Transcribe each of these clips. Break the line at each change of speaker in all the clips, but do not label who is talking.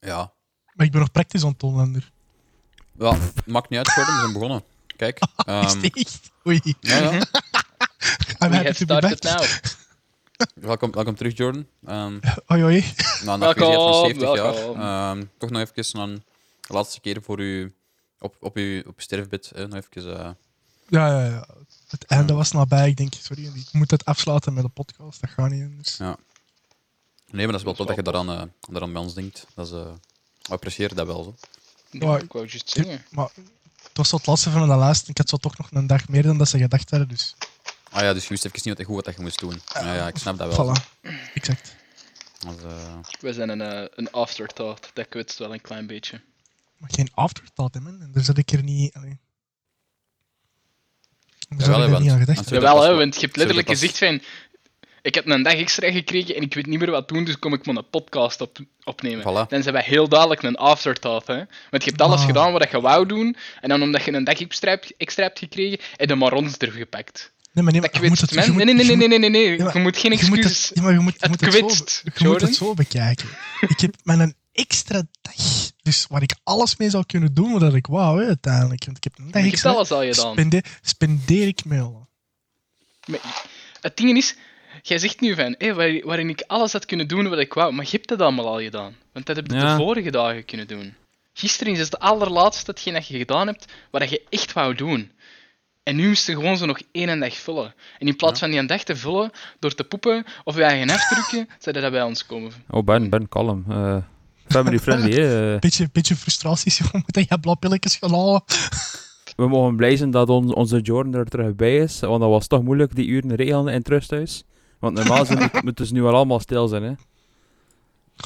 Ja.
Maar ik ben nog praktisch aan het toonlander.
ja, maakt niet uit, Gordon, we zijn begonnen. Kijk.
Oh, Is
ehm,
het echt? Oei. Ah,
ja, ja.
I'm
We
happy
have
to be
started
back.
now.
Welkom, welkom terug, Jordan. Ehm nou,
Oei, oei.
na een afwezigheid van
Welkom,
70 jaar.
welkom.
Ehm, toch nog even een laatste keer voor u op, op, uw, op uw sterfbed. Hè, nog even, eh,
Ja, ja, ja. Het einde was nabij. Ik denk, sorry, ik moet het afsluiten met een podcast. Dat gaat niet anders.
Nee, maar dat is wel tof dat je daaraan, eh, daaraan bij ons denkt. Dat is, eh, we appreciëren dat wel. Zo.
Ja,
Ik wou juist zingen.
Maar het was zo het laatste van mijn laatste. Ik had zo toch nog een dag meer dan dat ze gedacht hadden. Dus
Ah ja, dus je wist even niet wat- goed wat dat je moest doen. Ja, ja, ik snap dat wel.
voilà. Exact.
Dat is, eh,
We zijn een, eh, een afterthought. Dat kwetst wel een klein beetje.
Maar geen afterthought, hè, man. Daar zat ik er niet... Allee. Daar
Jawel,
zat ik
hè,
er niet aan
want-
gedacht.
want-
Jawel,
pas
hè,
wel-
want je hebt
sorry,
letterlijk
dat
gezegd van... Ik heb een dag extra gekregen en ik weet niet meer wat doen, dus kom ik maar een podcast op, opnemen.
Voilà.
Dan zijn wij heel duidelijk een afterthought, hè. Want je hebt alles
Ah.
gedaan wat je wou doen, en dan omdat je een dag extra hebt, extra hebt gekregen, heb je maar ons ervan gepakt.
Nee, maar nee, maar
Dat
je moet het...
kwetst,
je
man.
moet-
Nee, nee, nee,
je
nee,
moet-
nee, nee, nee.
Ja, maar
Je moet geen
Je moet het,
excuses...
ja, maar je moet, je
Het
moet, het, zo,
kwetst,
be- je moet
Jordan.
het zo bekijken. Ik heb met een extra dag, dus waar ik alles mee zou kunnen doen, wat ik wou hè, uiteindelijk. Want ik heb een dag
Je hebt
extra,
alles al gedaan.
spende- spendeer ik mij al.
Maar het ding is, jij zegt nu van, hé, waar- waarin ik alles had kunnen doen wat ik wou, maar je hebt dat allemaal al gedaan. Want dat heb je
Ja.
de vorige dagen kunnen doen. Gisteren is het allerlaatste hetgeen dat je gedaan hebt, wat je echt wou doen. En nu moest je gewoon zo nog één dag vullen. En in plaats van die een dag te vullen door te poepen of je eigen afdrukken, zou dat bij ons komen.
Oh, Ben, Ben, kalm. Eh, family friendly, hè. Eh,
Beetje, beetje frustraties, jongen, dat je blauwpilletjes gaan halen. Oh,
We mogen blij zijn dat on- onze Jordan er terug bij is, want dat was toch moeilijk, die uren regelen in het rusthuis. Want normaal zijn die- moeten ze dus nu wel allemaal stil zijn, hè.
Oh,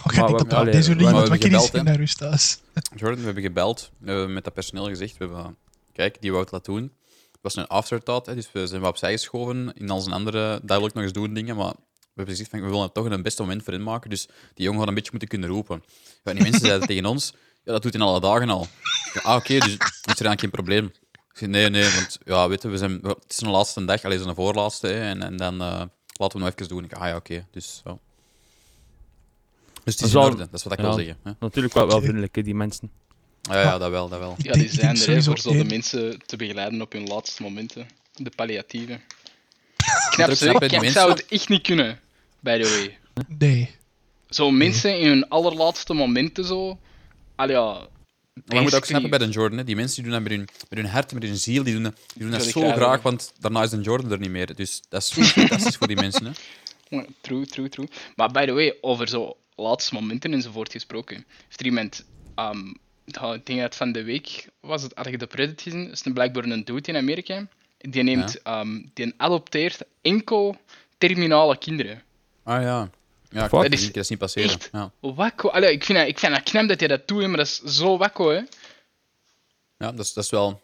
ik denk
we-
dat er op
allee,
deze uur
we-
iemand
we
wakker
gebeld,
is en
hè.
naar rust thuis.
Jordan, we hebben gebeld. We hebben met dat personeel gezegd. We hebben, eh, kijk, die wou het laten doen. Het was een afterthought, hè, dus we zijn wat opzij geschoven. In al zijn andere duidelijk nog eens doen dingen, maar we hebben gezegd, van, we willen er toch een beste moment voor inmaken. Dus die jongen had een beetje moeten kunnen roepen. Ja, en die mensen zeiden tegen ons, ja, dat doet hij alle dagen al. Ja, ah, oké, dus is er dan geen probleem? Ik zei, nee, nee, want ja, weet je, we zijn, we- het is een laatste dag, alleen een voorlaatste, hè, en, en dan eh, laten we het nog even doen. Ik, ah ja, oké, dus zo. Dus het is in
Zal-
orde, dat is wat ik wil
ja.
zeggen. Hè.
Natuurlijk wel, wel vriendelijk, hè, die mensen.
Ja, ja, dat wel, dat wel.
Ik
Ja,
denk-
die
ik
zijn
denk
er hè,
sowieso
voor zo de
één.
mensen te begeleiden op hun laatste momenten. De palliatieven. Knap,
snap
ze,
je die
ik zou
mensen?
het echt niet kunnen, by the way.
Nee.
Zo
Mhm.
mensen in hun allerlaatste momenten zo. Al ja.
Maar je moet ook
basically-
snappen bij de Jordan. Hè. Die mensen die doen dat met hun, met hun hart, met hun ziel. Die doen dat, die doen dat
Ja, die
zo
krijgen
graag,
dat.
want daarna is de Jordan er niet meer. Dus dat is fantastisch voor die mensen. Hè.
Ja, True, true, true. Maar by the way, over zo laatste momenten enzovoort gesproken. Heeft er iemand. ehm, ja, ik denk dat het van de week was het, had ik de Reddit gezien. is een blijkbaar een dude in Amerika. Die neemt, ehm, die adopteert enkel terminale kinderen.
Ah ja. Ja, ik
Fuck.
weet niet, dat is niet passeren.
Echt?
Ja.
Wakko. Allee, ik, vind dat, ik vind dat knap dat hij dat doet, hè, maar dat is zo wakko, hè.
Oh,
ja, dat is, dat is wel...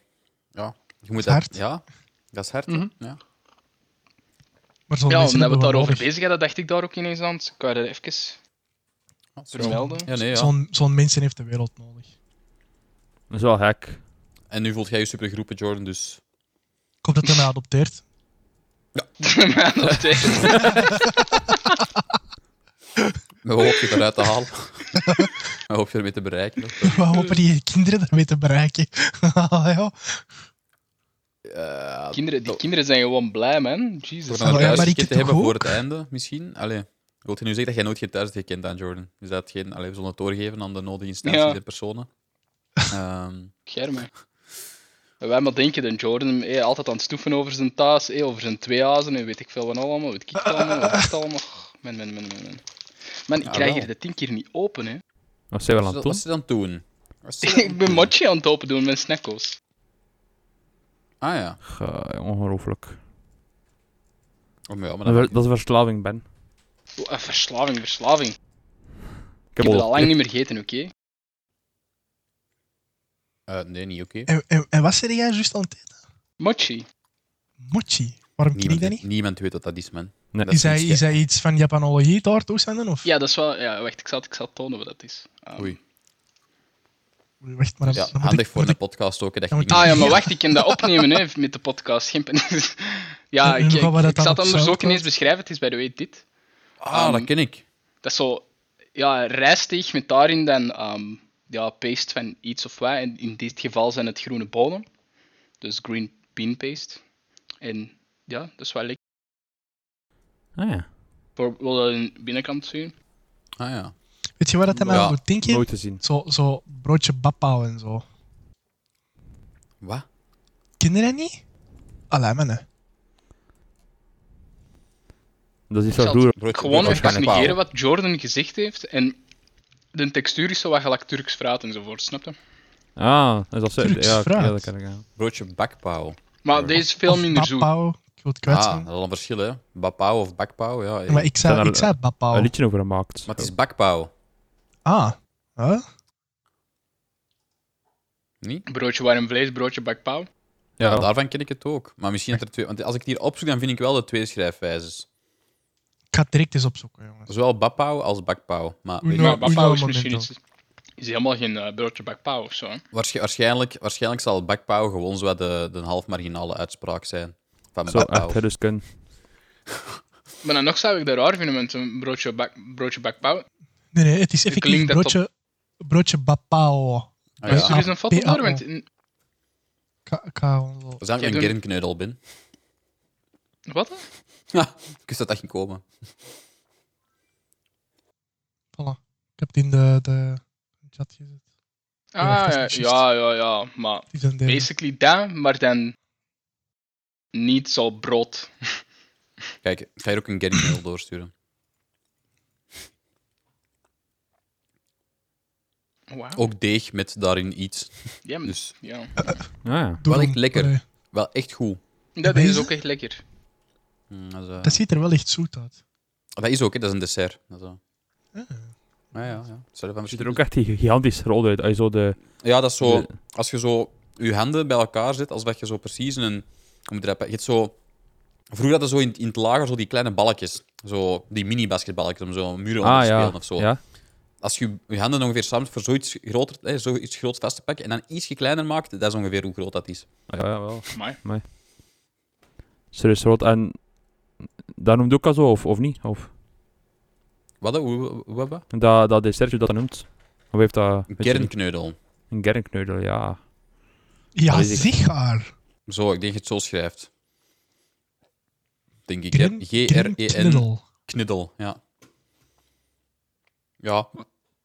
Ja. Je moet
is hard.
Dat, ja, dat is hard. hè. ja.
Maar zo'n mensen
Ja, omdat we het
hebben
daarover
nodig.
bezig hadden, dacht ik daar ook ineens aan. Dus Ik wou dat even
Ah, zo.
vermelden.
Ja, nee, ja.
Zo'n zo'n mensen heeft de wereld nodig.
Dat is wel gek.
En nu voelt jij je supergroepen, Jordan, dus...
Ik hoop dat hij mij adopteert.
Maar dat is-
We hopen je eruit te halen. We hopen je ermee te bereiken.
We hopen die kinderen daarmee te bereiken. ja.
Eh,
Kinderen, die
Oh.
kinderen zijn gewoon blij, man. Jesus.
Voor een
maar ik
thuiskit te
heb
hebben
toch
voor
ook-
het einde, misschien. Allee, wilt je nu zeggen dat jij nooit geen thuis hebt gekend aan Jordan? Is dat geen... Allee, we zullen het doorgeven aan de nodige instanties
Ja.
en personen. Ehm,
Germe. En Wij maar denken, de Jordan, hé, altijd aan het stoeven over zijn thuis, hé, over zijn tweehazen en weet ik veel wat allemaal, weet ik het allemaal, wat is het allemaal. Man, man, man, man. man. Man, ik
Ja,
krijg
wel.
hier de tien keer niet open, hè.
Wat zijn we
wat
aan
is
het
Dus dat-
doen?
Wat is dat aan het doen? Wat is dat aan
ik
het
ben
doen?
matje aan het open doen met snackos.
Ah ja.
Ge- Eh, ongelooflijk.
Oh, maar ja, maar
Dat,
dat...
is- dat is verslaving, Ben.
Oh, eh, verslaving, verslaving. Ik
Ik
heb
al-
het al lang niet meer gegeten, oké?
Eh, nee, niet oké.
En, en, en wat zei jij juist aan het eten?
Mochi.
Mochi. Waarom ken ik dat
Niemand,
niet?
niemand weet wat dat is, man.
Nee.
Dat
Is hij,
iets
is
gek.
hij iets van Japanologie daar toezenden? Of?
Ja, dat is wel... Ja, wacht, ik zal, ik zal tonen wat dat is. Ah.
Oei.
Oei, Wacht, maar dan,
Ja,
dan moet
handig
ik-
voor
moet
de
ik-
podcast ook. hè, Dat
Dan
je
moet
niet-
Ah ja, maar
Ja.
wacht, ik kan dat opnemen hè, met de podcast. Geen paniek. Ja,
En
ik, ik,
hoe gaan we dat
ik
dan
zal
op
het anders ook
Soundcloud?
ineens beschrijven. Het is bij de way dit.
Ah, dat
Ehm,
ken ik.
Dat is zo ja, rijsteeg met daarin dan ehm, ja, paste van iets of wat. En in dit geval zijn het groene bonen. Dus green bean paste. En ja, dat is wel lekker.
Ah ja,
Voor- Wil je de binnenkant zien?
Ah ja.
Weet je waar dat hij mij
Ja.
aan doet denken?
nooit te zien.
Zo, zo broodje bappao en zo.
Wat?
Ken je dat niet? Allee, mannen.
Dat is iets
Ik zal
wat
het
vroeger...
Broodje-
Gewoon
broodje
even
met pauw.
negeren wat Jordan gezegd heeft. En de textuur is zo wat gelijk Turks fruit enzovoort, snap je?
Ah, dat is dat zo?
Turks
Ja,
fruit.
ja, dat kan ik aan.
Broodje bakpauw.
Maar deze is veel
Of
minder zoet.
bappao. Ik wil het kwijt
Ah,
zijn.
dat is al een verschil, hè. Bapau of bakpauw, ja.
maar ik zei,
Zijn er-
ik zei bappao.
Een liedje over gemaakt.
Maar het is bakpauw,
Ah. Huh?
niet?
Broodje warm vlees, broodje bakpauw.
Ja, daarvan ken ik het ook. Maar misschien dat er twee... Want als ik het hier opzoek, dan vind ik wel de twee schrijfwijzes.
Ik ga het direct eens opzoeken, jongens.
Zowel bapau als bakpauw. Maar weet
Uno-
je,
maar bakpauw is
uno
misschien
momento.
iets... Is helemaal geen eh, broodje bakpauw of zo. hè.
waarsch- waarschijnlijk, waarschijnlijk zal bakpauw gewoon zo wat de, de half marginale uitspraak zijn van
Zo
bakpauw.
echt herrisken.
Maar dan nog zou ik dat raar vinden met een broodje, bak, broodje bakpauw.
Nee, nee, het is effectief
klinkt dat
broodje, broodje bappao.
Ah,
Ja.
ja.
Is er eens een foto
P-A-O.
door? Want in-
Ka- ka- zo.
Dat is eigenlijk
Ja,
een kernkneudel ben.
Wat?
Ik wist dat dat ging komen.
Voilà. Ik heb het in de, de chat gezet.
Ah,
dat
ja,
is niet
ja, ja, ja. Maar
Het is een derde.
basically dat, maar dan niet zo brood.
Kijk, ik ga hier ook een kernkneudel doorsturen.
Wauw.
Ook deeg met daarin iets.
Ja, maar-
Dus
ja.
Ah ja.
Doe
Wel
dan.
echt lekker.
Allee,
wel echt goed.
Dat is
Deze?
ook echt lekker.
Mm, dat, is, eh,
Dat ziet er wel echt zoet uit.
dat is ook, hè. dat is een dessert. Dat is, eh,
Ah.
ja, ja, ja. Zou er van
ziet er ook
verschillen?
echt die gigantisch rol uit. Als je zo de...
Ja, dat is zo.
de-
Als je zo je handen bij elkaar zet, als dat je zo precies een. Hoe moet ik dat bij- Je hebt zo. Vroeger hadden ze zo in, in het lager zo die kleine balkjes. Zo die mini-basketballetjes om zo muren onder
ah
te
ja.
spelen of zo.
ja.
Als je je handen ongeveer samen voor zoiets, groter, hè, zoiets groots vast te pakken en dan ietsje kleiner maakt, dat is ongeveer hoe groot dat is.
Ah, Ja, wel.
Maar
Serieus rot. En dat noemt ook al zo, of, of niet? Of
Wat? hè? Hoe- hoe- wat- wat?
dat, dat dessertje dat dat noemt? Of heeft dat...
Een
weet je niet.
kernkneudel.
Een kernkneudel, ja.
Ja,
Dat is echt-
zichtbaar.
Zo, ik denk dat je het zo schrijft. Denk ik. hè.
Grim-
E
G-R-E-N.
grimkniddel.
Kniddel, E ja. Ja,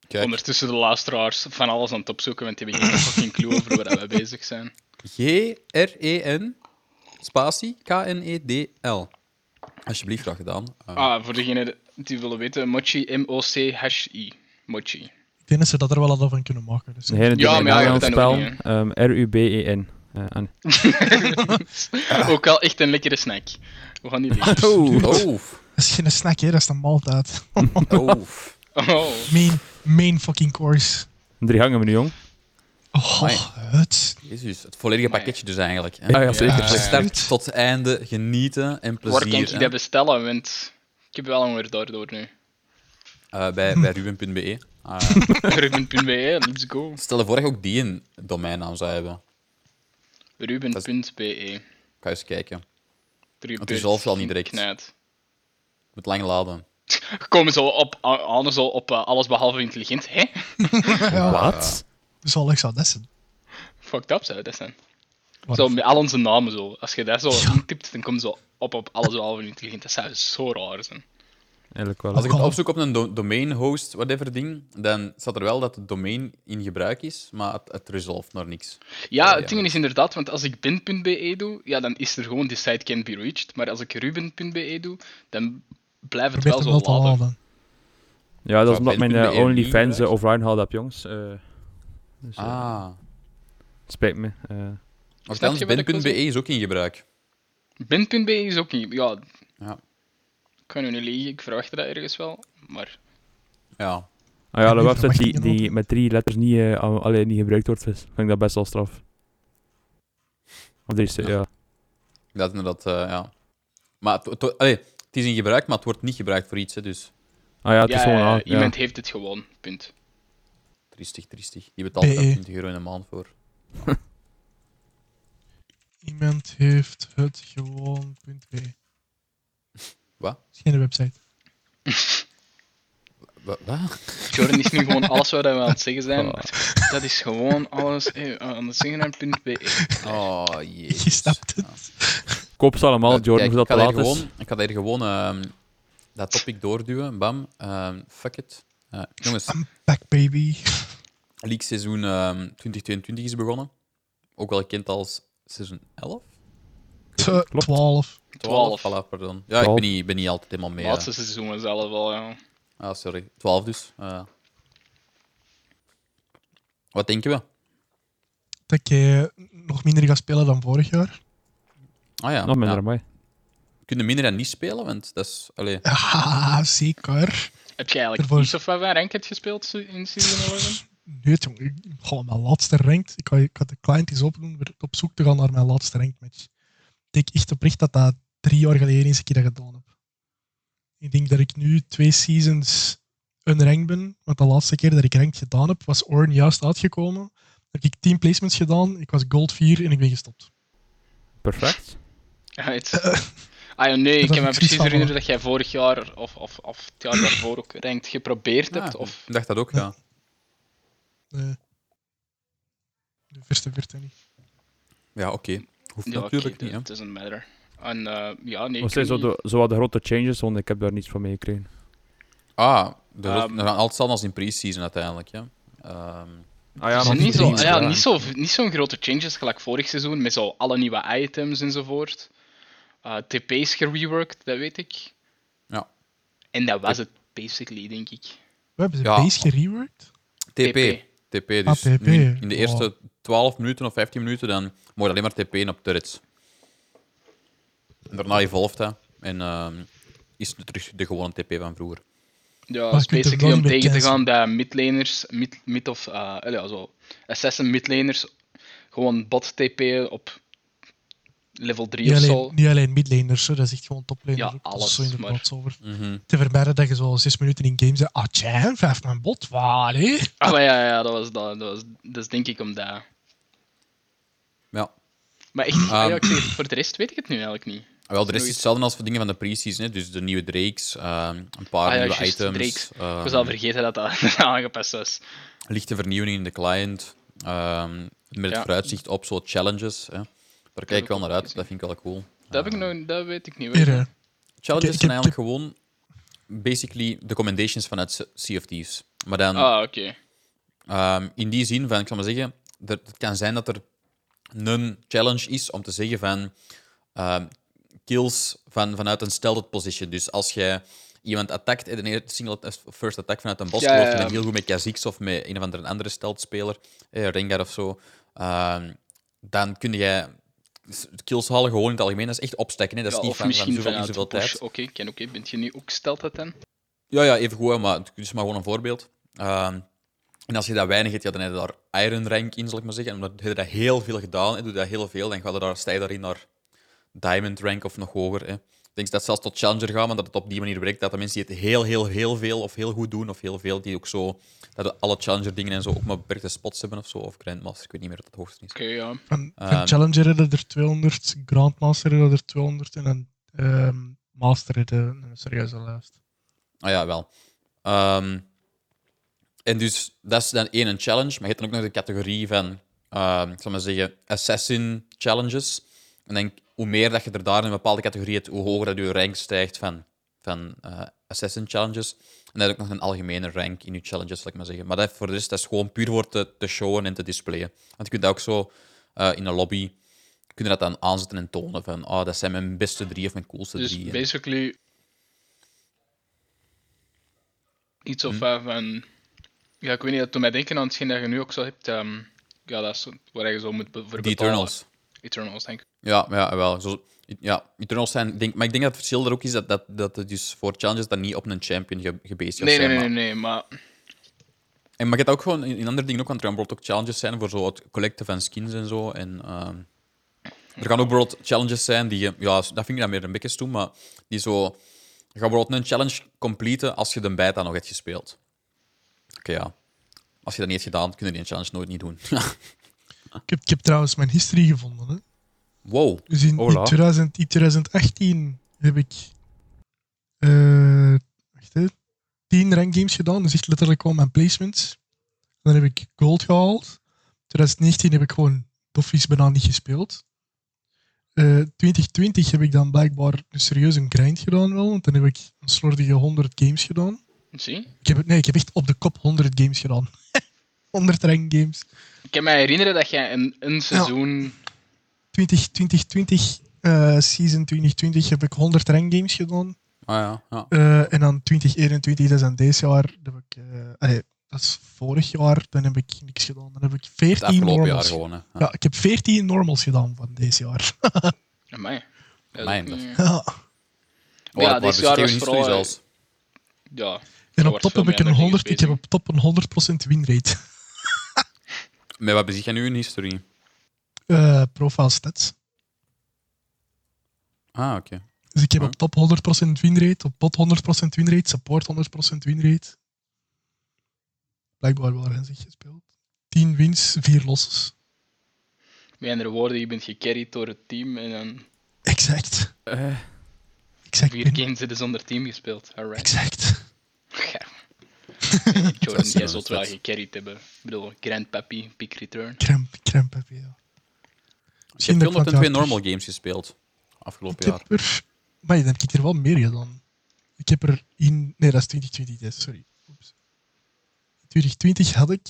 kijk.
ondertussen de luisteraars van alles aan het opzoeken, want die hebben geen fucking clue over waar we bezig zijn.
G-R-E-N, E spatie, K-N-E-D-L. Alsjeblieft, graag gedaan. Eh,
Ah, voor degenen die willen weten, mochi, M-O-C-H-I. Mochi.
Ik denk dat ze dat er wel hadden van kunnen maken. Dus.
Een hele
Ja, maar ja,
Nederlands
dat ken ik
spel.
ook niet,
ehm, R-U-B-E-N. Eh, en-
Ook wel echt een lekkere snack. We gaan niet liggen.
Oef.
Dat is geen snack, hè. Dat is een maaltijd.
Oef.
Oh.
Main, main fucking course.
Een drie hangen menu, jong.
Oh,
Amai.
het.
Jezus, het volledige pakketje dus eigenlijk. hè.
Ah, Ja, ja, zeker.
Van
Absoluut.
start tot einde, genieten en plezier.
Waar kan ik
hè.
dat bestellen? Want ik heb wel honger daardoor nu.
Eh, bij bij ruben.be. Ah,
Ruben.be, let's go.
stel je voor dat je ook die een domeinnaam zou hebben.
Ruben.be.
Ik ga eens kijken.
Drie
Het is
beurtjes
zelfs al niet
in de
direct.
knijt.
Met lang laden.
We komen zo op, a- aan zo op eh, alles behalve intelligent. Hé?
Wat?
Zalig zou dat zijn.
Fucked up zou dat zijn.
Wat
Zo
een-
met al onze namen zo. Als je dat zo intipt, dan komt zo op op alles behalve intelligent. Dat zou zo raar zijn.
Eigenlijk wel.
Als ik het
Oh.
opzoek op een do- domain host, whatever ding, dan staat er wel dat het domein in gebruik is, maar het, het resolveert naar niks.
Ja,
ja,
het ding is inderdaad, want als ik bin.be doe, ja, dan is er gewoon die site can be reached. Maar als ik ruben.be doe, dan blijft het
probeer
wel
hem
zo
wel te
laden.
laden.
Ja, dat
Zou
is omdat mijn
Facebook
eh,
de EMI
OnlyFans eh,
gebruikt?
offline haalt heb, jongens. Eh, dus, eh,
Ah.
Spijt me. eh.
Althans,
je wat ik wil
bin.be E is ook in gebruik.
Bin.be is ook niet. Ja.
Ja.
Ik kan nu niet liegen, ik verwachtte dat ergens wel. Maar
Ja.
Ah ja,
nu
de website die,
verwachtingen
die
lopen.
met drie letters niet, eh, al- alleen niet gebruikt wordt, is, vind ik dat best wel straf. Of drie stuk, ja.
Dat inderdaad, eh, ja. Maar het, het- allee, het is in gebruik, maar het wordt niet gebruikt voor iets, hè, dus
Ah ja, het is
ja,
gewoon
ja,
aan. Ja.
iemand heeft het gewoon. Punt.
triestig, triestig. Je betaalt daar
BE.
20 euro in de maand voor.
Iemand heeft het gewoon.be.
Wat?
Is geen website.
Wa- Wat?
Jordan is nu gewoon alles wat we aan het zeggen zijn.
Oh.
Dat is gewoon alles eh, aan het zeggen aan punt .be.
Oh, jee.
Je snapt het.
Koop ze allemaal, Jordan,
Kijk, ik
voordat het
ga
te
daar
laat is.
gewoon, Ik ga daar gewoon ehm, dat topic doorduwen. Bam. Ehm, fuck it. Eh, jongens,
I'm back, baby.
League seizoen ehm, 2022 is begonnen. Ook wel gekend als seizoen 11?
Tw- 12.
12.
Voilà, pardon. Ja, ik
Twaalf.
ben niet, ben niet altijd helemaal mee. eh.
Laatste seizoen was zelf al, ja.
Ah, sorry. 12 dus. eh. Wat denken we?
Dat je nog minder gaat spelen dan vorig jaar.
Ah ja,
Nog minder,
ja.
amai.
kunnen minder en niet spelen, want dat is... Allee,
Ja, Ah, zeker.
Heb jij eigenlijk
Ervoor-
Peace of Love en Ranked gespeeld se- in Season 11?
Nee, jong, ik gewoon mijn laatste ranked. Ik ga, ik ga de client eens opdoen om op zoek te gaan naar mijn laatste ranked match. Ik denk echt oprecht dat dat drie jaar geleden eens een keer dat gedaan heb. Ik denk dat ik nu twee seasons een rank ben, want de laatste keer dat ik ranked gedaan heb, was Orn juist uitgekomen. Heb ik 10 placements gedaan, ik was gold 4 en ik ben gestopt.
Perfect.
Ja, het- Ah ja, nee, ik
was
heb me
ik
precies
precies van
herinnerd dat jij vorig jaar of, of, of het jaar daarvoor ook ranked geprobeerd hebt.
ah,
Of...
ik dacht dat ook, ja.
Nee. Eh, De verste verte niet.
Ja, oké. Hoeft
Ja, oké, dus.
natuurlijk
dat-
niet,
it doesn't matter. En eh, ja, nee.
Wat
ik
zijn
weet
zo
niet.
de, zo wat de grote changes, want ik heb daar niets van meegekregen.
hè. Ah, de rest-
Ehm.
we gaan altijd staan als in pre-season uiteindelijk, ja. Ehm,
Ah ja,
Ze zijn
maar
niet
die
zo-
drie
ja,
waren-
niet zo- niet zo'n grote changes gelijk vorig seizoen, met zo alle nieuwe items enzovoort. Eh TP's gereworked, dat weet ik.
Ja.
En dat was het, basically, denk ik.
We hebben ze
Ja.
base gereworked.
TP. TP, dus
Ah, TP.
nu in de
Oh.
eerste 12 minuten of 15 minuten, dan moet je alleen maar TP'en op turrets. En daarna evolved hij en ehm, is het terug de gewone TP van vroeger.
Ja,
Maar
is
je kunt er
basically
wel
om
niet mee
tegen te gaan
cancelen.
dat midlaners, mid, mid of, eh, eh, ja, zo, assassin midlaners, gewoon bot TP'en op level 3
Niet
of
alleen,
zo.
niet alleen midlaners, hè, dat is echt gewoon toplaners.
Ja,
ook. Dat is
alles,
zo inderdaad
maar-
zo over.
Mhm.
te vermijden dat je zo zes minuten in game zit. Ah, jam, vijf man bot, waar, hè?
Ah, maar ja, ja dat, was, dat, dat was dat is denk ik om dat.
Ja.
Maar echt, ja, ik zeg het, voor de rest weet ik het nu eigenlijk niet.
Wel, de rest
Zoiets.
is hetzelfde als voor dingen van de pre-season. hè. Dus de nieuwe Drakes, ehm, een paar
Ah, ja,
nieuwe
juist,
items,
Drakes. Ik was
ehm,
al vergeten dat dat aangepast was.
lichte vernieuwing in de client, ehm, met
Ja.
het vooruitzicht op zo'n challenges. Hè. Daar kijk ik wel naar uit, dat vind ik wel cool.
Dat, heb ik nog, dat weet ik niet. weet
Hier,
je.
hè.
Challenges
Ik- ik
zijn
heb-
eigenlijk gewoon basically de commendations vanuit Se- Sea of Thieves. Maar dan
Ah, oké.
ehm, in die zin van, ik zal maar zeggen, er, het kan zijn dat er een challenge is om te zeggen van ehm, kills van, vanuit een stealth position. Dus als jij iemand attackt, en een single eh, first attack vanuit een bos,
Ja,
geloof
ja,
je
ja.
dan heel goed met Kha'Zix of met een of andere andere stealth speler, eh, Rengar of zo, ehm, dan kun jij s- kills halen gewoon in het algemeen. Dat is echt opstekken, hè. dat is
Ja,
niet
of
van, van
misschien
zoveel in
vanuit
zoveel
de push.
tijd.
Oké, ken oké. Bent je nu ook stelt dat dan?
Ja, ja, even goed, hè, maar het is maar gewoon een voorbeeld. Ehm, en als je dat weinig hebt, ja, dan heb je daar iron rank in, zal ik maar zeggen. En omdat je dat heel veel gedaan hebt, doe je dat heel veel, dan ga je daar, stij je daarin naar diamond rank of nog hoger. Hè. Ik denk dat het zelfs tot challenger gaan, maar dat het op die manier werkt dat de mensen die het heel, heel, heel veel of heel goed doen, of heel veel, die ook zo, dat alle challenger dingen en zo ook maar beperkte spots hebben of zo, of grandmaster, ik weet niet meer wat het hoogste is.
Oké, ja.
Van, van
Ehm.
Challenger hadden er 200, Grandmaster hadden er 200 en een ehm, Master hadden een serieuze lijst.
Ah ja, wel. Ehm, en dus, dat is dan één een challenge, maar je hebt dan ook nog de categorie van, ehm, ik zal maar zeggen, assassin challenges. En dan, hoe meer dat je er daar in een bepaalde categorie hebt, hoe hoger dat je rank stijgt van, van eh, assassin challenges. En dan heb je ook nog een algemene rank in je challenges, zal ik maar zeggen. Maar dat, voor de rest, dat is gewoon puur voor te, te showen en te displayen. Want je kunt dat ook zo eh, in een lobby, kun je dat dan aanzetten en tonen van, ah, dat zijn mijn beste drie of mijn coolste
Dus
drie. En-
basically iets
Hm.
of wat van. Ja, ik weet niet, dat doet mij denken aan hetgeen dat je nu ook zo hebt. ehm, ja, dat is zo- waar je zo moet be- voor
die
betalen.
Eternals.
Eternals, denk ik.
Ja, maar ja wel. Zo, ja, Eternals zijn, ik denk, maar ik denk dat het verschil er ook is dat, dat, dat het dus voor challenges dan niet op een champion ge, gebaseerd
Nee, nee,
zijn.
nee, nee,
maar-
nee, maar
En, maar je hebt ook gewoon in, in andere dingen ook, want er gaan bijvoorbeeld ook challenges zijn voor zo het collecten van skins en zo. En, ehm, er gaan ook bijvoorbeeld challenges zijn die je, ja, dat vind ik dan meer een beetje toe, maar die zo. Je gaat bijvoorbeeld een challenge completen als je de beta nog hebt gespeeld. Oké, ja. Als je dat niet hebt gedaan, kun je die challenge nooit niet doen.
Ik heb, ik heb trouwens mijn history gevonden. Hè.
wow.
Dus in, in,
Hola.
2000, in 2018 heb ik. eh wacht hè, tien rankgames gedaan, dus echt letterlijk gewoon mijn placements. En dan heb ik gold gehaald. 2019 heb ik gewoon doffies bijna niet gespeeld. Eh, 2020 heb ik dan blijkbaar een serieus een grind gedaan wel, want dan heb ik een slordige 100 games gedaan.
Zie?
Ik heb, nee, ik heb echt op de kop 100 games gedaan. 100 rankgames.
Ik kan me herinneren dat jij een, een seizoen...
20, 2020, eh, season 2020 heb ik 100 rankgames gedaan.
Ah ja, ja.
Eh, en dan 2021, dat is aan deze jaar, heb ik, eh, allee, dat is vorig jaar, dan heb ik niks gedaan. Dan heb ik
Het
14
afgelopen
normals.
jaar gewoon. Hè. Ja.
Ja, ik heb 14 normals gedaan van deze jaar.
Amai. Dat is
Amai,
ook
dat-
niet-
ja.
Waar- dus waar
dit
besteed
jaar
je
was
niet
vooral,
voor jezelf?
Ja.
En
Er
op
wordt
top
veel
heb ik
meer
een
energie
100, ik heb
bezig.
op top een 100% winrate.
Met wat bezig jij nu in historie?
Eh profile stats.
Ah, oké.
Dus ik heb
Ja.
op top 100% winrate, op bot 100% winrate, support 100% winrate. Blijkbaar waren zich gespeeld. 10 wins, 4 losses.
Met andere woorden, je bent gecarried door het team en dan
Exact.
Eh,
Exact.
vier
Ben.
games zitten zonder team gespeeld. Alright.
Exact.
Ja. Nee, Jordan,
is
jij
wel
zult
vet.
wel gecarried hebben. Ik bedoel, Grand Pappy, Pick Return.
Kramp, kramp heb je, ja.
Je
Misschien
hebt
dat ik
202
vandaag terug-
normal games gespeeld. Afgelopen
Ik
jaar.
heb er... Maar dan heb ik er wel meer gedaan. Ik heb er in... Nee, dat is 2020, yes, sorry. Oeps. 2020 had ik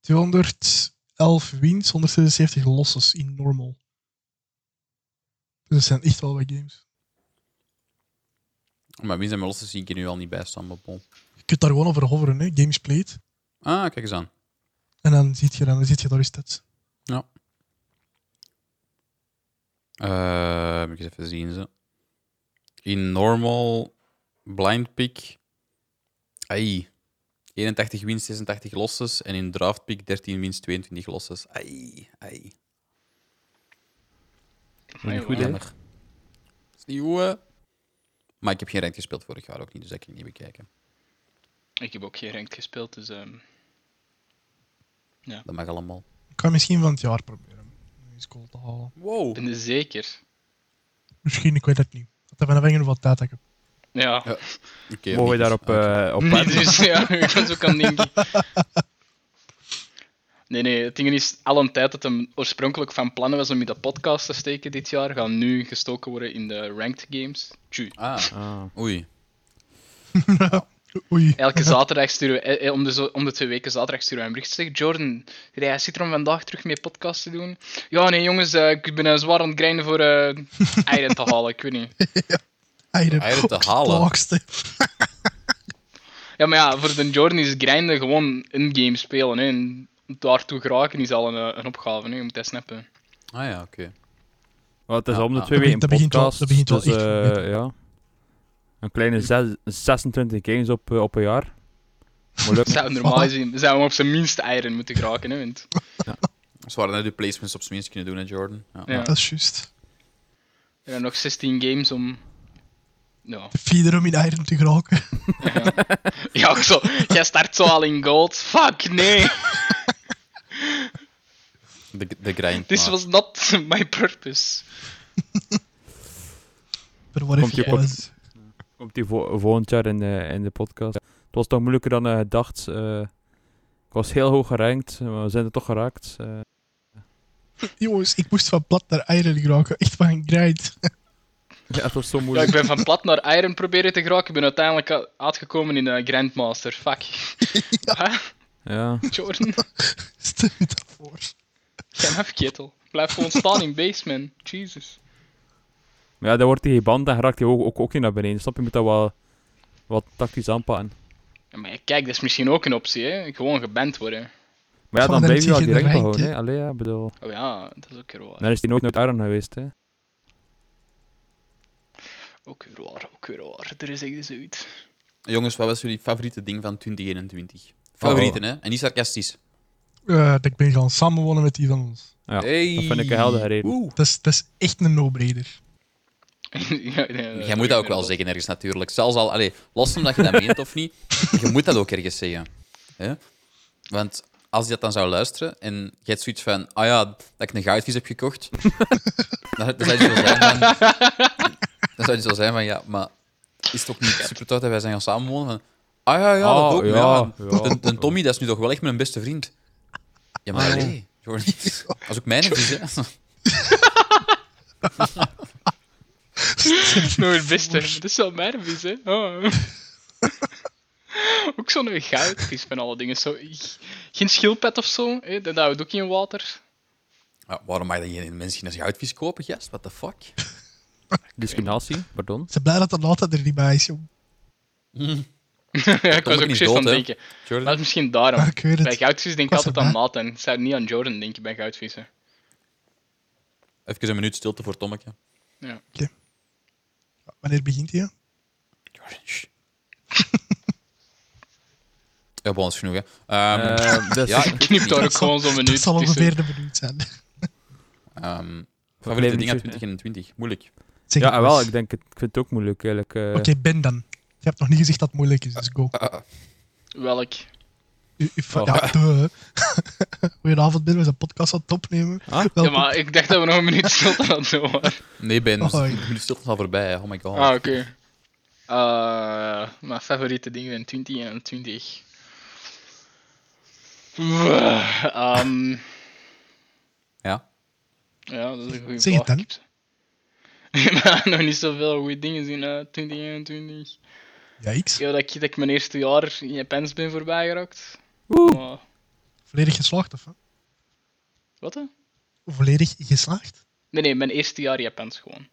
211 wins, 176 losses in normal. Dus dat zijn echt wel wat games.
Maar wie zijn mijn losse zie ik hier nu al niet bij staan. maar bon.
Je kunt daar gewoon over hoveren, hè. Games played.
Ah, kijk eens aan.
En dan ziet je, dan, dan ziet je daar je stats.
Eh, moet ik eens even zien. Ze. In normal, blind pick, ai, 81 wins, 86 losses. En in draft pick 13 wins, 22 losses. Ai, ai.
Amai,
goed,
wauw.
hè?
Jammer. Dat is niet goed, hè? Maar ik heb geen rank gespeeld vorig jaar ook niet, dus dat kan ik niet bekijken.
Ik heb ook geen ranked gespeeld, dus... ehm,
Dat mag allemaal.
Ik ga misschien van het jaar proberen. om Eens goal te halen.
Wow.
Ik ben er zeker.
Misschien, ik weet het niet. Dat er vanaf hangen wat tijd dat ik heb.
Ja.
Ja, Oké,
Mogen we
Mikkels.
daarop
Ah,
eh op
Nee,
paard?
dus, ja, ik was ook aan het denken. Nee, nee, het ding is, al een tijd dat hem oorspronkelijk van plannen was om in de podcast te steken dit jaar, gaan nu gestoken worden in de ranked games. Tju.
Ah, oei.
Oei.
Elke zaterdag sturen we, eh, eh, om de, zo- om de twee weken zaterdag sturen we een bericht. Zeg, Jordan, jij zit er om vandaag terug mee podcast te doen? Ja, nee, jongens, eh, ik ben eh, zwaar aan het grinden voor eh eieren te halen, ik weet niet.
Eieren.
Eieren te
Oh,
halen.
laagste.
Ja, maar ja, voor de Jordan is grinden gewoon een game spelen, hè. En daartoe geraken is al een, eh, een opgave, hè. Je moet dat snappen.
Ah ja, oké.
Well, het is al om de
Ah,
twee
dat
weken een
begint- dat
podcast.
begint wel- dat
dus,
begint wel echt goed
eh, ja. Een kleine zes- 26 games op, eh, op een jaar. Moet lukken.
Zou normaal zien, zou we op zijn minst eieren moeten geraken, hè. Want,
Ze waren net de placements op zijn minst kunnen doen, hè, Jordan. Ja.
ja,
Dat is juist.
er zijn nog 16 games om... Ja.
De feeder om in eieren te geraken.
Ja, zo, jij start zo al in gold. Fuck, nee.
De, de grind.
This
maar.
was not my purpose.
Er wordt
Komt je
even
pop-
was.
Komt die vo- volgend jaar in de, in de podcast. Het was toch moeilijker dan eh, gedacht. eh. ik was heel hoog gerankt, maar we zijn er toch geraakt. eh.
Jongens, ik moest van plat naar eieren geraken. Echt van een grind.
ja, het was zo
Ja,
moeilijk.
ik ben van plat naar Iron proberen te geraken. Ik ben uiteindelijk a- uitgekomen in eh, Grandmaster. Fuck. Huh?
Ja.
Jordan,
Stel je dat voor.
zijn afketel. Blijf gewoon staan in basement. Jesus.
Maar ja, dan wordt hij geband en raakt hij ook, ook, ook niet naar beneden. Snap je? Je moet dat wel wat tactisch aanpakken.
Ja, maar ja, kijk, dat is misschien ook een optie, hè? Gewoon geband worden.
Maar ja,
Van
dan
de
blijf je wel
tegen de
direct
rank,
behouden.
hè.
hè. Allee, ja, bedoel.
Oh ja, dat is ook weer waar.
Dan is hij nooit naar Arnhem geweest, hè.
Ook weer waar, ook weer waar. Er is echt zoiets.
Jongens, wat was jullie favoriete ding van 2021? Favorieten, hè? En niet sarcastisch.
Eh, dat ik ben gaan samenwonen met die van ons.
Ja, dat vind ik een heldere reden.
Oeh.
Dat is, dat is echt een no-brainer.
Ja, nee,
Eh, Jij moet dat ook wel zeggen ergens natuurlijk. Zelfs al, allee, los van dat je dat meent of niet, je moet dat ook ergens zeggen. Hè? Want als je dat dan zou luisteren en je hebt zoiets van, ah ja, dat ik een goudvis heb gekocht, dan, dan zou je zo zijn van, dan zou je zo zijn van ja, maar is het ook niet super tof dat wij zijn gaan samenwonen? Van, ah ja, ja,
Ah,
dat ook.
ja,
Ja,
ja.
De, de Tommy, dat is nu toch wel echt mijn beste vriend. Ja, maar
Ah, ja.
nee, Jordi. Dat is ook mijn vriend, hè.
Nou, het beste. Dat is wel mijn vies, hè. Oh. ook zo'n goudvis van alle dingen. Zo, geen schildpad of zo, hè? dat houdt ook in water.
Ja, waarom mag je dan geen mensen geen goudvis kopen, gast? What the fuck?
Discriminatie, pardon.
Ik ben blij dat de Nata er niet bij is, jong.
ja, ik was
ook
ook
niet
precies
dood,
aan het
hè.
denken.
Jordi?
Maar het is misschien daarom.
Ja, Ah, ik weet het.
Bij goudvis denk
Ik
ik
was
altijd aan Nathan. Ik zou niet aan Jordan denken bij goudvissen.
Even een minuut stilte voor Tommeke.
Wanneer begint hij?
Jordi, shh. Ja, bon, dat is genoeg, hè. Ehm,
Eh, dat is-
ja, ik
Knipt daar ook
zal-
gewoon zo'n
Dat
minuut
zal
tussen.
ongeveer de minuut zijn.
Ehm
blijven
favoriete ding
niet
uit
zo-
2021? Moeilijk.
Zeg
ja,
het
ah, wel,
eens.
ik denk het. Ik vind het ook moeilijk, eigenlijk. eh.
dus. Oké, Ben dan. Je hebt nog niet gezegd dat het moeilijk is, dus go.
Welk?
U, u-
Oh.
Ja, duh. Goedenavond, Ben. We zijn podcast aan het opnemen.
Ah?
Ja,
Welkom.
maar ik dacht dat we nog een minuut stilte hadden. hoor.
Nee, Ben, dus
Oh,
de
ik-
minuut stilte is al voorbij, hè. Oh my god.
Ah, oké. Eh, mijn favoriete dingen in 2021. Wuh, ehm,
Ja.
ja, dat is een goede
Zeg het
vraag. Ik heb maar nog niet zoveel goede dingen zien uit 2021.
Ja, X.
Ja, dat ik, dat ik mijn eerste jaar in Japans ben voorbijgeraakt.
Oeh.
Maar,
Volledig geslaagd, of? hè?
wat hè?
Volledig geslaagd?
Nee, nee, mijn eerste jaar Japans gewoon.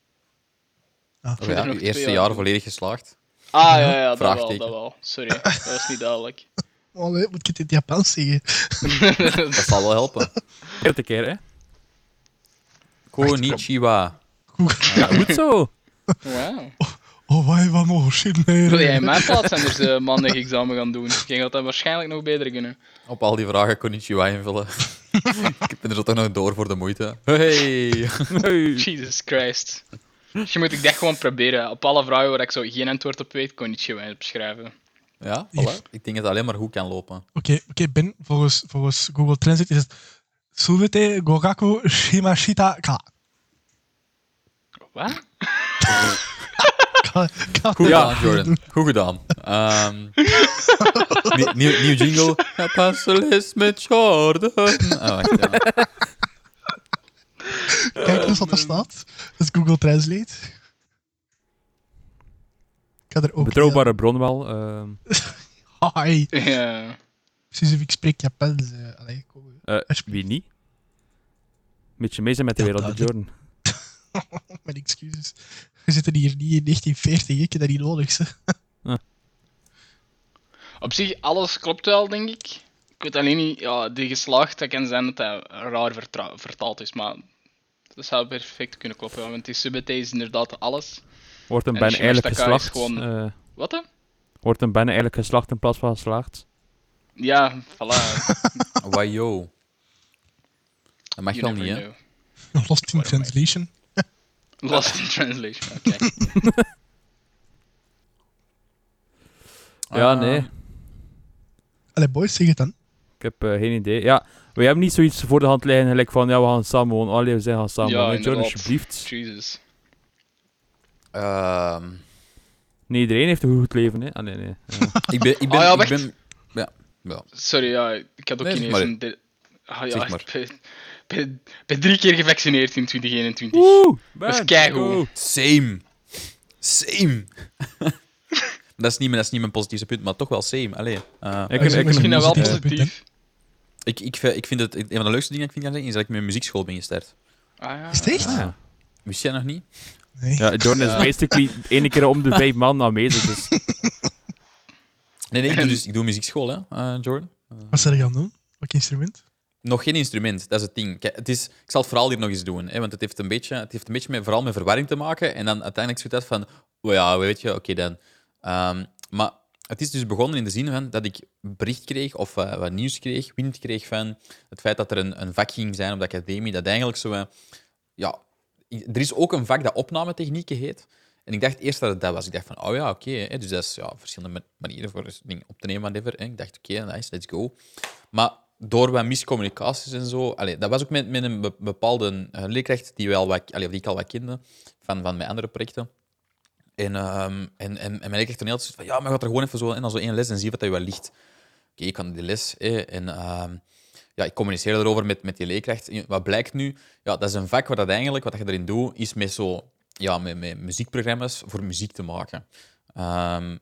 Ah,
Oh, ja,
nog
uw
twee
eerste
jaar
jaar
doen.
volledig geslaagd.
Ah, ja, ja, dat wel,
Vraagteken.
dat wel. Sorry, dat was niet duidelijk.
Allee, Oh, moet ik het in het Japans zeggen?
Dat zal wel helpen.
Eerste keer, hè?
Konnichiwa.
Goed.
Ja, goed zo.
Wauw.
Oh, wij van Morshin, nee.
Wil jij in mijn plaats anders eh, maandag examen gaan doen? Jij gaat dat waarschijnlijk nog beter kunnen.
Op al die vragen konnichiwa invullen. ik ben er toch nog door voor de moeite. Hey!
Hey.
Jesus Christ. Je moet ik dat gewoon proberen. Op alle vragen waar ik zo geen antwoord op weet, kon ik je opschrijven.
Ja,
Ja.
voilà. Ik denk dat het alleen maar goed kan lopen.
Oké, oké, Ben, volgens, volgens Google Translate is het. Suvete Gogaku Shimashita Ka.
Wat?
Ka- ka-
Goed
Ja.
gedaan, Jordan. Goed gedaan. Ehm, nie- nieuw, nieuw jingle. Passelis met Jordan. Ah, wacht, ja.
Kijk eens wat er staat. Dat is Google Translate. Ik ga er ook.
Betrouwbare bron wel. ehm.
Hi.
Ja.
Precies, ik spreek Japans. eh, allee, kom, eh.
Eh,
Alsjeblieft.
wie niet? Beetje mee zijn met de
Ja,
wereld, de
duidelijk.
Jordan.
Mijn excuses. We zitten hier niet in 1940, ik heb dat niet nodig. Ze.
Op zich, alles klopt wel, denk ik. Ik weet alleen niet, ja, die geslaagd, dat kan zijn dat dat raar vertra- vertaald is, maar dat zou perfect kunnen kloppen, ja, want die subT is inderdaad alles.
Wordt een
En
ben
Shimmer
eigenlijk
Stakai is
geslacht?
gewoon-
eh,
Wat dan?
wordt een ben eigenlijk geslacht in plaats van geslaagd?
Ja, voilà.
Wajo. Dat mag
You
wel
never
niet, hè?
know.
Lost in
Waarom
translation.
Lost in translation, oké.
ja,
Ah.
nee.
Allee, boys, zeg het dan.
Ik heb eh, geen idee. Ja, we hebben niet zoiets voor de hand liggen gelijk van ja, we gaan samen wonen. Allee, we zijn gaan samen
Ja,
wonen. Jordan,
inderdaad.
alsjeblieft.
Jesus.
Ehm,
Nee, iedereen heeft een goed leven, hè? Ah, nee, nee. Ja.
ik ben... Ik ben,
Ah, ja,
ik
wacht.
ben ja, ja.
Sorry, ja, ik had ook
Nee, zeg
ineens
maar.
een... de- Ah, ja,
Zeg maar.
ik ben- ben- ben drie keer gevaccineerd in 2021.
Woe!
is
Ben,
keigoed.
go.
Same. Same. dat, is niet, mijn- dat is niet mijn positieve punt, maar toch wel same. Allee. eh,
Ik,
Dat is
ik,
misschien
Ik vind dat wel
Positief punt,
positief.
ik, ik, vind- ik vind het een van de leukste dingen dat ik vind kan zeggen, is dat ik met een muziekschool ben gestart.
Ah, ja.
Is het echt?
Ah.
Wist jij nog niet?
Nee.
Ja, Jordan is basically ene keer om de vijf man aanwezig. Dus.
Nee, nee, ik doe, dus, ik doe muziekschool, hè, eh, Jordan.
Wat zou je gaan doen? Welk instrument?
Nog geen instrument, dat is het ding. Kijk, het is, ik zal het verhaal hier nog eens doen, hè, want het heeft een beetje, het heeft een beetje met, vooral met verwarring te maken. En dan uiteindelijk zoiets uit van, oh ja, weet je, oké dan. Ehm, maar het is dus begonnen in de zin van dat ik bericht kreeg of eh, wat nieuws kreeg, wind kreeg van het feit dat er een, een vak ging zijn op de academie, dat eigenlijk zo... eh, ja, i- er is ook een vak dat opnametechnieken heet. En ik dacht eerst dat het dat was. Ik dacht van, oh ja, oké. hè, dus dat is ja, verschillende ma- manieren voor het ding op te nemen, whatever. Hè. Ik dacht, oké, nice, let's go. Maar door wat miscommunicaties en zo... Allee, dat was ook met, met een be- bepaalde eh, leerkracht die, wel wat, allee, die ik al wat kende, van, van mijn andere projecten. En, ehm, en, en, en ben ik echt een heel zoiets van, ja, maar gaat er gewoon even zo in als zo één les en zie wat dat je wel ligt. Oké, ik kan die les. hè, en ehm, ja, ik communiceer erover met, met die leerkracht. En Wat blijkt nu? Ja, dat is een vak waar dat eigenlijk, wat dat je erin doet, is met zo, ja, met, met muziekprogramma's voor muziek te maken. Ehm,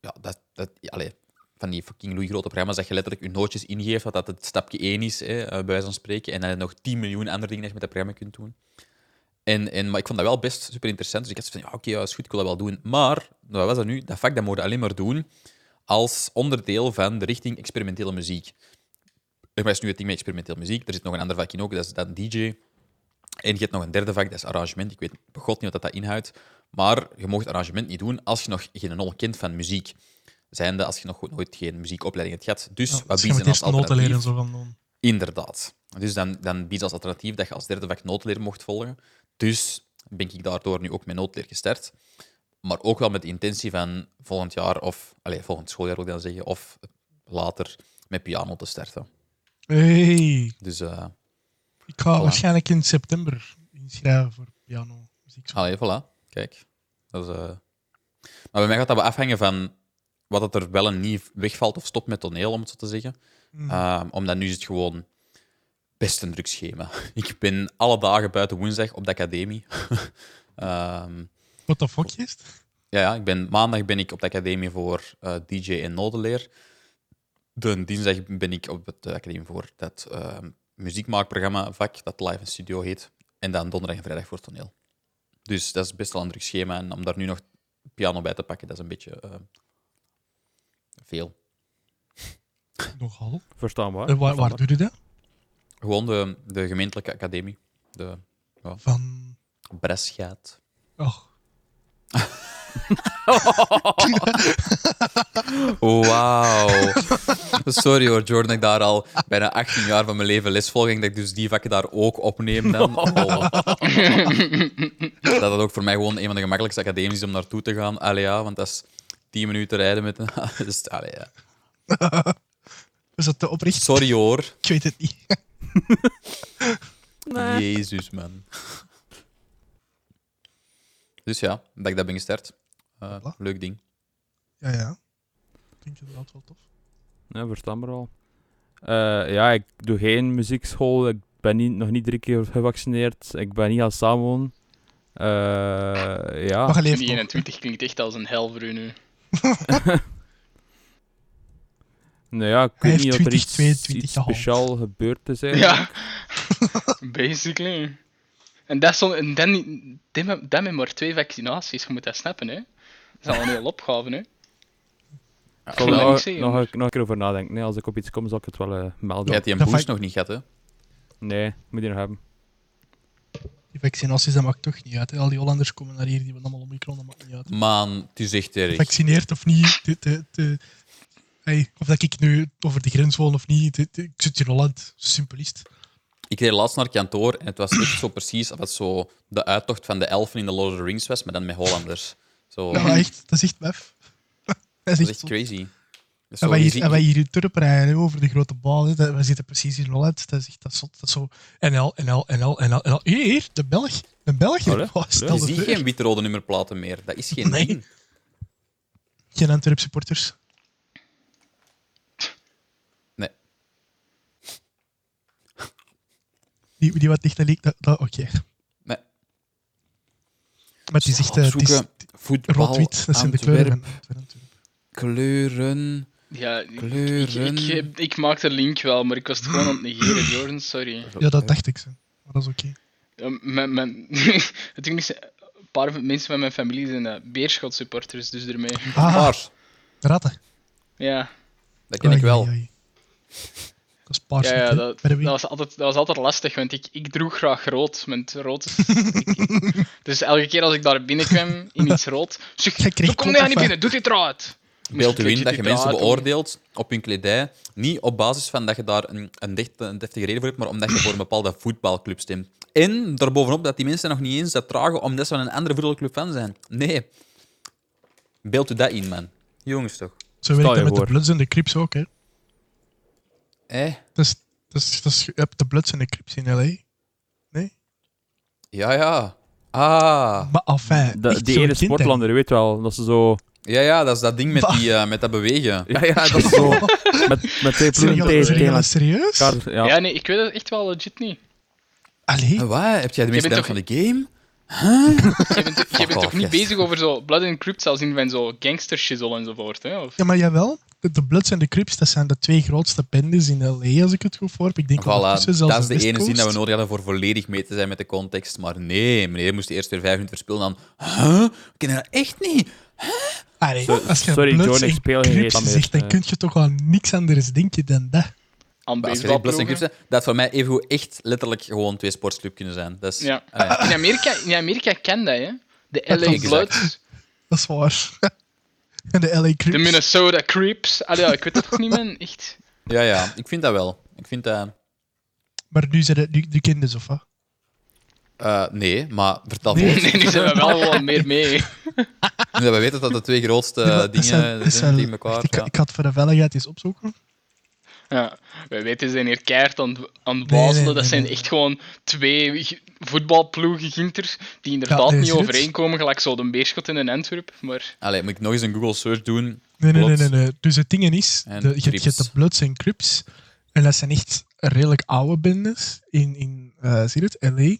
ja, dat, dat, allee, van die fucking Louis grote programma's dat je letterlijk je nootjes ingeeft, dat dat het stapje één is, hè, eh, bij wijze van spreken. En dan heb je nog 10 miljoen andere dingen dat je met dat programma kunt doen. En, en, maar ik vond dat wel best super interessant. Dus ik had zoiets van, ja, oké, ja, is goed, ik wil dat wel doen. Maar, wat was dat nu? Dat vak dat mogen we alleen maar doen als onderdeel van de richting experimentele muziek. Er is nu het ding met experimenteel muziek. Er zit nog een ander vak in ook, dat is dan DJ. En je hebt nog een derde vak, dat is arrangement. Ik weet begot niet wat dat inhoudt. Maar je mocht arrangement niet doen als je nog geen nul kent van muziek. Zijnde als je nog nooit geen muziekopleiding hebt gehad. Dus
Ja,
wat
dus je moet
biezen als
eerst noten
alternatief?
leren. Zo van, dan-
Inderdaad. Dus dan, dan biedt als alternatief dat je als derde vak noodleer mocht volgen. Dus ben ik daardoor nu ook met noodleer gestart. Maar ook wel met de intentie van volgend jaar of allez, volgend schooljaar wil ik dan zeggen, of later met piano te starten.
hey,
Dus eh
ik ga
Voilà.
waarschijnlijk in september inschrijven voor piano. Dus muziek.
allee, Ah, voilà. Kijk. Dat is, eh, Maar bij mij gaat dat wel afhangen van wat het er wel en niet wegvalt of stopt met toneel, om het zo te zeggen.
Mm.
Ehm, omdat nu is het gewoon best een druk schema. Ik ben alle dagen buiten woensdag op de academie. Ehm,
What the fuck is het?
ja, ja, ik ben, maandag ben ik op de academie voor eh, DJ en notenleer. De dinsdag ben ik op de academie voor dat ehm, muziekmaakprogramma vak, dat Live in Studio heet. En dan donderdag en vrijdag voor toneel. Dus dat is best wel een druk schema. En om daar nu nog piano bij te pakken, dat is een beetje ehm, veel.
Nogal.
Verstaanbaar.
Ah,
En waar, waar
verstaanbaar.
doe je dat?
Gewoon de, de gemeentelijke academie, de
Van...
Bresgaat.
Oh,
Wauw. Sorry hoor, Jordan, dat ik daar al bijna 18 jaar van mijn leven lesvolging, dat ik dus die vakken daar ook opneem dan. Oh. dat dat ook voor mij gewoon een van de gemakkelijkste academies is om naartoe te gaan. Allee, ja, want dat is 10 minuten rijden met een... dus, allee, ja.
is dat te oprecht?
Sorry hoor.
Ik weet het niet.
Jezus, man. Dus ja, dat ik dat ben gestart. Eh,
Voilà.
leuk ding.
Ja, ja. Ik denk inderdaad wel tof.
Ah.
Ja, verstaanbaar al. Eh, ja, ik doe geen muziekschool. Ik ben niet, nog niet drie keer gevaccineerd. Ik ben niet aan het samenwonen. Eh, ja.
Maar je leeft nog.
21 klinkt echt als een hel voor u nu.
Nou ja, ik
Hij
weet
heeft
niet of er
20,
iets,
22
iets
gehaald.
speciaal gebeurd is eigenlijk.
Ja, basically. En dat, is al- en dan, niet- dat, met, dat met maar twee vaccinaties, je moet dat snappen, hè? Dat is al een hele opgave, hè?
Ik
wil
zal er
dat niet
nog,
zeggen,
nog,
maar-
een- nog een keer over nadenken. Nee, als ik op iets kom, zal ik het wel eh, melden.
Jij hebt die
Dat
een boost
vind-
nog niet gehad, hè?
Nee, moet je nog hebben.
Die vaccinaties, dat maakt toch niet uit. hè. Al die Hollanders komen naar hier, die hebben allemaal omikron, dat maakt niet uit.
Man, het is echt erg.
Gevaccineerd of niet, de- de- de- hey, of dat ik nu over de grens woon of niet, de- de- ik zit in Holland, simpelist.
Ik reed laatst naar het kantoor en het was echt zo precies wat zo de uittocht van de elfen in The Lord of the Rings was, maar dan met Hollanders. Zo,
Ja, maar echt, dat is echt mef. Dat
dat
is
is
echt
echt
zo.
crazy. Dat is zo,
En wij
je
hier,
ziet-
en wij hier in Turp rijden, hè, over de grote bal. hè. Dat- Wij zitten precies in Holland. Dat is echt dat is zot. Dat is zo NL, NL, NL, NL, NL. Hier, hier, de Belg. Een Belg.
Hallo?
Oh, stel
je
de
ziet
voor.
geen witte-rode nummerplaten meer. Dat is geen
Nee.
ding.
Geen Antwerp supporters.
Nee.
Die, die wat dichter leek, dat, dat oké.
Nee.
Maar het is echt eh, het is
Opzoeken, voetbal,
rood-wit. Dat zijn de
Antwerp,
kleuren van Antwerpen natuurlijk.
Kleuren,
Ja, ik, ik,
kleuren.
ik, ik, ik maak de link wel, maar ik was het gewoon aan het negeren, Jordan, sorry.
Ja, dat dacht ik zo. Maar dat is oké.
Ja, Mijn, mijn, het ding is, een paar van- mensen van mijn familie zijn eh, Beerschot supporters, dus ermee.
Ah,
Paars,
ratten.
Ja,
dat ken ik wel.
Ai, ai, ai. Dat is paars.
ja, ja
hè, bij
dat,
de
dat,
wie.
was altijd, dat was altijd lastig, want ik, ik droeg graag rood. Met rood is- ik- dus elke keer als ik daar binnenkwam in iets rood, zeg,
Jij kreeg
"Zo kom
kop,
jij
of
niet
wat?"
binnen, doe dit eruit.
Beeld u
Moest
in
ik
dat je
dit
mensen
eruit doen?
beoordeelt op hun kledij. Niet op basis van dat je daar een, een, dichte, een deftige reden voor hebt, maar omdat je voor een bepaalde voetbalclub stemt. En daarbovenop dat die mensen nog niet eens dat dragen omdat ze van een andere voetbalclub fan zijn. Nee. Beeld u dat in, man. Jongens toch?
Zo werkt dat
Stel je
met de
voor.
Bloods en de Crips ook. Hè.
Eh?
Dat is, dat is, dat is, je hebt de Bloods en de Crips in L.A.
Ja, ja. Ah,
Maar enfin,
Da-
echt
die
zo'n
ene
kind, hè.
sportlander, je weet wel. Dat ze zo...
ja, ja, dat is dat ding met, die, eh, met dat bewegen.
Ja, ja, dat is zo... met, met twee
Zijn
ploegen
jullie
tegen
zijn jullie
tegen
serieus?
elkaar.
Ja.
Ja.
nee, ik weet dat echt wel legit niet.
Allee,
Eh, Wat? Heb jij de meeste
bent
stem
toch-
van de game?
Je bent, je bent
off,
toch niet
yes.
bezig over zo Blood and Crypt als in van zo gangster shizzle enzovoort, hè? Of...
ja, maar jawel. De, de Bloods en de Crips, dat zijn de twee grootste bendes in L.A., als ik het goed voor heb. Ik denk
Voilà,
ondertussen zelfs
dat is de
West
ene zin dat we
Coast.
nodig hadden voor volledig mee te zijn met de context. Maar nee, meneer moest eerst weer vijf minuten verspillen. Dan, huh? We kennen dat echt niet.
Allee,
Sorry,
als je
John,
Bloods
ik
en
speel geen
Crips
reet aan meer.
zegt, dan
Eh.
kun je toch aan niks anders denken dan dat.
Aan
Maar als je zegt Bloods en
baseballploegen.
Crips, hè, dat voor mij evengoed echt letterlijk gewoon twee sportsclub kunnen zijn. Dat is,
Ja.
Ah, ja.
In Amerika, in Amerika ken dat, hè? De LA
Exact.
Bloods,
Dat is waar. en de L.A.
de
Crips.
Minnesota Creeps. Allee, ja, ik weet dat toch niet, man? Echt.
ja, ja, ik vind dat wel. Ik vind dat...
Maar nu zijn het nu, nu kinderen, of wat?
eh, nee, maar vertel
Nee.
voort.
Nee, nu zijn we wel gewoon meer mee.
Nu dat we weten dat de twee grootste
Ja, maar dat
Eh, dingen
zijn-
zijn,
dat zijn-
tegen elkaar.
Ik,
ja.
ik had voor de veiligheid eens opzoeken.
Ja, we weten, ze zijn hier keihard aan, aan het
Nee,
wazelen.
nee,
dat
nee,
zijn
nee.
echt gewoon twee g- voetbalploegen ginters die inderdaad
Ja, nee,
niet
is het?
overeenkomen, gelijk zo de beerschot in een Antwerp. Maar
Allee, moet ik nog eens een Google search doen?
Nee, nee, nee,
Bloods.
nee, nee. Dus het ding is, de,
En
je, hebt- je hebt
Crips.
de Bloods en Crips. En dat zijn echt redelijk oude bendes in, in eh, zie je het, L.A.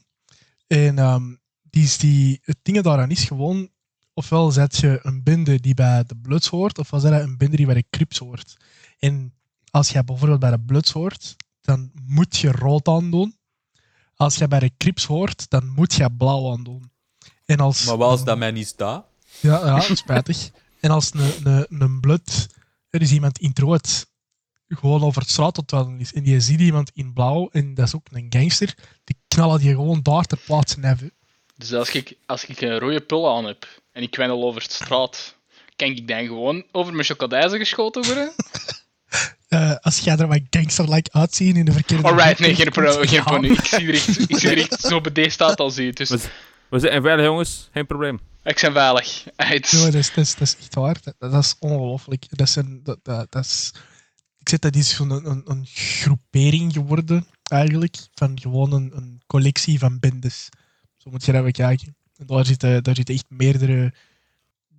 En ehm, die is die, het ding daaraan is gewoon... Ofwel zet je een bende die bij de Bloods hoort, ofwel zet je een bende die bij de Crips hoort. En als jij bijvoorbeeld bij de Bloods hoort, dan moet je rood aandoen. Als jij bij de Crips hoort, dan moet je blauw aandoen. En als
Maar wel als dat mij niet staat.
ja, ja spijtig. En als een, een, een blut, er is iemand in het rood, gewoon over het straat tot wandelen is, en je ziet iemand in blauw, en dat is ook een gangster, die knallen die gewoon daar ter plaatse neven.
dus als ik, als ik een rode pul aan heb en ik wendel over de straat, kan ik dan gewoon over mijn chocodijzen geschoten worden?
Eh, als jij er wat gangster-like uitzien in de verkeerde...
Alright,
richting
nee, geen, pro-
komt,
geen
ja.
paniek. Ik zie er echt, ik zie er echt zo bedeesd staat als u. Dus
Wat? We zijn veilig, jongens. Geen probleem.
ik ben veilig. Uit.
Ja, dat is, dat, is, dat is echt waar. Dat, dat is ongelooflijk. Dat zijn, dat, dat, dat is, ik zeg, dat is gewoon een, een, een groepering geworden, eigenlijk. Van gewoon een, een collectie van bendes. Zo moet je dat bekijken. En daar zitten, daar zitten echt meerdere,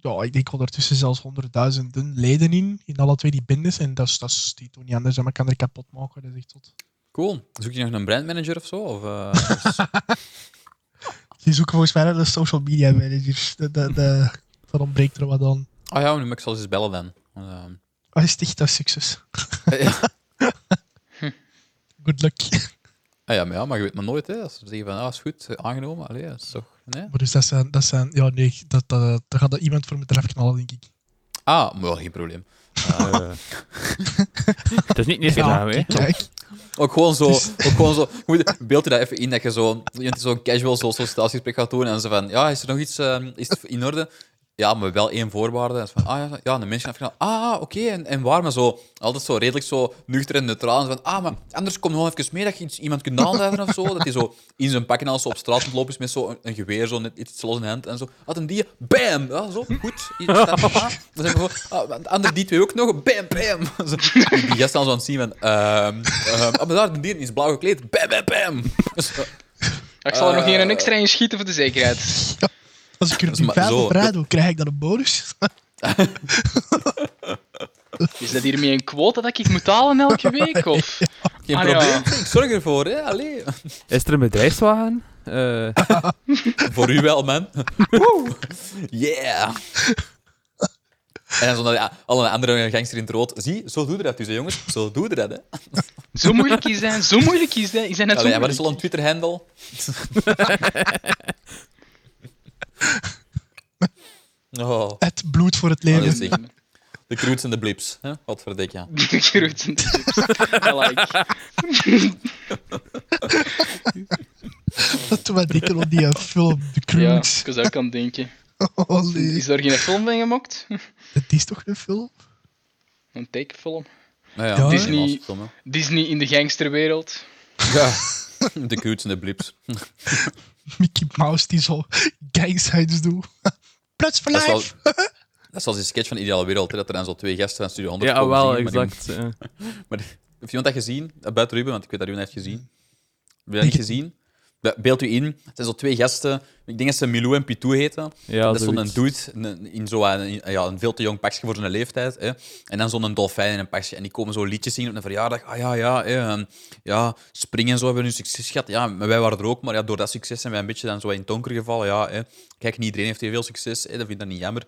ja, ik denk ondertussen zelfs honderdduizenden leden in, in alle twee die bendes. En dat is, dat is, die doen niet anders, hè. maar kan er kapot maken. Dat is echt tot.
Cool. Zoek je nog een brandmanager of zo? Of, eh,
Die zoeken volgens mij naar de social media managers. Dat, dat, dat, dat ontbreekt er wat aan.
Ah ja, nu moet ik zelfs eens bellen dan. Want, ehm,
Oh, is het echt dat is succes?
Eh, ja.
Good luck.
Ah ja, maar ja, maar je weet maar nooit, hè. Als ze zeggen van, ah, is goed, eh, aangenomen. Allee, dat is toch... Nee?
Maar dus dat zijn, dat zijn ja nee, dat, dat, daar gaat er iemand voor moeten afknallen, denk ik.
Ah, maar wel geen probleem.
Eh, het is niet niks gedaan, hè.
kijk.
Ook gewoon zo, ook gewoon zo... je Moet, beeld je dat even in, dat je zo, iemand die zo'n casual zo- sollicitatiegesprek gaat doen en ze van, ja, is er nog iets, ehm, is het in orde? Ja, maar wel één voorwaarde. En ze van, ah ja, ja de mensen afgenomen. Ah, oké, en, en waar? Maar zo, altijd zo redelijk zo nuchter en neutraal. En ze van, ah, maar anders kom gewoon even mee dat je iets, iemand kunt aanduiden of zo. Dat hij zo in zijn pak en als zo op straat lopen is met zo'n een geweer, zo net iets los in de hand en zo. Had een die, bam! Ja, zo, goed. Iets staat er aan. Dan zijn we gewoon, ah, de andere die twee ook nog, bam, bam! Zo, die die gasten al zo aan het zien van, ehm, ehm, ah, maar daar, die is blauw gekleed, bam, bam, bam! Zo.
Ik zal er nog
Eh.
één extra in schieten voor de zekerheid.
Als ik er
is
nu
maar
vijf
zo.
op rij doe, krijg ik dan een bonus?
Is dat hiermee een quota dat ik moet halen elke week? Of?
Geen
Ah, ja.
probleem, ik zorg ervoor, hè. Allee.
Is er een bedrijfswagen? Eh,
Voor u wel, man. Woe. Yeah. En dan zo naar die- alle andere gangster in het rood. Zie, zo doe je dat dus, hè, jongens. Zo doe je dat, hè.
Zo moeilijk is dat, zo moeilijk is dat. Is dat net zo
Allee, wat is
moeilijk?
al een Twitter-handle? oh,
Het bloed voor het
dat is
leven.
echt. De croots en de blips. Hè? Wat verdik, ja.
De groeten en de tips. I like.
Dat doet mij denken op die eh, film, de
Ja,
Croods.
ik was ook aan het denken.
Oh, nee.
Is daar geen film van gemaakt?
Het is toch een film?
Een tekenfilm.
Nou
Ja.
dat is
Disney-
niet film, hè.
Disney in de gangsterwereld.
Ja. De croots en de blips.
Mickey Mouse die zo gangsides doet. Plots for
Dat is, wel,
life.
dat is zoals die sketch van Ideale Wereld, hè, dat er dan zo twee gasten van Studio 100
ja,
komen
wel,
zingen, maar die-
exact. eh.
Maar heeft iemand dat gezien? Eh, Buiten Ruben, want ik weet dat Ruben heeft gezien. Heb je dat niet gezien? Be- Beeld u in, het zijn zo twee gasten. Ik denk dat ze Milou en Pitou heten.
Ja,
dat is zo'n
zoiets.
dude een- in zo'n een, ja, een veel te jong pakje voor zijn leeftijd. Hè. En dan zo'n dolfijn in een pakje. En die komen zo liedjes zingen op een verjaardag. Ah ja, ja, hè, en ja springen en zo hebben hun succes gehad. Ja, maar wij waren er ook. Maar ja, door dat succes zijn wij een beetje dan zo in het donker gevallen. Ja, hè. Kijk, niet iedereen heeft hier veel succes. Hè. Dat vind ik dan niet jammer.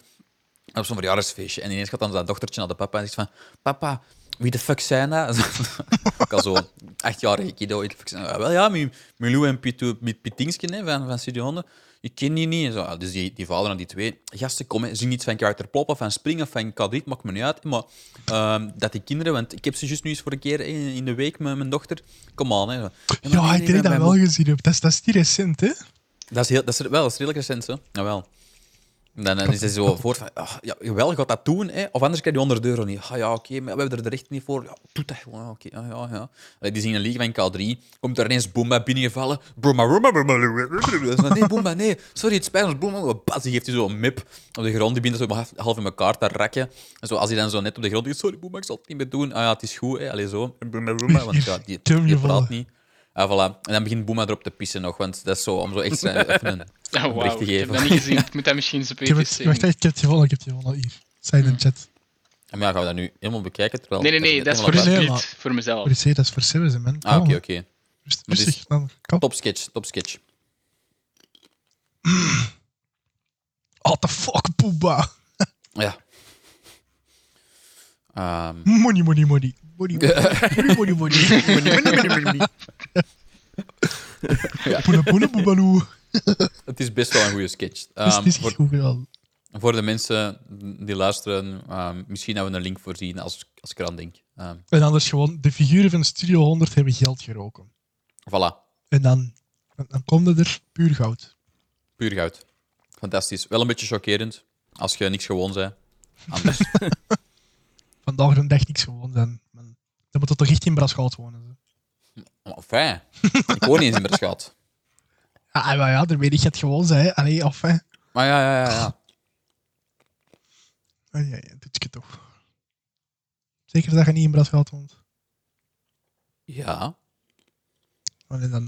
En op zo'n verjaardagsfeestje. En ineens gaat dan dat dochtertje naar de papa en zegt van... Papa, wie de fuck zijn dat? ik al zo, achtjarige kiddo. Wie de fuck zijn dat? Ja, "Ah, wel ja, mijn- mijn Lou en Piet- eh, Piet- Pietingsken hè, van, van Studio Honden. Ik ken die niet. En Zo, ja, dus die, die vader en die twee... Gasten, kom, hè, zing iets van Carter Plop of van Spring of van Kadriet, maakt me niet uit. Maar ehm, dat die kinderen... Want ik heb ze juist nu eens voor een keer in, in de week met mijn dochter. Kom aan, hè. Zo. maar nee,
Ja,
nee,
ik
wij
denk dat wel
moeten-
gezien heb. Dat is, dat is niet recent, hè?
dat is, heel, dat is wel, dat is redelijk recent, hè? Jawel. En Dan, dan is hij zo voor van, ah, ja, jawel, gaat dat doen, hè? of anders krijg je 100 euro niet. Ah ja, oké, maar we hebben er de recht niet voor. Ja, doe dat gewoon, oké. ah, ja, ja. Allee, Die zien een league van K3, komt er ineens Boomba binnengevallen. Boomba, Boomba, Boomba, Boomba, Boomba. Zo, Nee, Boomba, nee, sorry, het spijt ons, Boomba. Bas, die geeft hij zo een mip op de grond, die bindt zo half- half in elkaar te rakken. En zo, als hij dan zo net op de grond is, sorry Boomba, ik zal het niet meer doen. Ah ja, het is goed, hè? Allee, zo. Boomba, Boomba, want ja, die,
Term
die
gevallen.
praat niet. Ah, voilà. En dan begint Boema erop te pissen nog, want dat is zo, om zo extra even een
Ja,
een bericht
wauw,
te
ik heb
geven.
dat niet gezien. Ik moet dat misschien eens op
Ik heb
even
het, wacht,
zeggen.
ik heb het gevonden, ik heb het gevonden. Hier, zij in de chat.
En maar ja, gaan we dat nu helemaal bekijken? Terwijl
Nee, nee, nee, dat is voor
Nee, nee,
Spirit,
maar-
voor
Maar
mezelf.
dit is- dat is voor Simmons, hè, man.
Ah, oké,
Kalm.
oké.
Rust-
Maar dit is-
Rustig, dan. Kalm.
Top sketch, top sketch.
What the fuck, Booba?
Ja. Ehm,
Money, money, money. Money, money, money, money. Poele, poele, boebaloe.
het is best wel een goede sketch.
Het is-
Ehm,
Dus het is
voor,
echt goed gedaan.
voor de mensen die luisteren, ehm, misschien hebben we een link voorzien als, als ik eraan denk. Ehm,
En anders gewoon, de figuren van Studio 100 hebben geld geroken.
voilà,
En dan, dan, dan komt het er puur goud.
puur goud. Fantastisch. Wel een beetje chockerend als je niks gewoon bent. Anders.
Vandaag een dag niks gewoon zijn. Man, dan moet het toch echt in Brasgoud wonen. Zo.
Maar Oh, fijn. Ik woon niet eens in Berschout.
Ja, en maar ja, daar weet ik het gewoon zijn. hè. Allee, of hè.
Maar ja, ja, ja. ja.
Ah, ja, ja, doet je toch. Zeker dat je niet in Brasgoud woont.
Ja,
Oh, nee, dan.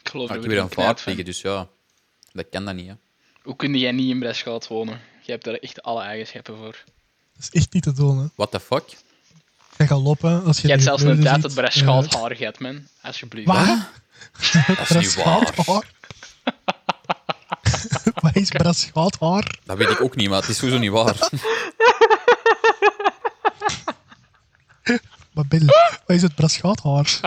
Ik geloof
maar ik heb
dat we
weer
er
een
knijt
vaart
van.
liggen, dus ja. Dat kan dat niet, hè.
Hoe kun jij niet in Breschgoud wonen? Je hebt daar echt alle eigenschappen voor.
Dat is echt niet te doen, hè.
What the fuck?
Je gaat lopen als je...
Je hebt zelfs een tijd dat Breschgoud
had.
haar gaat, man. Alsjeblieft.
Waar?
Dat is niet waar.
Brasschaathaar. Wat is brasschaathaar?
Dat weet ik ook niet, maar het is sowieso niet
Hm?
waar.
Wat Bill, wat is het brasschaathaar?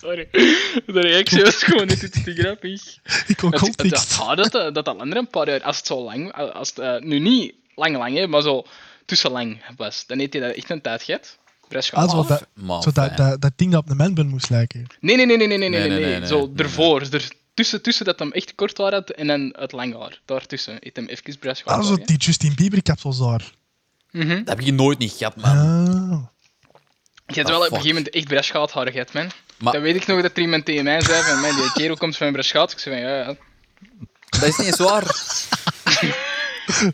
Sorry. De reactie was gewoon niet iets te grappig.
Ik ook
Het, het,
context.
haar Ah, dat, eh, dat, dat langer een paar jaar, als het zo lang, als het eh, nu niet lang lang, hè, maar zo tussen lang was, dan heeft hij dat echt een tijd gehad. Breschgoud
Ah, zo
haar.
dat,
Man,
zo dat,
fijn.
dat, dat ding dat op de manbun moest lijken.
Nee, nee, nee, nee, nee, nee, nee,
Nee,
nee,
nee, nee,
Zo
nee, nee.
ervoor. Er, tussen, tussen dat hem echt kort haar had en dan het lang haar. Daartussen. Heeft hem even brush gehad.
Ah, zo
hoor, hè.
die Justin Bieber capsules daar.
Mhm.
Dat heb je nooit niet gehad, man.
Ah.
Je hebt
Ah,
wel op een
fuck.
gegeven moment echt brush gehad, haar gehad, man.
Maar-
Dan weet ik nog dat er iemand tegen mij zei van, man, die kerel komt van brush gehad. Ik zei van, ja, ja.
Dat is niet eens waar.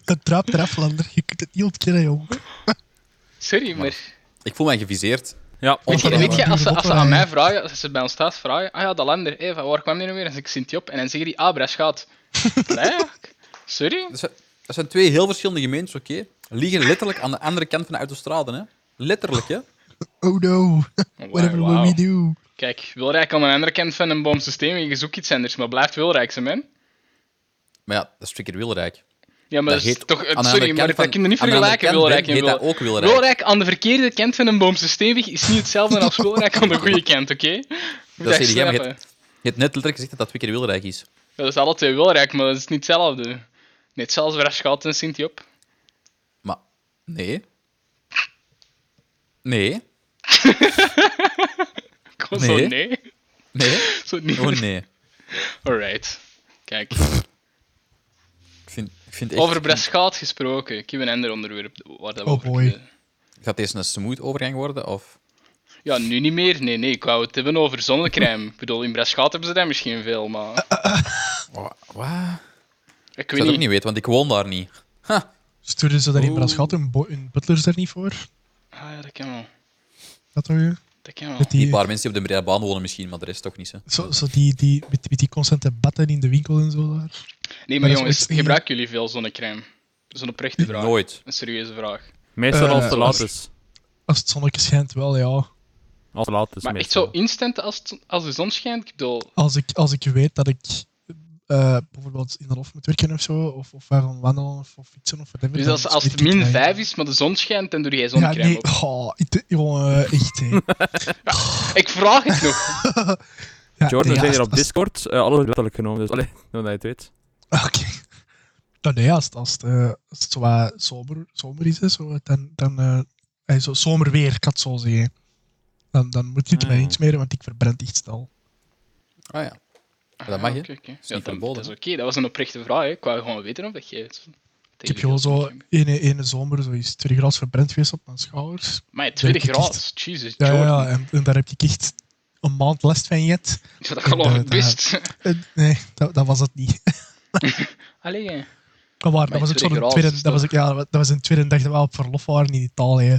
Het draapt eraf, Lander. Je kunt het niet ontkennen, jong.
Sorry, maar...
Ik voel mij geviseerd.
Ja,
Weet je,
dat
weet je
wel.
als, ze, als ze aan
Oprijden.
mij vragen, als ze bij ons thuis vragen, ah ja, dat lander, hé, van waar kwam die nou weer? En ik zint die op en dan zeggen die, ah, brush gehad. Nee, sorry?
Dat zijn, dat zijn twee heel verschillende gemeentes, oké? Liggen letterlijk aan de andere kant van de autostrade, hè? Letterlijk, hè?
Oh no. Whatever will we
Wauw.
do.
Kijk, Wilrijk aan de andere kant van een boomsysteem, je zoekt iets anders, maar blijft Wilrijk, ze man.
Maar ja, dat is Strikker Wilrijk.
Ja, maar
Dat
dat is
heet-
toch... eh,
aan de andere
sorry, maar
kant van-
dat kun je niet
aan de andere
vergelijken,
kant
Wilrijk en
heet dat
Wilrijk.
ook Wilrijk.
Wilrijk aan de verkeerde kant van een boomsysteemweg is niet hetzelfde als Wilrijk aan de goede kant, oké? Moet je
Dat is
snappen.
helemaal het- Je hebt net letterlijk gezegd dat dat twee keer Wilrijk is.
Dat is alle twee Wilrijk, maar dat is niet hetzelfde. Net zelfs Braschaat en sint op.
Maar nee. Nee.
Gewoon zo,
Nee.
nee.
Nee.
Zo, niet.
Oh nee.
Alright. Kijk,
Ik vind, ik vind echt...
over Braschaat gesproken. Ik heb een ander onderwerp waar dat we
Oh
over
boy.
kunnen.
Gaat deze een smooth overgang worden? Of...
Ja, nu niet meer. Nee, nee, ik wou het hebben over zonnecrème. Ik bedoel, in Braschaat hebben ze daar misschien veel,
Eh,
maar...
Wa- Wat?
Ik
Ik
weet
zou het ook
niet.
niet weten, want ik woon daar niet.
Sturen ze daar in
Oeh.
Brasgat hun, bo- hun butlers daar niet voor?
Ah ja, dat kan wel.
Dat hoor je?
Dat kan wel.
Met
Die
die,
paar mensen die op de Breda baan wonen misschien, maar de rest toch niet. Hè.
zo, zo die, die, met, met die constante batten in de winkel en zo daar.
Nee, maar
dat is
jongens,
ook niet-
gebruiken jullie veel zonnecrème? Zo'n oprechte vraag.
Nooit.
Een serieuze vraag.
Meestal als
Eh,
het te laat
als-
is.
Als het zonnetje schijnt, wel ja.
Als het te laat is,
Maar echt
meestal.
zo instant als, het- als de zon schijnt? Ik bedoel,
Als ik, als ik weet dat ik eh, bijvoorbeeld in de hof moet werken of zo, of, of gaan wandelen of, of fietsen of whatever.
dus
dan
als, als het
smeer ik
min
mij-
5 is, maar de zon schijnt, dan doe jij
Ja,
zonnecrème
nee,
op.
goh, ik- jongen, echt hè.
Ik vraag het nog.
Ja, nee,
Jordan, we zijn
als-
hier op
als-
Discord. eh, alles is letterlijk genomen, dus alleen dat je het weet.
Oké. Dan nee, als, het- als, het, eh, als het zo wat zomer, zomer is, hè, zo, dan, dan eh, eh, zo, zomerweer, ik had het zo zeggen. Dan, dan moet je het
Ah.
mij insmeren, want ik verbrand echt snel.
Ah ja. Dat mag, hè.
Ah, Oké, oké.
niet
Ja, dat,
verboden,
dat is oké, dat was een oprechte vraag. Hè. Ik wou gewoon weten of dat jij het...
Ik heb gewoon zo ene, ene zomer zo is 20 graden verbrand geweest op mijn schouders.
Maar 20
denk ik echt.
graden, Jesus,
Ja,
Jordan.
ja, ja, en, en daar heb ik echt een maand last van gehad.
Ja, dat geloof ik
Inderdaad,
best.
Eh, nee, dat, dat was het niet.
Allee, hè.
Maar waar, dat
Maar
was ook
20
zo'n
graden
tweede,
is
dat was, ook- ja, dat was een tweede dag dat we op verlof waren in Italië.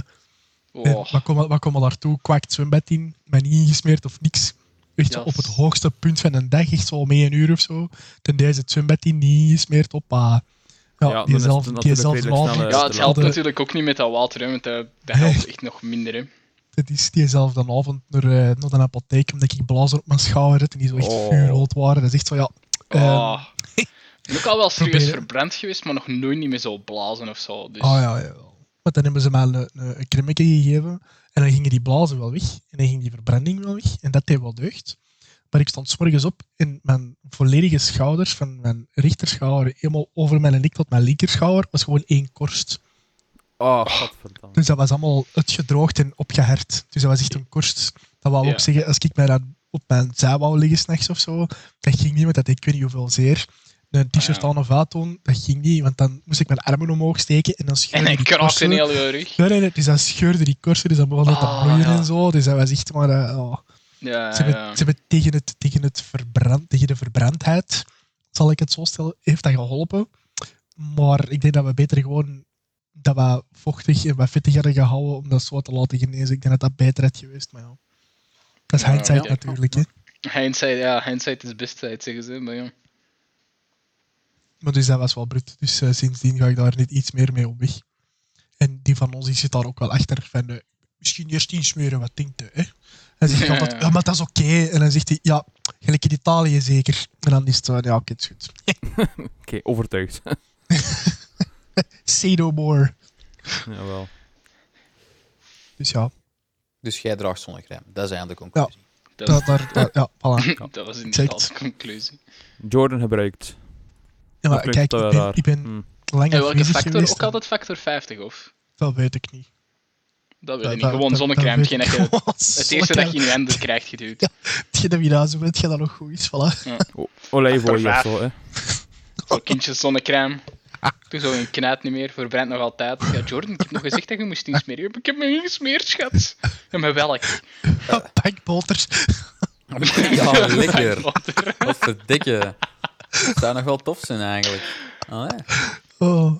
En
Oh.
Wat komen wat komen daartoe? Kwakt zwembad in, mij niet ingesmeerd of niks. Echt zo
Jas.
op het hoogste punt van een dag, echt zo om één uur of zo. Ten deze het zwembad in, niet ingesmeerd, hoppa. Ja,
Ja, dan is
die
het
zelf,
natuurlijk
die zelf
redelijk
avond.
snel, eh,
Ja, het
te
helpt
laat.
natuurlijk ook niet met dat water, hè, want dat, dat helpt echt nog minder. Hè.
Het is diezelfde avond naar, eh, naar de apotheek, omdat ik blazer op mijn schouder had en die zo echt
Oh.
vuurrood waren. Dat is echt zo, ja... ehm,
Ah. Ik ben ook al wel serieus
Proberen.
verbrand geweest, maar nog nooit niet meer zo blazen of zo. Dus.
Oh ja, ja. Maar dan hebben ze mij een, een, een krimmetje gegeven. En dan gingen die blazen wel weg. En dan ging die verbranding wel weg. En dat deed wel deugd. Maar ik stond 's morgens op en mijn volledige schouders, van mijn rechterschouder, helemaal over mijn nek tot mijn linkerschouder, was gewoon één korst.
Oh, godverdamme.
Dus dat was allemaal uitgedroogd en opgeherd. Dus dat was echt een korst. Dat wou
Ja.
ook zeggen, als ik mij dan op mijn zij wou liggen s'nachts of zo, dat ging niet, want dat deed ik weet niet hoeveel zeer. Een t-shirt
Ah, Ja.
aan of uitdoen, dat ging niet, want dan moest ik mijn armen omhoog steken en dan scheurde
en hij
die
kraakt
korsten.
in heel je rug.
Nee, nee, nee. Dus dat scheurde die korsen, dus dat begon dat
Ah,
te bloeien
ja.
en zo. Dus dat was echt maar... eh, oh.
Ja,
ze, hebben,
ja.
ze hebben tegen, het, tegen, het verbrand, tegen de verbrandheid, zal ik het zo stellen, heeft dat geholpen. Maar ik denk dat we beter gewoon dat we vochtig en wat vettig hadden gehouden om dat zo te laten genezen. Ik denk dat dat beter had geweest, maar ja. Dat is
Ja,
hindsight
ja.
natuurlijk, hè.
Hindsight, ja, hindsight is best tijd, zeggen ze. Maar ja.
Maar dus dat was wel brut. Dus eh, sindsdien ga ik daar niet iets meer mee op weg. En die van ons die zit daar ook wel achter. Van, eh, misschien eerst insmeren, wat denkt u? Hè? Hij zegt, ja,
Ja.
maar, ja, maar dat is oké. En dan zegt hij, ja, gelijk in Italië zeker. En dan is het, eh, ja, oké, het is goed.
Oké, overtuigd.
Say no more.
Jawel.
Dus ja,
Dus jij draagt zonnecrème. Dat is eigenlijk de conclusie.
Dat,
dat, daar, daar- ja, voilà.
dat was
Exact.
inderdaad de conclusie.
Jordan gebruikt.
Ja, maar
Dat
kijk,
klinkt wel
ik ben,
raar.
ik ben
Hmm.
lang
En welke
afwezig
factor?
geweest.
Ook altijd factor 50, of?
Dat weet ik niet.
Dat
Dat-
weet ik niet.
dat-
Gewoon
dat-
zonnecrème.
dat
hetgeen dat
weet
je-
ik gewoon.
Het eerste dat je
Zonnecrème.
in je handen krijgt geduwd.
Hetgeen dat je daar zo weet, je dat nog goed is, voilà.
Olijfolie of
Achtervaar.
zo, hè.
Zo kindjes zonnecrème. Doe zo een knaat niet meer, verbrandt nog altijd. Ja, Jordan, ik heb nog gezegd dat je moest insmeren. Ja, maar Ik heb me niet gesmeerd, schat. Ja, maar welk? Ah.
Pakboter.
Ja, lekker.
Water.
Wat verdikke. Het zou nog wel tof zijn eigenlijk. Allee.
Oh.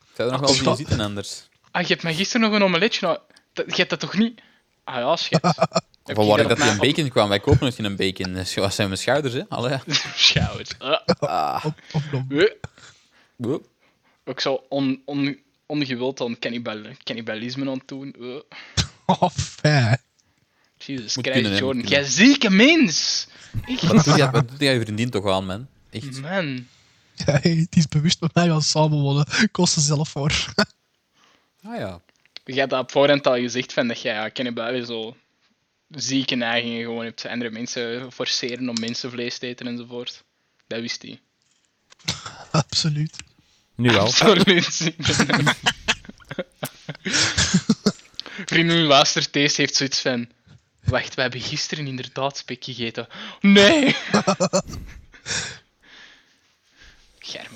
Ik zou er nog wel zien zitten anders.
Ah, je hebt mij gisteren nog een omeletje... Nou, dat, je hebt dat toch niet... Ah ja, schat. Heb
Van
je nou
waar ik dat
op
die
mijn-
een bacon kwam. Wij kopen het in een bacon. Dus wat zijn mijn schouders, hè? Allee.
Schouwers. Ah.
Ah.
Op, op, op.
Eh.
Oeh.
Ook zo on, on, ongewild aan cannibal, cannibalisme aan het doen. Eh.
Oh, fijn.
Jesus
Moet
Christ,
kunnen, hè, moet
Jordan.
kunnen.
Jij zieke mens! Echt,
Wat doet jij- wat doet jij je vriendin toch aan, man?
Mhm.
Echt.
man.
Ja, hey, het is bewust met mij gaan samenwonen. Kost ze zelf voor.
Ah ja.
Je hebt dat op voorhand al gezegd, van dat jij ja, cannibalen zo zieke neigingen gewoon hebt. Andere mensen forceren om mensenvlees te eten enzovoort. Dat wist hij.
Absoluut.
Nu wel.
Absoluut zieke. Vrienden, luister, Thees heeft zoiets van... Wacht, we hebben gisteren inderdaad spek gegeten. Nee! Germ.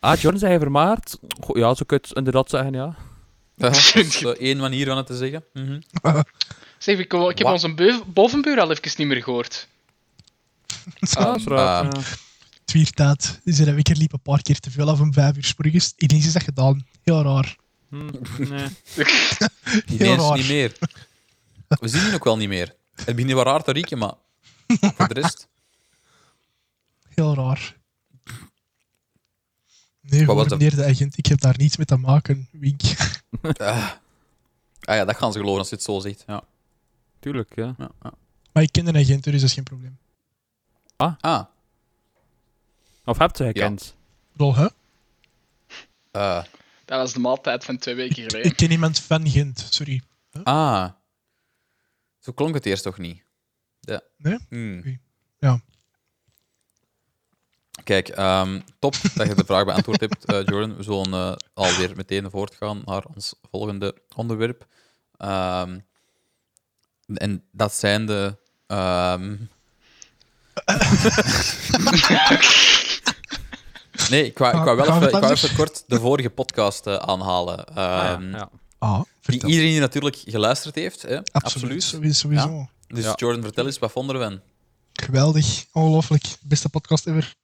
Ah, Jordan zei vermaard. Goh, ja, zo kun je het inderdaad zeggen, ja.
Dat is zo één manier van het te zeggen. Mhm.
Zeg, ik, ik heb
Wa-
onze beu- bovenbuur al even niet meer gehoord.
Ja, is raar,
ah.
ja.
Twiertijd. Dus in een week liep een paar keer te veel af om vijf uur 's morgens. Ineens is dat gedaan. Heel raar.
Hm, nee.
Ineens
raar.
niet meer. We zien die ook wel niet meer. Het begint hier wel raar te rieken, maar voor de rest...
Heel raar. Nee,
was
hoor,
dat?
meneer de agent, ik heb daar niets mee te maken. Wink.
ah. Ah ja, dat gaan ze geloven als je het zo zegt. Ja,
Tuurlijk, ja.
ja, ja.
Maar ik ken een agent, dus dat is geen probleem.
Ah,
Of hebt ze gekend?
Rol, hè?
eh,
Dat was de maaltijd van twee weken
Ik,
geleden.
ik ken iemand van Gent, sorry.
ah. Zo klonk het eerst toch niet? Ja.
Nee?
Hmm.
Oké. Ja.
Kijk, ehm, top dat je de vraag beantwoord hebt, eh, Jordan. We zullen eh, alweer meteen voortgaan naar ons volgende onderwerp. Ehm, en dat zijn de. ehm, nee, ik wou, ik wou wel
Gaan
even,
we
ik
het
wou
anders?
even kort de vorige podcast eh, aanhalen.
Ah,
Ehm,
ja, ja.
Ah,
Die
vertel.
iedereen die natuurlijk geluisterd heeft. Hè?
Absoluut,
Absoluut.
sowieso. sowieso.
Dus
Ja.
Jordan, vertel eens, wat vonden we van?
Geweldig, ongelooflijk. Beste podcast ever.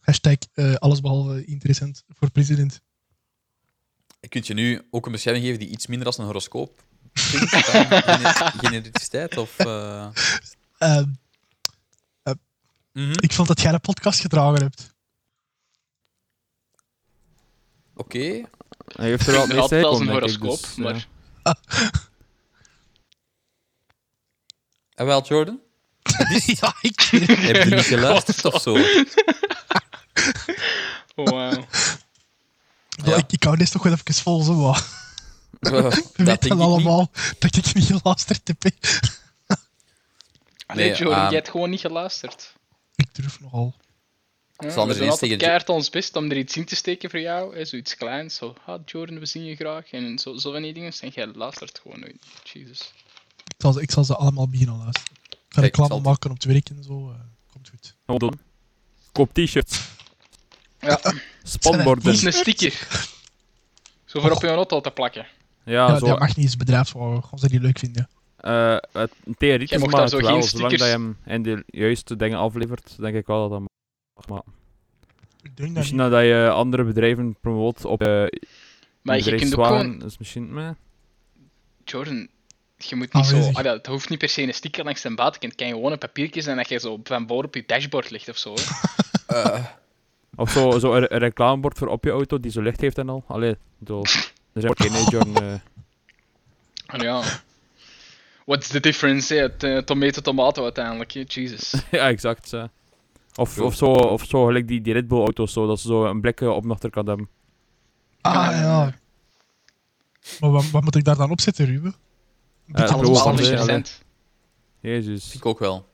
Hashtag eh, allesbehalve interessant voor president.
Je kunt je nu ook een beschrijving geven die iets minder als een horoscoop klinkt dan gener- genericiteit of... eh,
Ehm,
mhm.
ik vond dat jij de podcast gedragen hebt.
Oké.
Hij heeft
Ik
er wel
had
het meest
wel eens
hekel,
een
denk ik,
horoscoop,
dus, ja.
maar
En wel, Jordan?
ja, ik...
Heb je niet geluisterd of zo?
wauw.
Ja.
ik, ik hou dit toch wel even vol, zo. wat.
Eh,
We
dat
weten
denk ik niet.
allemaal dat ik niet geluisterd heb. hè.
Allee,
Nee,
Joren,
ehm,
jij hebt gewoon niet geluisterd.
Ik durf nogal.
Ja,
zal
we
er
doen
eens
altijd
tegen-
keihard ons best om er iets in te steken voor jou. Hè, zoiets kleins, zo, ah, Jordan, we zien je graag. En zo, zo van die dingen. En jij luistert gewoon nooit. Jesus.
Ik zal, ze- ik zal ze allemaal beginnen luisteren. Ik ga
Kijk,
reclame
zal-
maken op het werk en zo. eh, komt goed.
Wat doen? Koop t-shirts,
Ja,
spanborden.
een sticker. Zo voor op je auto te plakken.
Ja,
ja,
Ah, zo.
dat mag niet eens bedrijfswagen, als ze die leuk vinden.
eh, het- in theorie
Jij
is
mocht
maar
daar zo
het wel,
geen
zolang dat je
stickers-
hem in de juiste dingen aflevert, denk ik wel dat dat mag. Maar
Ik denk dat
misschien
niet.
dat je andere bedrijven promoot op eh, je
Maar je kunt ook gewoon...
bedrijfswagen, is misschien... meh.
Jordan, je moet niet zo...
Aanwezig.
Ah, dat hoeft niet per se een sticker langs de buitenkant. Het kan gewoon een papiertje zijn dat je zo van boord op je dashboard ligt of zo. hè.
Eh,
Of zo, zo een, een reclamebord voor op je auto die zo licht heeft en al. Allee, doel. Er zijn ook geen Jordan. eh.
Ah, Ja. What's the difference, hè? Het, eh, tomato, tomato uiteindelijk, hè? Jesus.
ja, exact. ja. Of, of, zo, of zo, gelijk die, die Red Bull auto's, zo, dat ze zo een blikje op de achterkant hebben.
Ah ja. Maar wat, wat moet ik daar dan op zetten, Ruben? Een beetje
Eh,
alles
doe
op
van
alles.
de-
Ja,
allee.
12%.
Jezus.
ik ook wel.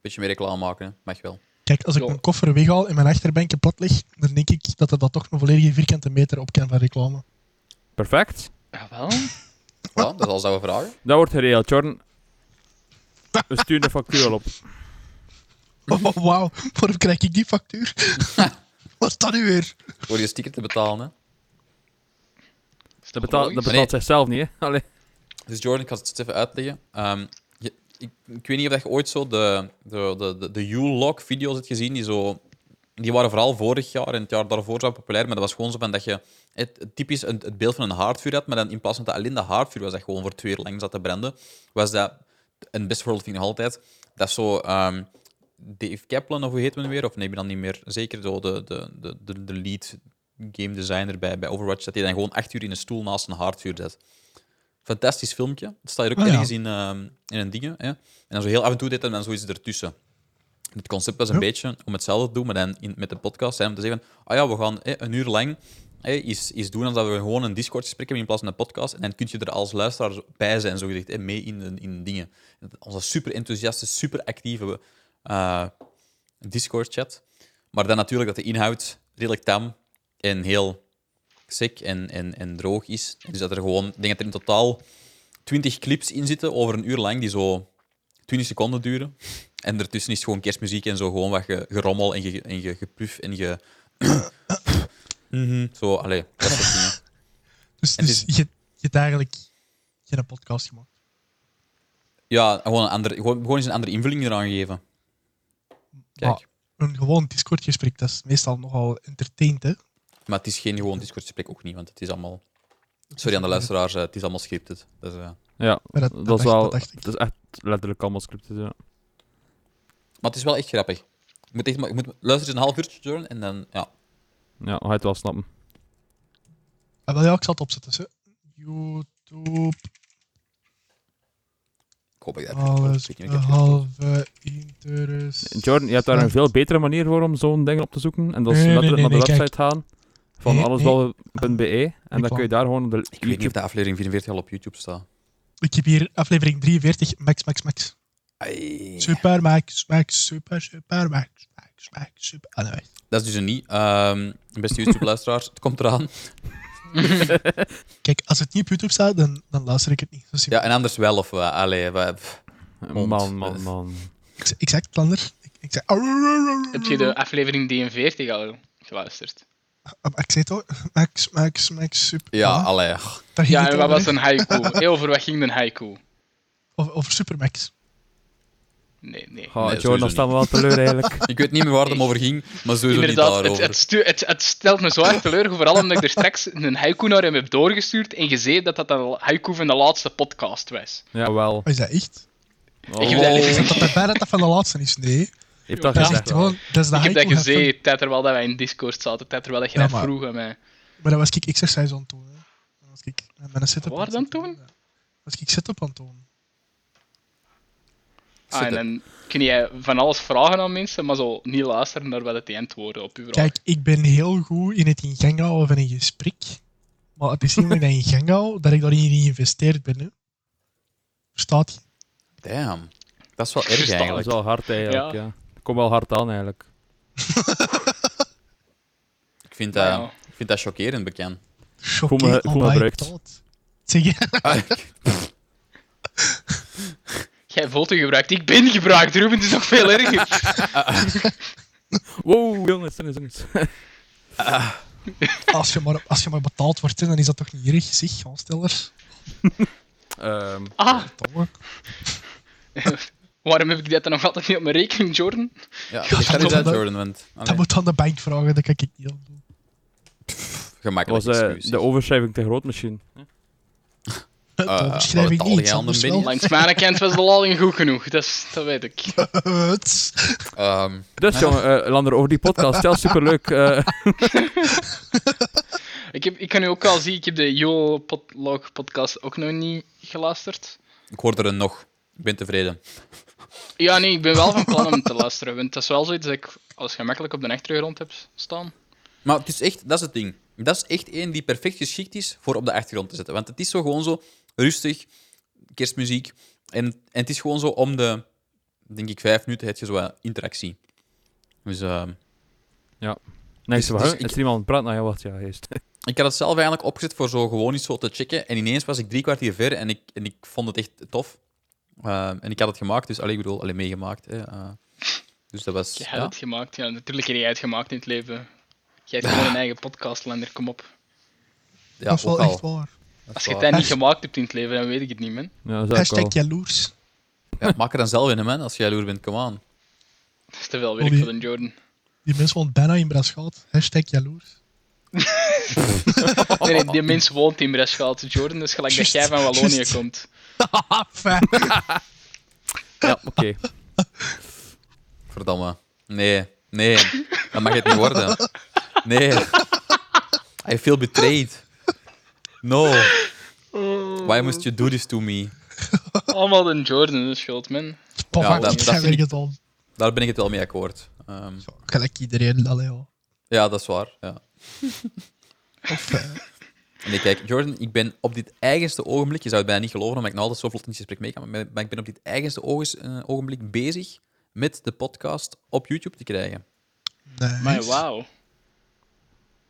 Beetje meer reclame maken, hè. mag wel.
Kijk, als ik
Ja.
mijn koffer weghaal en mijn achterbankje plat leg, dan denk ik dat er dat toch een volledige vierkante meter op kan van reclame.
Perfect.
Ah, wel?
Voilà, dat is alles dat we vragen.
Dat wordt geregeld, Jordan. We sturen de factuur al op.
Oh, wauw, waarom krijg ik die factuur? Wat is dat nu weer?
Voor je sticker te betalen. Hè.
Is
Dat betaalt, dat
logisch?
Nee.
betaalt zichzelf niet, hè? Allee.
Dus Jordan, ik ga het even uitleggen. Ehm, je- ik, ik weet niet of je ooit zo de, de, de, de, de U-Log-video's hebt gezien. Die, zo, die waren vooral vorig jaar en het jaar daarvoor zo populair. Maar dat was gewoon zo van dat je het, het typisch een, het beeld van een haardvuur had. Maar dan in plaats van dat alleen de haardvuur was dat gewoon voor twee uur lang zat te branden. Was dat, en best voorbeeld vind ik nog altijd, dat zo... ehm, Dave Kaplan, of hoe heet men weer? Of nee, ik ben dan niet meer zeker. Zo de, de, de, de, de lead game designer bij, bij Overwatch. Dat hij dan gewoon acht uur in een stoel naast een haardvuur zet. Fantastisch filmpje. Het staat hier ook
Ah, ja.
ergens in, ehm, in een ding. Hè? En dan zo heel af en toe dit en dan zoiets ertussen. Het concept was een
Ja.
beetje om hetzelfde te doen, maar dan in, met de podcast. Hè, om te zeggen: ah ja, we gaan hè, een uur lang hè, iets, iets doen alsof we gewoon een Discord-gesprek hebben in plaats van een podcast. En dan kun je er als luisteraar bij zijn, zogezegd, hè, mee in, de- in dingen. Onze super enthousiaste, super actieve eh, Discord-chat. Maar dan natuurlijk dat de inhoud redelijk tam en heel sec en, en, en droog is. Dus dat er gewoon, ik denk dat er in totaal 20 clips in zitten over een uur lang, die zo 20 seconden duren. En daartussen is gewoon kerstmuziek en zo gewoon wat ge- gerommel en, ge, en ge- gepluf en ge. Mhm, Zo, allee, dat soort dingen.
Dus,
Het
dus je, je hebt eigenlijk geen podcast gemaakt.
Ja, gewoon, een andere, gewoon, gewoon eens een andere invulling eraan geven. Kijk,
Maar een gewoon Discord-gesprek, dat is meestal nogal entertained, hè?
maar het is geen gewoon Discord-gesprek ook niet, want het is allemaal. Sorry aan de luisteraars, eh, het is allemaal scripted. Dus, eh,
Ja,
Maar dat,
dat,
dat, dacht,
is wel...
dat dacht ik.
Het is echt letterlijk allemaal scripted, ja.
Maar het is wel echt grappig. Je moet echt, maar- je moet, luister eens een half uurtje, Jordan, en dan... Ja.
Ja, dan ga je het wel snappen.
Ah, wel, ja, ik zal het opzetten. Zo. YouTube,
Ik hoop dat ik dat
alles
Ik weet niet of ik dat-
behalve interest.
Jordan, je hebt daar een veel betere manier voor om zo'n ding op te zoeken. En dat is
Nee, nee,
letterlijk
nee,
naar de
nee, kijk.
website gaan van
Nee,
allesballen.be en dan
wou-
kun je daar gewoon de
Ik weet niet of de aflevering 44 al op YouTube staat.
Ik heb hier aflevering 43, Max, Max, Max.
Ai.
Super, Max, Max, super, super, Max, Max, Max, super. Ah, nee, wacht.
Dat is dus een niet. Ehm, beste YouTube-luisteraars, het komt eraan.
Kijk, als het niet op YouTube staat, dan, dan luister ik het niet. Zo simpel.
Ja, en anders wel, of wat? Allee, wat- pff. mond.
Man, man, man.
Ik, ik zeg het, Lander. Ik, ik zeg...
Heb je de aflevering 43 al geluisterd?
Ah, maar Ik zei toch, Max, Max, Max, super.
Ja,
Voilà.
allee.
Daar ging
Ja,
het
en wat
over,
was
hè.
een haiku? Heel over wat ging een haiku?
Over, over Supermax.
Nee, nee.
Ga,
Nee,
Jordan,
sowieso
dan staan we wel teleur eigenlijk.
Ik weet niet meer waar het hem over ging, maar sowieso niet
Inderdaad, het,
daarover.
het, stu- het, het stelt me zwaar teleur, vooral omdat ik er straks een haiku naar hem heb doorgestuurd en gezien dat dat de haiku van de laatste podcast was.
Ja, wel.
Oh, is dat echt?
Ik heb
Oh,
dat
Is
niet
dat dat bijna dat van de laatste is? Nee.
je hebt
Dat
dat
is
gezegd.
echt gewoon... Dat is de
Ik heb dat
haiku heften.
gezien, tijd terwijl dat wij in Discord zaten, tijd terwijl dat je
Ja,
dat
maar-
vroeg aan mij.
Maar dat was ik exercise aan het doen. Hè. Dat was ik met mijn setup
Waar
aan het
dan
zetten.
toen?
Ja. Dat was ik setup aan het doen.
Ah, en dan kun jij van alles vragen aan mensen, maar zo niet luisteren naar wat het die antwoorden op uw vraag.
Kijk, ik ben heel goed in het in gang houden van een gesprek. Maar het is niet omdat ik dat in gang hou, dat ik daarin geïnvesteerd ben. Hè. Verstaat je?
Damn. Dat is wel
Verstaan
erg
ze
Dat is
eigenlijk.
wel hard
Ja.
eigenlijk, ja. Kom wel hard aan eigenlijk.
Ik vind
Maar
dat,
ja.
ik vind dat chockerend bekend.
Choqué
Goed me- goed
on my
gebruikt.
thought. Zeg je?
Jij voelt u gebruikt, ik ben gebruikt, Ruben, het is nog veel erger.
Wow, jongens, jongens, jongens.
Als je, maar, als je maar betaald wordt, hè, dan is dat toch niet erg, zeg, aanstellers.
Ehm,
Ah,
Domme.
waarom heb ik dat dan nog altijd niet op mijn rekening, Jordan?
Ja, ik
dat
ga niet
moet-
uit, Jordan, want...
Dat
allee,
moet aan de bank vragen, dat kan ik niet aan doen.
Gemakkelijk
was eh,
excuus.
de overschrijving te groot misschien.
Eh,
dat schrijf ik
betaal
niet,
jij aan de
anders wel.
binnen?
Langs mijn kant was de lading goed genoeg, dat, is, dat weet ik.
Het.
Ehm,
Dus jongen, eh, Lander, over die podcast, stel superleuk. eh
Ik, heb, ik kan u ook al zien, ik heb de Yo Podlog podcast ook nog niet geluisterd.
ik hoor er een nog. Ik ben tevreden.
Ja, nee, ik ben wel van plan om te luisteren, want dat is wel zoiets dat ik als gemakkelijk op de achtergrond heb staan.
Maar het is echt... Dat is het ding. Dat is echt één die perfect geschikt is voor op de achtergrond te zetten. Want het is zo gewoon zo rustig, kerstmuziek. En, en het is gewoon zo om de, denk ik, vijf minuten heb je zo wat interactie. Dus... ehm,
nee,
Dus-
ze
dus
waren-
ik-
is er iemand aan het praten? Nou ja, wacht, ja, juist.
Ik had het zelf eigenlijk opgezet voor zo gewoon eens zo te checken. En ineens was ik drie kwartier ver en ik, en ik vond het echt tof. Ehm, en ik had het gemaakt, dus allee, ik bedoel, alleen meegemaakt. Hè, eh. dus dat was.
Je
Ja,
hebt het gemaakt, ja, natuurlijk heb jij het gemaakt in het leven. Jij hebt gewoon een eigen podcast, Lander, kom op.
ja,
dat is
ook
wel
al.
echt waar.
Dat
Als
is
je
waar.
het niet gemaakt hebt in het leven, dan weet ik het niet, man.
Ja, dat is ook
Hashtag
wel.
jaloers.
Ja, maak er dan zelf in, hè, man. Als jij loer bent, come on.
Dat is te veel werk
Oei.
voor een Jordan.
Die mensen woont bijna in Brasschaat. Hashtag jaloers.
Nee, nee, die mens woont in Breschaalt. Jordan is gelijk
Juist,
dat jij van Wallonië
juist.
komt.
Haha, fijn.
Ja, oké.
Verdamme. Nee, nee. Dat mag het niet worden. Nee. I feel betrayed. No. Why must you do this to me?
Allemaal de Jordan is schuld, man.
Papa,
Ja,
ik
dat- dat
ga
vind
weer
ik-
het al.
Daar ben ik het wel mee akkoord. Ehm,
Zo, Gelijk iedereen, allee, ja.
ja, dat is waar. Ja.
Of, eh,
En ik kijk, Jordan, ik ben op dit eigenste ogenblik, je zou het bijna niet geloven, omdat ik nou altijd zo vlot in het gesprek mee kan, maar maar ik ben op dit eigenste ogens- eh, ogenblik bezig met de podcast op YouTube te krijgen.
nice.
Maar wauw.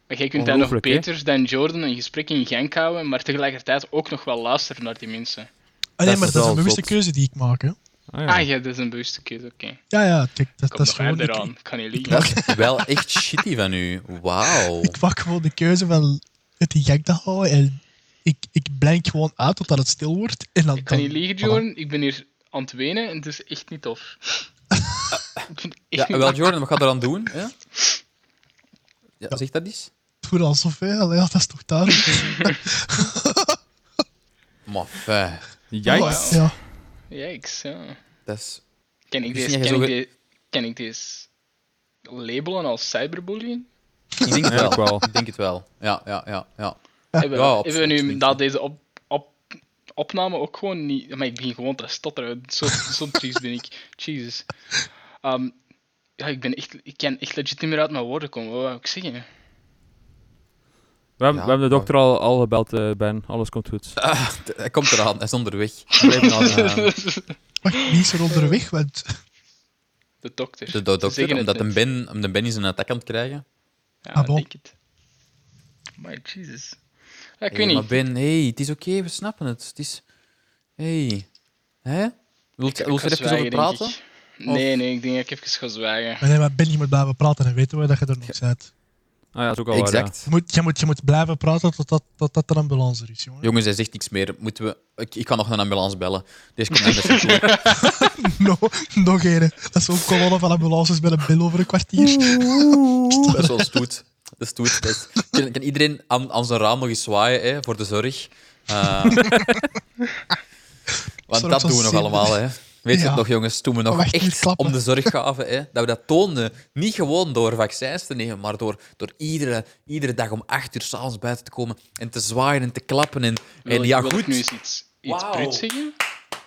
Maar jij kunt daar nog
Ongelooflijk, hè?
beter dan Jordan een gesprek in gang houden, maar tegelijkertijd ook nog wel luisteren naar die mensen.
Ah,
Dat
nee,
is
maar dat is
wel
een bewuste
zot.
keuze die ik maak. Hè.
Ah, ja.
Ah ja, dat is een bewuste keuze, oké.
Ja, ja, kijk, dat,
Kom
dat is
nog
gewoon.
harder
Ik,
aan, kan niet liegen.
Dat is wel echt shitty van u. Wauw.
ik pak gewoon de keuze van het in gang te houden en ik, ik blank gewoon uit totdat het stil wordt. En dan,
Ik kan
dan-
niet liegen,
voilà.
Jordan. Ik ben hier aan het wenen en het is echt niet tof. Ik vind het
Ja,
echt niet
wel, Jordan, wat gaat eraan doen? Ja? Ja, zeg dat eens.
Het voelt alsof, hè, allee, ja, dat is toch duidelijk.
Maar fijn.
Yikes.
Ja.
Yikes, ja.
Dat is...
Ken ik
Dus
deze,
jij
ken
zo
ik
ge-
de- ken ik deze labelen als cyberbullying?
Ik denk het
Ja, ook
wel.
wel.
Ik denk het wel. Ja, ja, ja. ja.
Hebben,
Ja,
hebben we
absoluut,
nu
denk
na
ik.
deze op, op, opname ook gewoon niet... Maar ik begin gewoon te stotteren. Zo, zo triest ben ik. Jezus. Ehm, ja, ik, ben echt, ik kan echt legit niet meer uit mijn woorden komen. Wat wou ik zeggen?
We hebben,
Ja,
we hebben de
maar-
dokter al, al gebeld, eh, Ben. Alles komt goed.
Ah, d- hij komt eraan. Hij is onderweg. Hij blijft nou, eh,
Wacht, wie is er onderweg? Want
De dokter.
de, de
Ze zeggen
dokter,
het
omdat een
net.
ben, om de ben is een attack aan het krijgen.
Ja,
Ah, bon.
denk het. My Jesus. Ja, ik
Hey,
weet
Maar
niet.
Ben, hey, het is oké, we snappen het. Het is... Hey. Hè? Wil je
Ik-
wil
ik
je
ga
er even over
zwijgen, denk
praten?
ik. Nee, nee, ik denk dat ik even ga zwijgen.
maar nee, maar Ben, je moet blijven praten en weten we dat je er nog bent.
Ah ja, dat is ook al waar, ja.
Exact.
Je moet, je moet, je moet blijven praten totdat, totdat er een ambulance er is, jongen.
Jongens, hij zegt niks meer. Moeten we... ik, ik kan nog een ambulance bellen. Deze komt niet meer zo goed.
No, nog een. Dat is zo'n kolonne van ambulances met een bil over een kwartier.
Dat is wel stoet. Dat is stoet. Dat is- Kan, kan iedereen aan, aan zijn raam nog eens zwaaien hè, voor de zorg? Eh, want
Zorg
dat
van
doen we nog
zin.
allemaal. Hè. Weet je
Ja.
het nog, jongens? Toen we nog
Wacht, hier
echt
klappen.
om de zorg gaven, hè, dat we dat toonden. Niet gewoon door vaccins te nemen, maar door, door iedere, iedere dag om acht uur s'avonds buiten te komen en te zwaaien en te klappen. En,
Wil,
en
ik-
ja,
wil ik
goed.
nu eens iets, iets
Wauw.
bruts zeggen?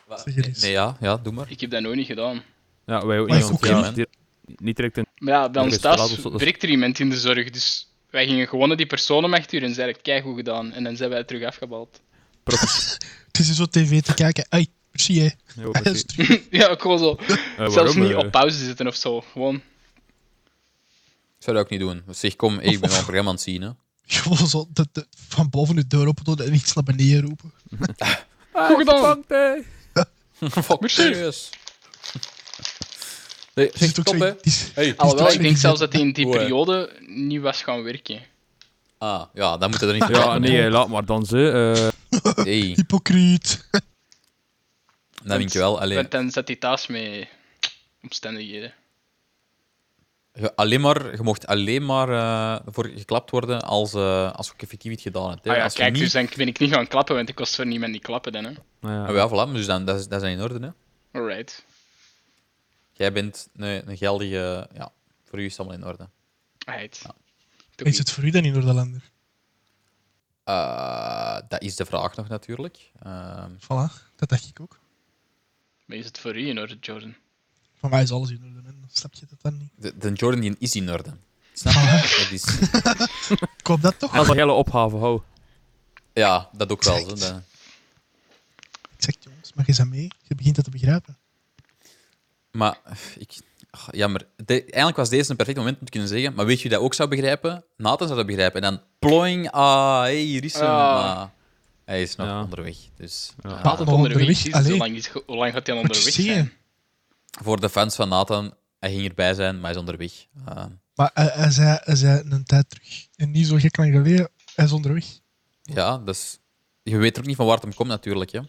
Zeg er eens.
Nee, ja, ja, doe maar.
Ik heb dat nooit niet gedaan.
Ja, wij ook
Maar
niet.
is
want
ook
ja,
geen-
die- Niet direct een...
Maar ja, bij
Er
ons
is
thuis
trouwens-
breekt er iemand in de zorg, dus wij gingen gewoon naar die persoon om echt uur en zeiden keigoed gedaan. En dan zijn wij terug afgebald.
Het is hier zo tv te kijken. Ai, zie je.
Ja,
Oh,
ook
Hij is
precies.
terug.
ja, ook gewoon zo.
Eh,
Zelfs
waarom,
niet
eh?
op pauze zitten of zo. Gewoon.
Ik zou dat ook niet doen. Zeg, kom, hey, ik ben wel een programma aan het zien. Hè.
Gewoon zo de, de- van boven de deur open doen en iets naar beneden roepen.
Goed gedaan!
Bedankt, Ah, hè.
Fuck, serieus. Nee,
Er
zeg,
zit ook
top,
zo-
hè.
die is-
Hey.
Alhoewel,
toch
ik denk
niet
zelfs dat hij in die
eh?
Oeh, hè.
periode niet was gaan werken.
Ah, ja, dan moeten we er niet
Ja,
vertellen.
nee, laat maar dan ze. eh.
Hey,
Hypocriet.
dat denk je wel. Alleen,
Want dan zat hij thuis met omstandigheden.
je, alleen maar, je mocht alleen maar eh, voor geklapt worden als, eh, als je ook effectief iets gedaan hebt. Hè.
Ah ja,
als je
kijk,
niet...
dus dan ben ik niet gaan klappen, want ik kost voor niemand die klappen dan. Hè.
Nou
Ah,
ja.
ja, voilà, maar dus dan, dat, is, dat is in orde. Hè.
Alright.
Jij bent een, een geldige... Ja, voor u is het allemaal in orde.
Alright. Doe
Is
ik.
het voor u dan in Noorderlander?
Eh, dat is de vraag nog, natuurlijk. Ehm,
Voilà, dat dacht ik ook.
Maar is het voor u in orde, Jordan?
Van mij is alles in orde. hè. Dan snap je dat dan niet.
de, de Jordan die is in orde. Snap
Ah.
je? Dat is...
Ik hoop dat toch.
Dat is een hele opgave, hou.
Ja, dat ook wel. Zo, dat...
Ik zeg, jongens, maar je bent mee. Je begint dat te begrijpen.
Maar eh, ik, ach, jammer. De- eigenlijk was deze een perfect moment om te kunnen zeggen. Maar weet je wie dat ook zou begrijpen? Nathan zou dat begrijpen. En dan ploing, ah, hey, hier is hem.
Ah.
Maar hij is nog
Ja.
onderweg. Dus ah,
Altijd
Nog
onderweg.
onderweg,
Jezus,
allee.
Hoe lang, is- hoe lang gaat hij al
Moet je
onderweg zijn?
zien.
voor de fans van Nathan, hij ging erbij zijn, maar hij is onderweg. Ah,
Maar eh, hij, hij, zei, hij zei een tijd terug. En niet zo gek lang geleden. Hij is onderweg.
ja, dus je weet er ook niet van waar het hem komt natuurlijk. Hè.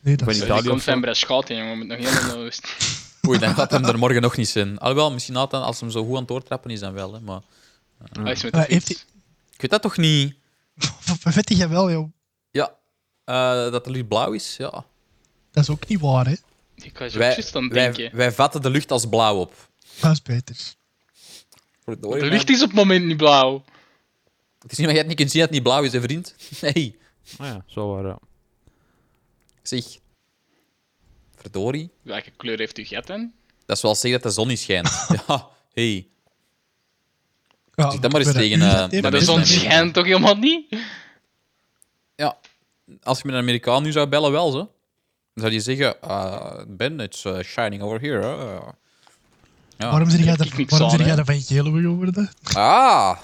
Nee, dat
Ben
is...
Ja,
je- Italië
Die komt
of zo.
van Braschaat, jongen. Moet nog helemaal naar
Oei, dan gaat hem er morgen nog niet zijn. Alhoewel, misschien Nathan, als hem zo goed aan het doortrappen is, dan wel. Hè. Maar Hm.
Hij is Ah, met
Maar
de
heeft
fiets.
ik weet dat toch niet?
Vet jij wel, joh.
Ja, eh, dat de lucht blauw is, ja.
Dat is ook niet waar, hè.
Ik was ook
Wij,
juist aan het
wij,
denken.
wij vatten de lucht als blauw op.
Dat is beter.
Verdorie,
De
man.
lucht is op het moment niet blauw.
Het is niet dat jij het niet kunt zien dat het niet blauw is, hè, vriend. Nee.
Ah ja, zo waar, ja.
Zeg. Verdorie.
Welke kleur heeft uw gat dan?
Dat is wel zeggen dat de zon niet schijnt. ja, hey.
Ja,
Zeg dat maar eens
ik ben
tegen,
een uur
eh,
aan het
Maar
Maar
de
de
eten.
zon
zon schijnt toch helemaal niet?
Ja. Als je met een Amerikaan nu zou bellen, wel, zo. Dan zou die zeggen, eh, Ben, it's eh, shining over here. eh. Ja.
Waarom zit jij
Kijk, ik
er-
niks
waarom
aan,
zit jij
hè.
er van geel over geworden?
Ah,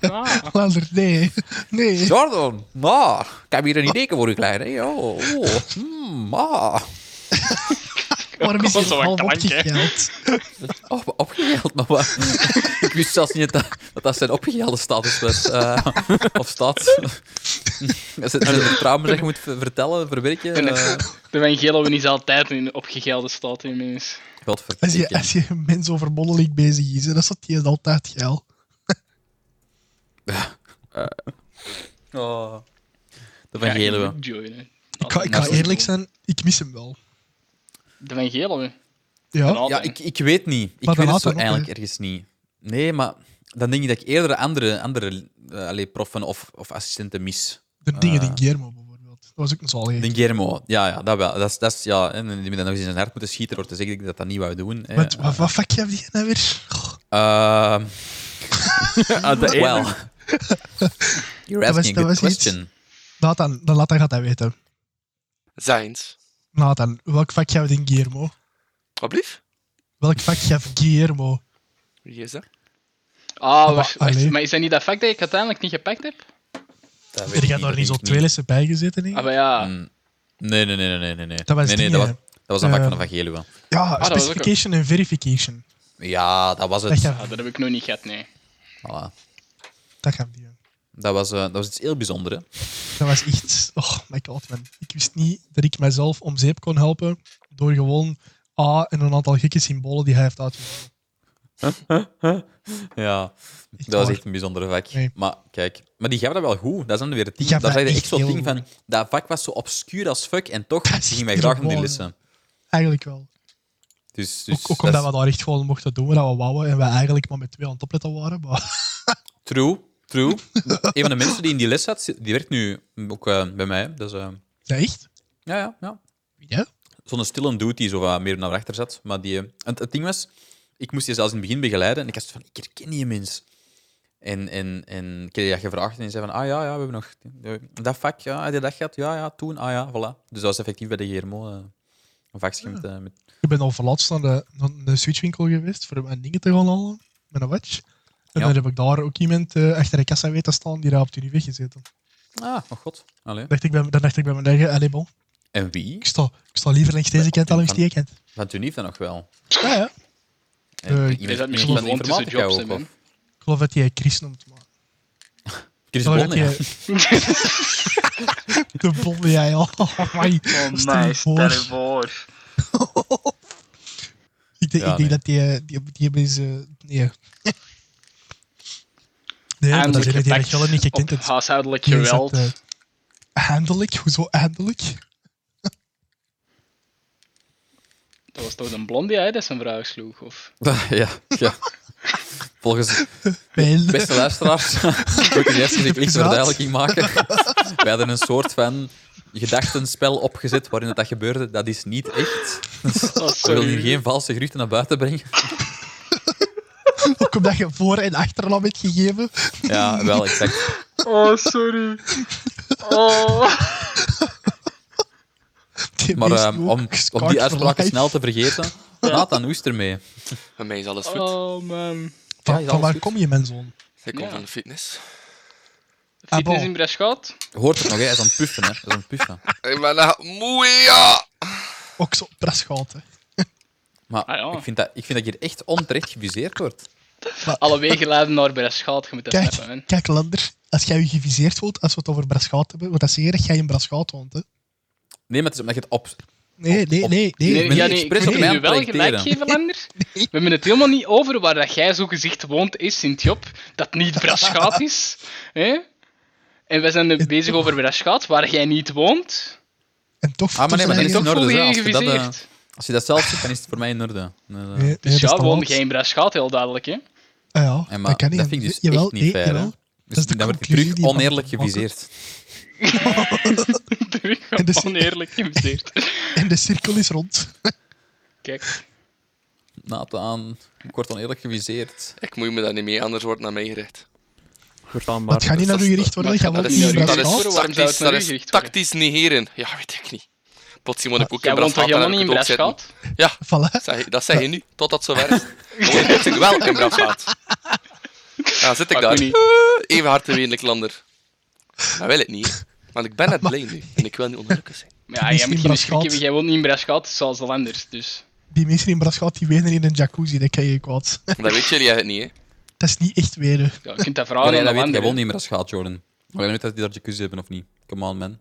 Ah,
Lander, nee. Nee.
Jordan. Ah, ik heb hier een idee voor u, kleine. Oh, oh, hmm, ah.
Waarom is
Gewoon
hij
zo'n
half
klank, hè.
opgegeld?
Oh, maar opgehaald, maar wat? ik wist zelfs niet dat dat, dat zijn opgeheelde status was. eh, of staat. dat zijn de trauma's dat je moet ver- vertellen, verwerken.
En,
eh,
De Van Gelowen is altijd in opgegelde staat ineens.
Als je,
Godverdikke.
als je een mens over mondeling bezig is, hè, dan staat hij altijd geil.
Oh. De Van Gelen
Ja,
we.
ik moet joinen.
Ik ga, ik ga
Nou,
eerlijk zijn, ik mis hem wel.
De Van Gelen we.
Ja,
Ja, ik, ik weet niet. Ik
Maar
weet
dan
het
laat
zo
dat ook,
eigenlijk ergens niet. Nee, maar dan denk ik dat ik eerder andere, andere eh, allee, proffen of, of assistenten mis.
de dingen
Eh.
die Guillermo bijvoorbeeld. Dat was ook een zaligheid.
De Guillermo, ja, ja, dat wel. Dat is, dat is, ja, en die moet dan nog eens in zijn hart moeten schieten door te zeggen dat ik dat niet wou doen. hè.
Wat, wat, wat vakje heb je nou weer? Goh,
Ehm,
Ah, de
well,
ene-
you're
Dat
asking
was-
a good
dat was iets.
question.
Nathan, dan Nathan gaat dat weten.
Zijns.
Nathan, welk vak geeft in Guillermo?
Wat blief?
Welk vak geeft Guillermo?
Wie is dat?
Ah,
Maar
wacht, wacht,
allee.
maar is dat niet dat vak dat ik uiteindelijk niet gepakt heb?
Dat weet
Er
ik
gaat
niet,
daar
dat
niet
weet
zo
ik
twee lessen bij gezeten,
Ah,
denk ik.
maar ja.
Mm, Nee, nee, nee, nee, nee, nee.
Dat was
nee, nee,
dingen.
dat was, dat was een vak
Eh,
van de Vageluwe.
Ja,
Ah, dat was ook een-
specification en verification.
Ja, dat was
Dat
het.
gaat
Ah, dat heb ik nog niet gehad, nee.
Voilà.
dat gaat die.
Dat was, eh, dat was iets heel bijzonders. hè.
Dat was echt... Oh my god, man. Ik wist niet dat ik mezelf om zeep kon helpen door gewoon A en een aantal gekke symbolen die hij heeft uitgevonden.
Ja,
Echt
dat was
waar.
echt een bijzondere vak.
Nee.
Maar kijk, maar die gaven dat wel goed. Dat is dan weer het
Die
ding.
gaven
Dat is
dat
eigenlijk echt
echt
zo'n ding
heel
van... Dat vak was zo obscuur als fuck en toch
Dat is
ging mij
echt
graag om die
gewoon-
lessen.
Eigenlijk wel.
Dus,
Ook,
dus
ook
dat
omdat
is
we daar echt gewoon mochten doen wat we wouden en we eigenlijk maar met twee aan het opletten waren. Maar
True, true. een van de mensen die in die les zat, zit- die werkt nu ook eh, bij mij. Dus, eh,
ja, echt?
ja, ja, ja.
Ja?
zo'n stille dude die zo wat meer naar achter zat. Maar die, eh, en het ding was, ik moest je zelfs in het begin begeleiden. En ik had zo van, ik herken die mens. En, en, en ik kreeg dat gevraagd en die zei van, ah ja, ja, we hebben nog eh, dat vak, ja, had je dat gehad? Ja, ja, toen, ah ja, voilà. Dus dat was effectief bij de Germo eh, een vakje met, eh, met-
Ik ben al verlaatst naar de, naar de switchwinkel geweest voor mijn dingen te gaan halen met een watch. En
Ja.
dan heb ik daar ook iemand eh, achter de kassa weten staan die daar op de weg gezeten.
Ah, oh god. Allee.
Dacht ik bij, dan dacht ik bij mijn eigen, allee bon,
En wie?
ik sta, ik sta liever langs deze kant dan langs die kant.
Van toen heeft dat nog wel.
Ja, ja.
En
Eh,
iemand-
Is dat
iemand
misschien
van de
gewoon tussen
informatica
jobs, hè,
ook,
man?
of-
Ik geloof dat jij Chris noemt, man.
Chris
Ik geloof
Bonne,
dat
ja.
jij- De bonde jij al. Oh, my. Stel je voor.
voor.
Ik denk,
Ja,
ik denk
nee.
dat die, eh, die, die hebben ze... Nee. Nee, maar dat
Eindelijk
is die
gepakt
Rachel niet gekend.
Op
Het
huishoudelijk
die is
geweld.
dat, eh, Handelijk? Hoezo handelijk?
Dat was toch een blond die hij dat zijn vraag sloeg? Of...
ja, ja. Volgens,
Pijl.
Beste luisteraars, moet ik eerst eens een kliks verduidelijking maken. Wij hadden een soort van gedachtenspel opgezet waarin het dat gebeurde. Dat is niet echt.
Oh,
Ik wil
sorry.
nu geen valse geruchten naar buiten brengen.
Ook omdat je voor- en achternaam hebt gegeven.
Ja, wel, exact.
Oh, sorry. Oh.
Die
Maar
mensen
ehm,
ook
om, om
gescarred
die
for
uitspraken
life.
snel te vergeten, Nathan, hoe is het ermee?
Bij mij is alles goed.
oh, man.
Ja,
Van,
is
van
alles
waar
goed.
kom je, mijn zoon?
Ik kom
Ja.
van de fitness.
Ah, bon.
Fitness in Breschot?
Hoort het nog, hè? hij is aan het puffen. Hè? Hij is aan het puffen.
Ik ben nou moe, ja!
Ook zo prasgoud, hè.
Maar
Ah, ja.
ik, vind dat, ik vind dat je hier echt onterecht geviseerd wordt.
Alle wegen leiden naar Breschot, je moet dat snappen, man.
Kijk, kijk, Lander. Als jij je geviseerd voelt, als we het over Braschout hebben, want dat is hier dat jij in Braschout woont, hè.
Nee, maar het is omdat je het op...
Nee, nee,
Op-
nee, nee.
Nee,
ben
ja,
niet
nee, ik
expres
moet
op
je
mij
nu wel
projecteren.
gelijk geven, Lander. We hebben het helemaal niet over waar dat jij zo gezicht woont is, Sint-Job, dat niet Brasschaat is. hè? En wij zijn nu bezig over Brasschaat, waar jij niet woont.
En toch...
Ah, maar nee, maar
zijn
dat is
jij-
En
in
toch
orde,
voel je
hè,
je
als je dat, eh,
geviseerd.
Als je dat zelf ziet, dan is het voor mij in orde. Nee, nee.
Nee, nee, dat
Dus
is
ja,
te
woon
laat.
jij in Brasschaat, heel duidelijk, hè.
Ah ja,
Ja, maar
dat kan niet.
dat vind ik dus
Jawel,
echt niet
nee,
fair, hè.
jawel.
Dus
is de
dan word je terug
conclusie die je van
oneerlijk
moet maken.
geviseerd.
Terug,
En dus-
oneerlijk geviseerd.
En de cirkel is rond.
Kijk,
Nathan, ik word oneerlijk geviseerd.
Ik moet me daar niet mee, anders wordt het naar mij gericht.
Wordt dan maar.
Het gaat niet naar u gericht worden,
maar
jij
Dat
woont
is,
niet in
niet naar
dat
u
is
gericht
Braschout.
worden. Waarom zou het
tactisch,
naar
dat
u
is
gericht worden? Ah,
tactisch negeren. Ja, weet ik niet. Plotseling moet ik ook
jij
in
woont toch
Braschaat
helemaal
en
niet
heb
in
ik het opzetten.
Brasschaat?
Ja,
Voilà.
zeg- dat zeg je nu, totdat het zover is. Dan word ik plotseling wel in Braschaat. Dan zit ik
Maar ik
daar. Eh,
weet niet.
Even hard te wenen, Lander. Dat wil ik niet. Want ik ben net blij nu. En ik wil niet ongelukkig zijn.
Ja,
is
jij
in
moet geen schrik
Brasschaat.
hebben, jij woont niet in Brasschaat, zoals de Landers, dus...
Die mensen in Braschout die wenen in een jacuzzi, dat krijg je kwaad.
Dat weten jullie eigenlijk niet, hè.
Dat is niet echt eh, wenen.
Ja, je kunt Ah, dat
Oh,
vragen
nee, dat
aan de
weet jij
Landers.
wel niet meer als gaat, Jordan. Maar jij weet dat die daar jacuzzi hebben of niet? Come on, man.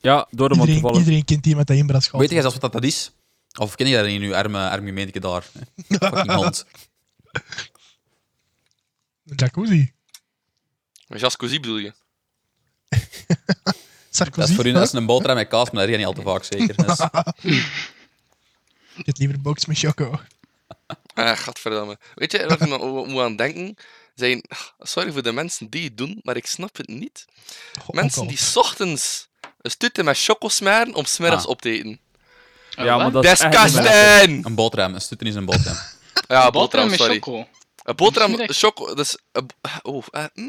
Ja, door hem aan te
Iedereen,
vallen.
iedereen kent iemand dat in Braschout
weet jij zelfs wat dat is? Of ken je dat in je arme, arme meentje daar? Fucking hond.
woont. Een jacuzzi.
Maar Jacuzzi bedoel je?
Sarkozy.
Dat is voor u
hè?
dat is een boterham met kaas, maar dat is niet al te vaak zeker. Dus,
Ik eet liever box met Jocko.
Ah, gadverdamme. Weet je waar ik nou o- moet aan denken? Zijn, sorry voor de mensen die het doen, maar ik snap het niet.
Oh,
Mensen
ook al.
die 's ochtends een stutte met choco smeren om smiddags
Ah.
op te eten.
Ja, maar dat is echt niet meer-
Disgusting!
een boterham, een stutten is een boterham.
Ja,
Boterham
boterham,
met
sorry.
choco.
Een boterham,
Smiddag.
choco, dus... Een, bo- oh, eh, hm?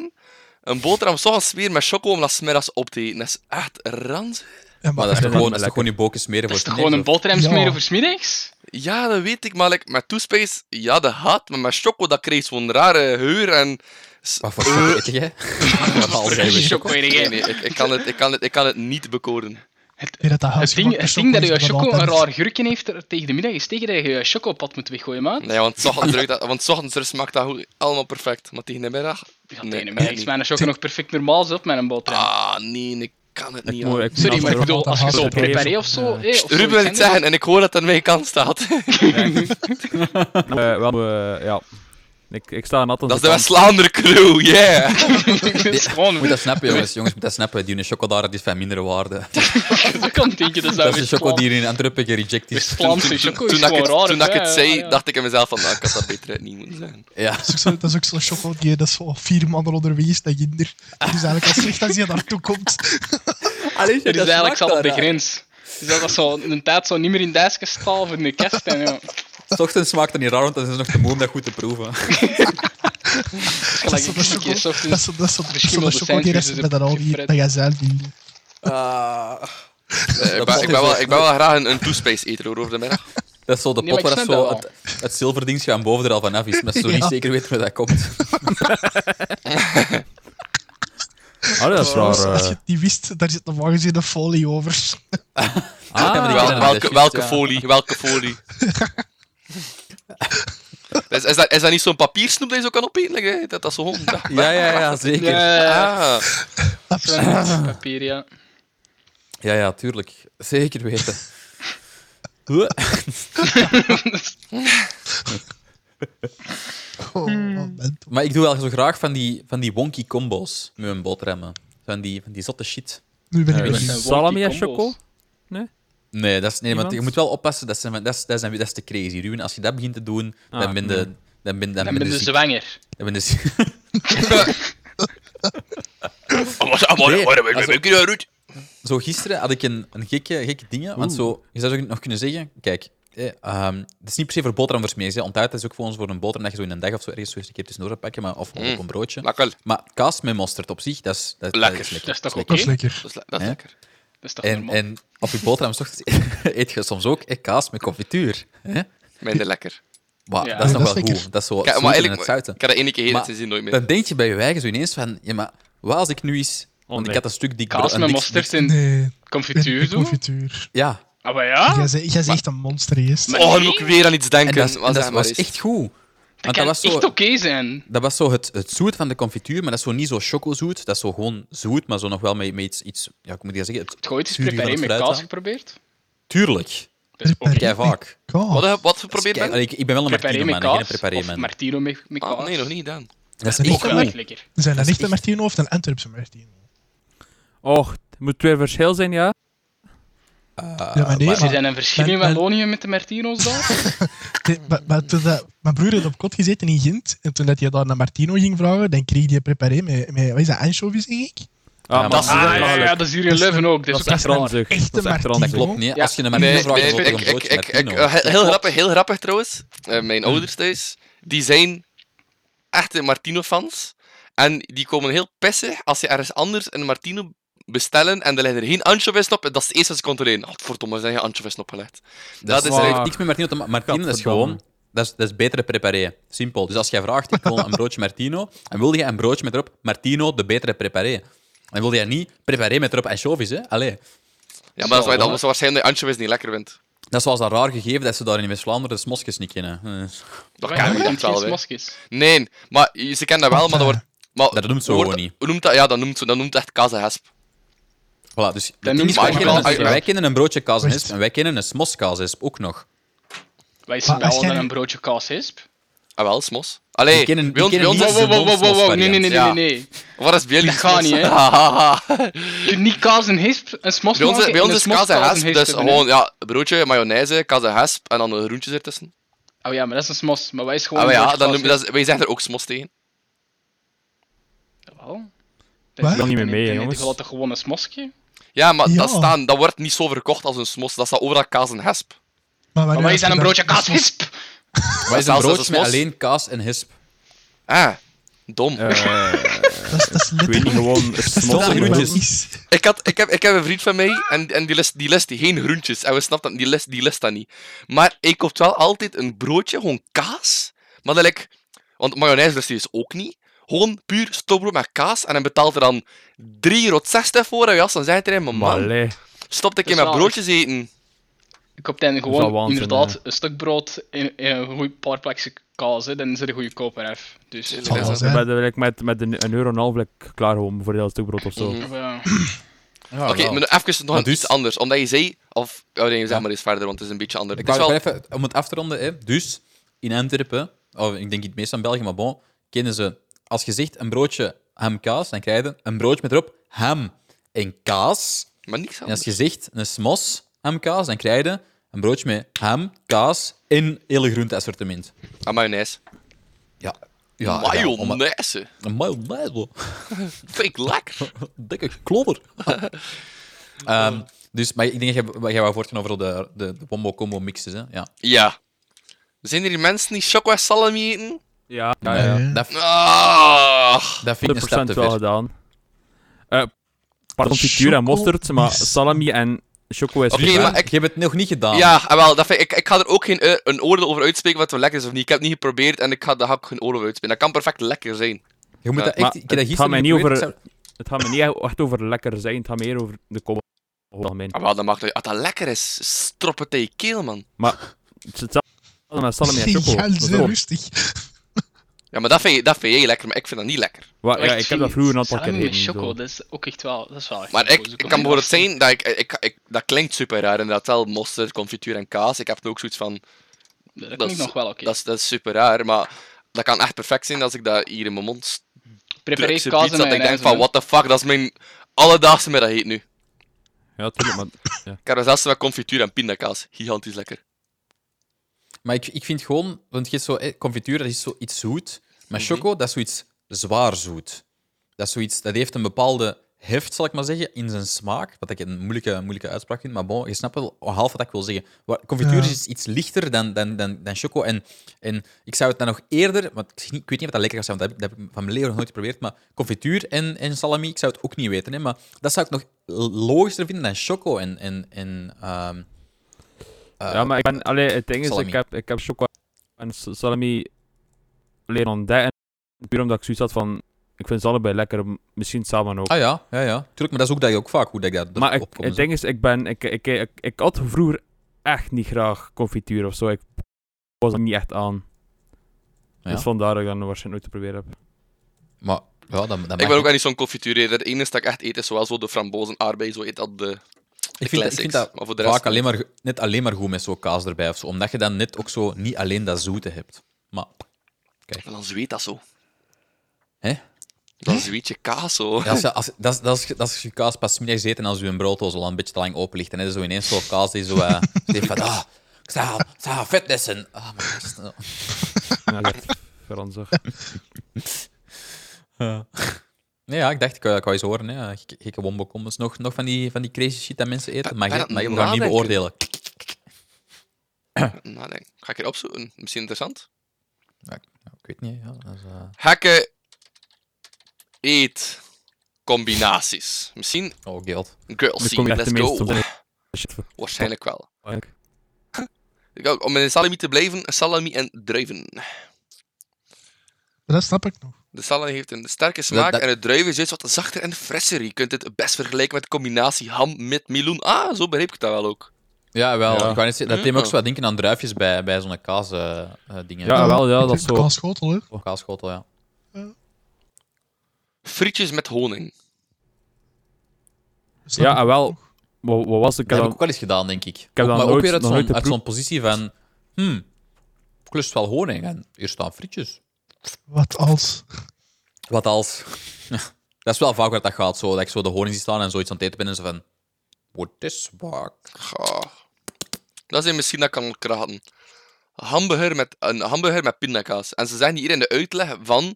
een boterham s'ochtends weer met choco om dat smiddags op te eten. Dat is echt ranzig.
Ja,
Maar dat is
Ja,
toch gewoon, dat
maar
is toch gewoon je bokjes smeren
Dat
voor
is toch
het
gewoon een
eten, of-
boterham
Ja.
smeren voor smiddags?
Ja, dat weet ik, maar like, met toespace, ja, dat gaat. Maar met choco, dat kreeg zo'n rare geur en... s-
Wat voor choco eet jij? Normaal zijn we
Choco
choco.
weet
Nee,
jij.
nee, ik, ik, kan het, ik, kan het, ik kan het niet bekoren.
Ik weet dat dat
Het
huisgemaakte
ding, het ding dat je
is
choco een
altijd-
raar gurken heeft er- tegen de middag is tegen dat je je chocopad moet weggooien, maat.
Nee, want 's ochtends ruikt dat- want 's ochtends rust smaakt dat goed, allemaal perfect. Maar tegen de middag...
Ja,
Nee,
tegen de
echt
middag is
niet.
mijn choco nog perfect normaal zelf met een boterham.
Ah, nee, ik kan het niet
moet-
aan.
ik moet
Sorry,
altijd
maar ik
erop
bedoel, als je zo
altijd proberen.
preparé of zo...
Eh,
eh, of zoiets
Ruben wil het
anders.
zeggen en ik hoor dat het aan mijn kant staat.
Eh, wel, eh, ja. Ik, ik sta nat aan
Dat is de
zijn kant.
West-Vlaanderen crew, yeah!
Dat is
Moet
gewoon...
dat snappen, jongens. Jongens, moet dat snappen. Die choco daar die is van mindere waarde.
Dat kan denken, dat is
Dat is de choco
West-Vlaam-
die in Antwerpen gereject is.
West-Vlaamse
Toen,
choco.
toen
is
dat ik het,
gewoon raar,
toen dat ik het
hè,
zei,
ja.
dacht ik aan mezelf van, nou, ik had dat beter uit niet moeten zeggen.
Ja.
Dat is ook zo- dat is ook zo'n choco die dat is al vier maanden onderweg is naar Ginder. Dat is eigenlijk al slecht als je daartoe komt.
Allee,
Dat is dus eigenlijk al op de grens. Dus dat was zo een tijd zo niet meer in Duitsken staan of in de kast. En, ja.
Ochtends smaakt dat niet raar, want dan is het nog te moe om dat goed te proeven.
Dat
Gelijk
is zo'n
een
choco-
keer
dat
ochtends.
is zo- dat is zo- dat is zo'n
Beschimmelde
choco die dat
sandwiches
ze
is
met dat al die
gefret.
dat jij zelf vinden.
Eh, ik, ben, ik, ben wel, ik ben wel graag een, een toespace eter hoor, over de middag.
Dat is zo de
Nee, maar
pot
ik
waar dat
snap
zo
dat
het, het zilverdings gaan boven er al vanaf is, maar zo
Ja.
niet zeker weten waar dat komt.
Allee, dat is
Als,
raar.
als
eh.
je het niet wist, daar zit nog wel eens een folie over.
Ja, maar die
Wel-
kennen dat,
welke,
shit,
welke
ja.
folie, welke folie. Is, is, dat, is dat niet zo'n papiersnoep dat je zo kan opeten? Like, hè? dat dat zo gewoon... dat-
Ja, ja, ja, zeker. Ja,
Ja,
Ah,
zo'n papier, ja.
ja, tuurlijk. Zeker weten.
Oh, moment.
maar ik doe wel zo graag van die, van die wonky combos met mijn boterhammen. Van die, van die zotte shit.
Nu ben ik
Ja,
benieuwd.
dat is-
Salami en
Wonky combos.
choco?
Nee, dat is, nee want
Iemand?
je moet wel oppassen. Dat is, dat is, dat is, dat is te crazy. Ruben, als je dat begint te doen, dan
Ah,
ben
nee.
je... Dan ben, dan
Dan ben
ben
je
je ziek.
zwanger.
Dan ben je ziek. Nee, also- Zo gisteren had ik een, een gekke, gekke dingen, want zo, je zou zo nog kunnen zeggen, kijk, eh, ehm, het is niet per se voor boterham voor smees, hè. ontbijt is ook voor ons voor een boterham dat je zo in een dag of zo ergens zo eens een keer tussendoor gaat pakken, maar, of, of op een broodje.
Lekker.
Maar kaas met mosterd op zich, dat is, dat,
Lekker.
dat is lekker.
Dat is toch
Dat
oké?
is lekker.
Dat is, le- dat is
Hè?
lekker.
Dat is toch
En,
normaal?
en op je boterham 's ochtends eet je soms ook eh, kaas met confituur. Hè?
Minder lekker.
Maar
Ja.
dat is
Ja,
nog
dat is
wel
lekker.
goed. Dat is zo het
Kijk, maar
zoete en Oh, het
eigenlijk,
zouten.
ik heb dat één keer
Maar
gegeten sinds nooit meer.
Dan denk je bij je eigen zo ineens van, ja, maar wat als ik nu eens... Want
nee.
ik had een stuk dik
Kaas
brood- een
met
dik-
mosterd
dik-
en
Nee,
confituur
de
doen?
confituur.
Ja,
Ah, maar ja?
Jij zei- Jij zegt een monster eerst.
Maar-
Oh, dan
nee.
moet ik weer aan iets
en
denken.
dat, is- en
Wat
dat
zeg maar
was
eens.
echt goed.
Dat
Want dat
kan
was
echt
zo...
oké zijn.
Dat was zo het, het zoet van de confituur, maar dat is zo niet zo chocozoet. Dat is zo gewoon zoet, maar zo nog wel met, met iets, iets... Ja, ik moet je zeggen? Het,
Het gooit is
zuurige van
preparé
het
met
fruit
kaas
aan.
geprobeerd.
Tuurlijk.
Dat is oké.
Preparé.
Jij vaak.
Kaas.
Wat heb wat geprobeerd?
Kijk,
Ben?
allee, ik, ik ben wel een
Preparé met
Martino-man, geen een
kaas.
preparé
Of
man.
Martino met met kaas.
Ah, nee, nog niet gedaan.
Dat is
Dat is
echt
Ook wel
goed.
echt lekker.
We zijn een
Dat is
echte
echt-
Martino of een Antwerpse Martino?
Och, het moet weer verschil zijn, ja? Ah,
Ja, maar nee,
Is er
maar-
zijn een verschil in
maar- maar-
Wallonië met de Martino's daar?
Nee, maar, maar toen dat, mijn broer had op kot gezeten in Gent. En toen dat hij daar naar Martino ging vragen, dan kreeg hij preparé met, met wat is dat, anchovies, denk ik?
maar dat is-
Ah, ja, ja,
belachelijk.
ja, dat is hier in Leuven ook. Dat
Dat
is
is
ook echt
echt
raar.
ranzig.
Echte
Dat is echt
Martino.
ranzig.
Dat klopt niet.
Ja.
Als je een Martino
Nee,
vraagt,
nee,
dan wordt er
ik,
een
ik,
broodje Hm.
ik, ik,
Martino.
eh, heel, grappig, heel grappig trouwens. Eh, mijn ouders thuis, die zijn echte Martino-fans. En die komen heel pissig als ze ergens anders een Martino bestellen en er liggen er geen anchovies op. Dat is het eerste wat ze controleren. Oh, verdomme, er zijn geen anchovies opgelegd.
Dat,
dat
is
is
heeft
waar.
niks met Martino te maken. Martino is
Gadverdamme.
gewoon... Dat is, dat is betere preparé. Simpel. Dus als jij vraagt, ik wil een broodje Martino, en wil je een broodje met erop Martino, de betere preparé. En wil jij niet preparé met erop anchovies, hè? Allee.
Ja, maar dat is, dat is waarschijnlijk dat je anchovies niet lekker vindt.
Dat is wel eens dat raar gegeven dat ze daar in West-Vlaanderen de smosjes niet kennen. Eh,
Maar
Dat kan
ja,
ik
dat
niet wel,
is
hè.
moskis.
Nee, maar je- ze kennen dat wel, maar dat
eh?
wordt... Maar,
Dat noemt ze
wordt-
gewoon niet.
hoe Noemt dat, ja, dat noemt, ze- dat noemt echt kazenhesp.
Voilà, dus het
noemt
ding is,
maar
wij,
je
kennen
wel-
een,
ja.
wij kennen een broodje kaas en
Wacht.
hesp en wij kennen een smoskaas hesp ook nog.
Wij
Maar
zijn wel
als jij
dan
nu-
een broodje kaashisp.
Ah, wel, smos. Allee,
Die kennen- die
bij ons, bij
kennen
ons
niet
is
eens
Wow,
de
het...
wow, wow, wow, wow, wow, nee, nee, nee, nee,
Ja.
nee.
Wat is bij jullie
Dat gaat
smos?
niet, hè. Je kunt niet kaas en hisp, een smos
Bij ons,
maken
bij
en
ons
een
is
smos
kaas en hasp,
hisp
dus
hebben, hè.
gewoon ja, broodje, mayonaise, kaas en hasp en dan een groentje ertussen.
Oh ja, maar dat is een smos. Maar wij is gewoon...
Ah, maar
een
ja,
soort
dan
kaas,
noem,
hè.
dat is, wij zeggen er ook smos tegen.
Jawel.
Wat?
is
Kan niet meer
een-
mee,
nee,
jongens. Ah,
Je wilt toch gewoon een smosje?
Ja, maar Dat,
Ja.
staan, dat wordt niet zo verkocht als een smos. Dat staat overal kaas en hasp.
wanneer
Maar wij
heb
zijn
je
een
dat-
broodje kaas
dat is-
hisp.
Wij
zelfs
zijn
als
broodjes
het
met
mos.
alleen kaas en hisp.
Ah, dom.
Dat is, dat is
Eh, ik weet niet,
letterlijk
gewoon
wel
wat
smotten.
het
groentjes.
groenten.
wel is.
Ik, had, ik, heb, ik heb een vriend van mij en, en die, lust, die lust geen groentjes. En we snappen dat, die lust, die lust dat niet. Maar ik koop wel altijd een broodje, gewoon kaas. Maar dat lijkt- want mayonaise lust hij dus ook niet. Gewoon puur stokbrood met kaas. En hij betaalt er dan 3,60 euro voor. En ja, dan zei hij tegen mijn
Maar
man,
allee,
stop een keer
Dat is
met
wel-
broodjes eten.
Ik koop dan
Dat is
gewoon
wel waanzin,
inderdaad
hè.
een stuk brood en, en een goed paar plakjes kaas. Hè. Dan is er een goede koper af. Dus...
Tuurlijk.
Zal wel
Ja,
dan
zijn.
ben je met, met een, een euro en een half like, klaar gewoon voor dat stuk brood of zo.
Mhm.
Ja.
Ja,
Oké,
wel.
maar even nog
Maar
iets
dus-
anders. Omdat je zei... Of, oh nee, zeg
Ja.
maar eens verder, want het is een beetje anders.
Ik
Het is
wou
wel...
ik wou even, om het af te ronden, hè. dus in Antwerpen, of ik denk in het meest van België, maar bon, kennen ze, als je zegt een broodje hamkaas, dan krijg je een broodje met erop ham en kaas.
Maar niks
En als
anders.
je zegt een smos hamkaas, dan krijg je een broodje met ham, kaas en hele groente assortiment.
Ah, mayonaise.
Ja. Ja, ja, om-
mayonaise.
Een mayonaise.
Vind ik lekker.
Dikke klodder. Ehm, dus, maar ik denk dat jij, jij wou voortgaan over de, de, de combo mixes, hè? Ja.
Ja. Zijn er die mensen die choco en salami eten?
Ja, ja, ja.
Nee.
Dat,
Ah.
dat vind ik een stap
100%
te
wel
ver.
gedaan. Eh pardon, frituur en
Choco
mosterd, maar
is-
salami en choco is
Oké,
vegan.
maar-
Ik heb het nog niet gedaan.
Ja, en wel, dat vind ik, ik ga er ook geen eh, een oordeel over uitspreken wat er lekker is of niet. Ik heb het niet geprobeerd en ik ga, daar ga ik geen oordeel over uitspreken. Dat kan perfect lekker zijn.
Je moet dat
Maar
echt, ik heb dat
het gaat
gisteren
mij niet
geprobeerd.
over- Het gaat me niet echt over lekker zijn, het gaat meer over de combo. over het algemeen.
Ah, wel, dat mag toch... Als dat lekker is, strop het in je keel, man.
Maar het is hetzelfde met salami en choco.
Ja,
Dat is
ze
ook-
rustig.
Ja, maar dat vind, je, dat vind jij lekker, maar ik vind dat niet lekker.
Wa-
Echt
ja, ik heb dat
vies.
vroeger een aantal keer
Salami
gegeten.
met choco,
zo.
dat is ook echt wel... Dat is wel echt
Maar
goed,
ik,
zo
ik
kom
kan
je
bijvoorbeeld
vast in.
zijn dat ik, ik, ik... Dat klinkt super raar inderdaad. Wel mosterd, confituur en kaas. Ik heb het ook zoiets van...
Dat
dat
klinkt
is-
nog wel oké.
Dat is, dat is super raar, maar dat kan echt perfect zijn als ik dat hier in mijn mond st- druk.
Prefereer
zo'n
kaas
iets
en
Dat ik denk
mayonaise,
van,
hè.
what the fuck, dat is mijn alledaagse middag nu.
Ja, tuurlijk, maar... Ja.
Ik heb er zelfs met confituur en pindakaas. Gigantisch lekker.
Maar ik, ik vind gewoon, want je hebt zo, eh, confituur dat is zoiets zoet, maar choco dat is zoiets zwaar zoet. Dat, is zoiets, dat heeft een bepaalde heft, zal ik maar zeggen, in zijn smaak. Wat ik een moeilijke, moeilijke uitspraak vind, maar bon, je snapt wel half wat ik wil zeggen. Waar- Confituur
Ja.
is iets- iets lichter dan, dan, dan, dan choco. En, en ik zou het dan nog eerder, want ik, zeg niet- ik weet niet of dat lekker gaat zijn, want dat heb, ik- dat heb ik van mijn leven nog nooit geprobeerd, maar confituur en, en salami, ik zou het ook niet weten. Hè, maar dat zou ik nog logischer vinden dan choco en... en, en ehm, eh,
ja, maar ik ben... Allee, het ding is,
salami.
ik heb, ik heb choco en s- salami leren ontdekken. Puur omdat ik zoiets had van... Ik vind ze allebei lekker, m- misschien samen ook.
Ah ja, ja, ja. Tuurlijk, maar dat is ook dat je ook vaak hoe dat ik dat
maar ik,
opkom en
het
zo.
ding is, ik ben... Ik, ik, ik, ik had vroeger echt niet graag confituur of zo. Ik was er niet echt aan.
Ja.
Dus vandaar dat ik dat waarschijnlijk nooit geprobeerd heb.
Maar ja, dat, dat
ik
mag
ben ook
ook.
wel niet zo'n confituurreder. Het enige dat ik echt eet is zowel zo de frambozen, aardbei, zo eet dat de,
Ik vind, ik
classics.
vind dat
maar voor de rest...
vaak alleen maar, net alleen maar goed met zo'n kaas erbij of zo. Omdat je dan net ook zo niet alleen dat zoete hebt. Maar
En dan zweet dat zo.
Hè?
Dan zweet je kaas zo.
als je, als, dat, is, dat, is, dat is je kaas pas 's middags eet en als je een brood al een beetje te lang open ligt. En dan is er zo ineens zo'n kaas die zo... eh, denkt van, ah, ik sta, ik sta fitnessen. Ah, maar dat is-
Ja, dat Fransig.
Nee, ja, ik dacht, ik, wou- ik wou eens horen. Hè. Gek- Gekke wombo-combos. Nog, nog van die, van die crazy shit dat mensen eten.
Ben-
Maar je
ben
maar
aan
je
het
moet dat niet
nadenken.
beoordelen.
Nadenk. Nou, Ga ik hier opzoeken? Misschien interessant.
Ja, ik- ja, ik weet niet. Ja, dat is, eh,
Hakken... Eet... Combinaties. Misschien...
Oh, geld.
Girl
Nu kom
scene,
je echt
let's
de meeste
go.
op de shit voor-
Waarschijnlijk wel.
eigenlijk.
Ik ook, Om in salami te blijven, salami en druiven.
Dat snap ik nog.
De salami heeft een sterke smaak
dat-
en het druiven is juist wat zachter en frisser. Je kunt het best vergelijken met de combinatie ham met meloen. Ah, zo begreep ik dat wel ook.
Ja, wel.
Ja.
Ik wou net zeggen, dat deed me ook
Ja.
zo wat denken aan druifjes bij, bij zo'n kaas, eh, eh, dingen.
Ja, wel, ja,
ik
dat
drink
is
de
zo.
Kaasschotel, hè.
Kaasschotel, ja.
Frietjes met honing.
Dat snap
Ja,
ik
ah, wel.
nog.
Wat, wat was het?
Dat
Ik heb
heb
dan-
ik ook wel eens gedaan, denk ik.
heb
Ook-
dat
maar ook
nooit-
weer uit
nog
zo'n
nooit
uit zo'n
geproefd.
positie van... Hmm, klust wel honing en hier staan frietjes.
Wat als?
Wat als? dat is wel vaak waar dat gaat, zo, dat ik zo de honing zie staan en zoiets aan het eten ben en zo van... What is fuck?
Ga. Dat zijn misschien dat ik kan kraten. Hamburger met, een hamburger met pindakaas. En ze zeggen hier in de uitleg van...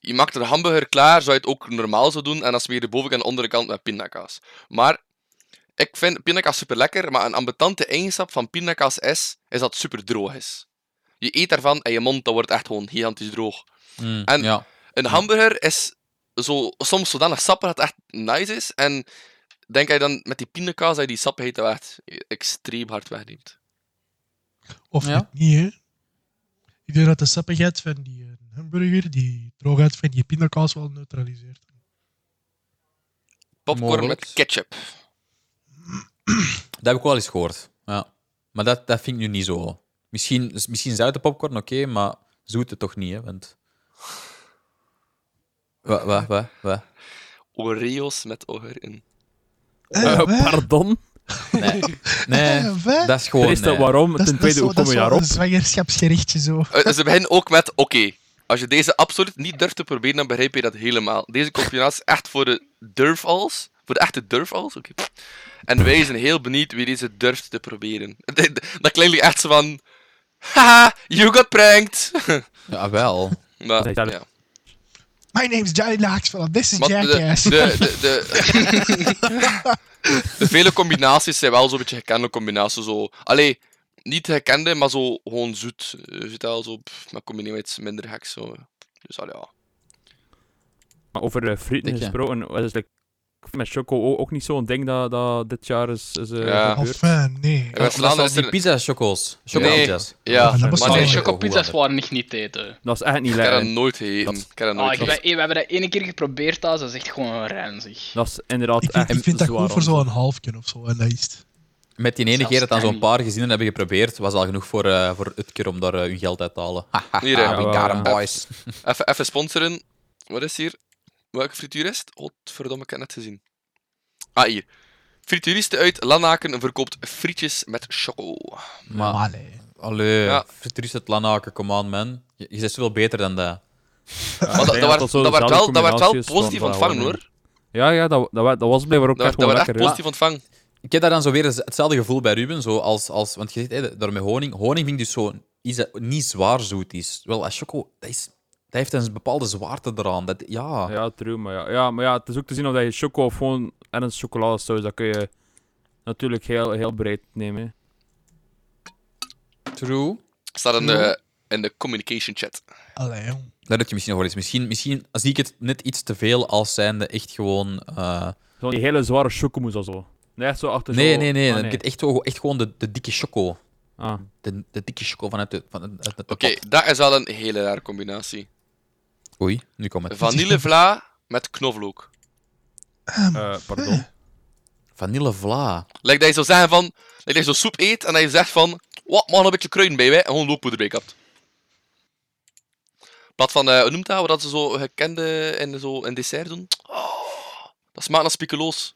Je maakt een hamburger klaar, zou je het ook normaal zo doen. En dan smeer je de bovenkant en de onderkant met pindakaas. Maar ik vind pindakaas super lekker. Maar een ambetante eigenschap van pindakaas is, is dat het super droog is. Je eet daarvan en je mond dat wordt echt gewoon gigantisch droog.
Mm,
En-
ja.
Een hamburger is zo, soms zodanig sappig dat het echt nice is. En denk hij dan met die pindakaas dat je die sappigheid wel echt extreem hard wegneemt.
Of
Ja.
net niet, hè? Ik denk dat de sappigheid van die eh, hamburger, die droogheid van die pindakaas wel neutraliseert.
Popcorn
Mogelijk.
met ketchup.
Dat heb ik wel eens gehoord. Ja. Maar dat, dat vind ik nu niet zo. Misschien, misschien zoute popcorn, oké, maar zoete toch niet, hè? Want... Wat, wat, wat, wat?
Oreos met oger in.
Eh,
Eh,
wat?
pardon?
Nee, nee
Eh, wat?
dat is gewoon...
Er is dat
nee.
waarom?
Dat is-
Ten
dat is
tweede,
zo-
hoe
dat
kom
is
je
wel
daarop?
een zwangerschapsgerichtje zo.
Eh, Ze beginnen ook met, oké, als je deze absoluut niet durft te proberen, dan begrijp je dat helemaal. Deze combinatie is echt voor de durfals. Voor de echte durfals, oké. En wij zijn heel benieuwd wie deze durft te proberen. Dat klinkt echt zo van... Haha, you got pranked!
Ja, wel.
Maar,
Dat is-
ja.
My name's Johnny Laxveld, this is
Maar
Jackass.
de, de, de, de- de vele combinaties zijn wel zo'n beetje gekende combinaties. Zo. Allee, niet gekende, maar zo gewoon zoet. Je zit al zo, pff, maar combineer met iets minder geks. Zo. Dus allee, ja.
Maar over eh, frieten
Dus
Dikke.
gesproken, was het like, met choco o- ook niet zo'n ding dat, dat dit jaar is, is eh,
Ja.
gebeurd?
Of eh, nee.
En
Dat
West-Vlaanderen
was
is
die
er...
pizza-chocos.
Nee.
Chocolade
Ja,
Ah, dat
maar
bestaat
nee,
niet.
ik
Choco-
Chocopizza's waren echt niet te eten.
Dat is echt niet
heb dat
lekker.
nooit gegeten. Ik heb dat
Ah,
nooit
ik,
gegeten.
we, we hebben dat ene keer geprobeerd, dat is echt gewoon ranzig.
Dat is inderdaad
Ik,
echt
ik vind dat
zwaar
goed voor
anders.
zo'n halfje of zo. En dat is het.
Met die ene
Zelfs
keer dat dan
kan
zo'n
niet.
paar gezinnen hebben geprobeerd, was al genoeg voor, eh voor het keer om daar eh, hun geld uit te halen. Haha,
Hier, ja.
we
Ja,
got 'em,
ja.
boys.
Even, even sponsoren. Wat is hier? Welke frituur is het? Godverdomme, ik heb het net gezien. Ah, hier. Frituuristen uit Lanaken verkoopt frietjes met choco.
Maar,
Maar nee.
allee,
Ja.
Fritrus het Lanaken, come on, man. Je, je bent zoveel beter dan dat.
Maar dat,
ik denk
dat,
dat
werd,
dat zo
dat, werd
dezelfde
wel, dat werd wel
combinatie is van-
positief
van
ontvangen
Warner.
hoor.
Ja, ja dat, dat, wa- dat was blijkbaar ook
Dat,
echt
dat
gewoon
werd echt
lekker. hè.
positief ontvangen.
Ik heb daar dan zo weer eens hetzelfde gevoel bij Ruben. Zo als, als, want je zegt, hé, daar met honing. Honing vind ik dus zo iets dat niet zwaar zoet is. Wel, als choco, dat, is, dat heeft een bepaalde zwaarte eraan. Dat, ja.
Ja, true, maar ja. ja. Maar ja, het is ook te zien of dat je choco of gewoon en een chocoladesaus, dat kun je natuurlijk heel, heel breed nemen. hè.
true.
Staat in de, in de communication chat.
Allee, jong.
Dat heb je misschien nog wel eens. Misschien, misschien zie ik het net iets te veel als zijnde echt gewoon... eh,
Zo die hele zware chocomousse of zo. Nee, echt zo achter
nee,
zo...
nee, nee.
Ah,
Ik heb echt, zo- echt gewoon de, de dikke choco.
Ah.
De, de dikke choco vanuit de... Van, uit de-
Oké, dat is wel een hele rare combinatie.
Oei, nu komt het.
Vanillevla met knoflook.
Eh, pardon.
Vanillevla.
Lijkt dat je zou zeggen van... Lijkt dat je zo soep eet en dat je zegt van... Wat, mag een beetje kruiden bij wij? En gewoon looppoeder bij kapt. Plat van... eh hoe noemt dat? Wat dat ze zo gekende in, zo, in dessert doen? Oh, dat smaakt naar speculoos.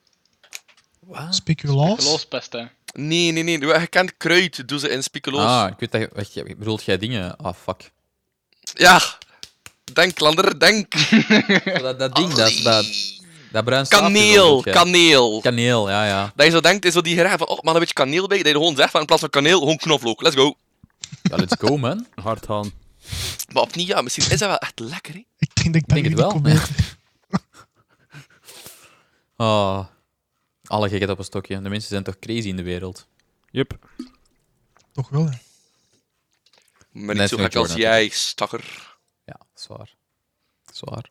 Wat?
Speculaas.
Geloofspest,
Eh,
hè.
Nee, nee, nee. wat Gekend kruid doen ze in speculoos.
Ah, ik weet dat... je- wacht, jij- Bedoelt jij dingen? Ah, fuck.
Ja. Denk, Lander, denk.
Dat, dat ding, dat, dat, dat bruin staafje,
Oh, Kaneel,
zo, weet je.
kaneel.
Kaneel, ja, ja.
Dat je zo denkt, is zo die gerecht van, oh, maar een beetje kaneel bij. Dat je gewoon zegt, van, in plaats van kaneel, gewoon knoflook. Let's go.
Ja, let's go, man.
Hard gaan.
Maar opnieuw, ja, misschien is dat wel echt lekker, hè.
Ik denk dat ik bij
denk het
jullie
wel.
kom eten.
Ah, alle gekheid op een stokje. De mensen zijn toch crazy in de wereld.
Jup.
Toch wel, hè.
Maar
Net
niet zo
zo'n
gek als
Jordan,
jij, stakker.
Ja, zwaar. Zwaar.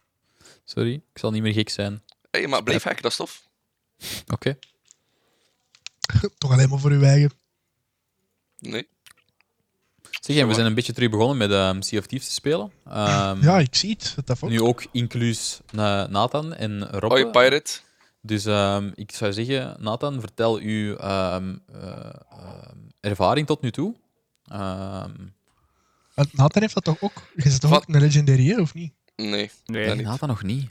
Sorry, ik zal niet meer gek zijn.
Hé, hey, maar blijf gek, dat is tof.
Oké.
Toch alleen maar voor uw eigen.
Nee.
Zeg, en we zijn een beetje terug begonnen met ehm Sea of Thieves te spelen. Ehm,
Ja, ik zie het. Dat dat ook.
Nu ook inclusief Nathan en Rob.
Hoi, Oh, pirate.
Dus ehm, ik zou zeggen, Nathan, vertel uw ehm, eh, ehm, ervaring tot nu toe. Ehm,
Want Nathan heeft dat toch ook? Je zit toch
Wat?
ook een legendary, hè, of niet?
Nee. Ah,
Nee.
Ja, niet.
Nathan nog niet.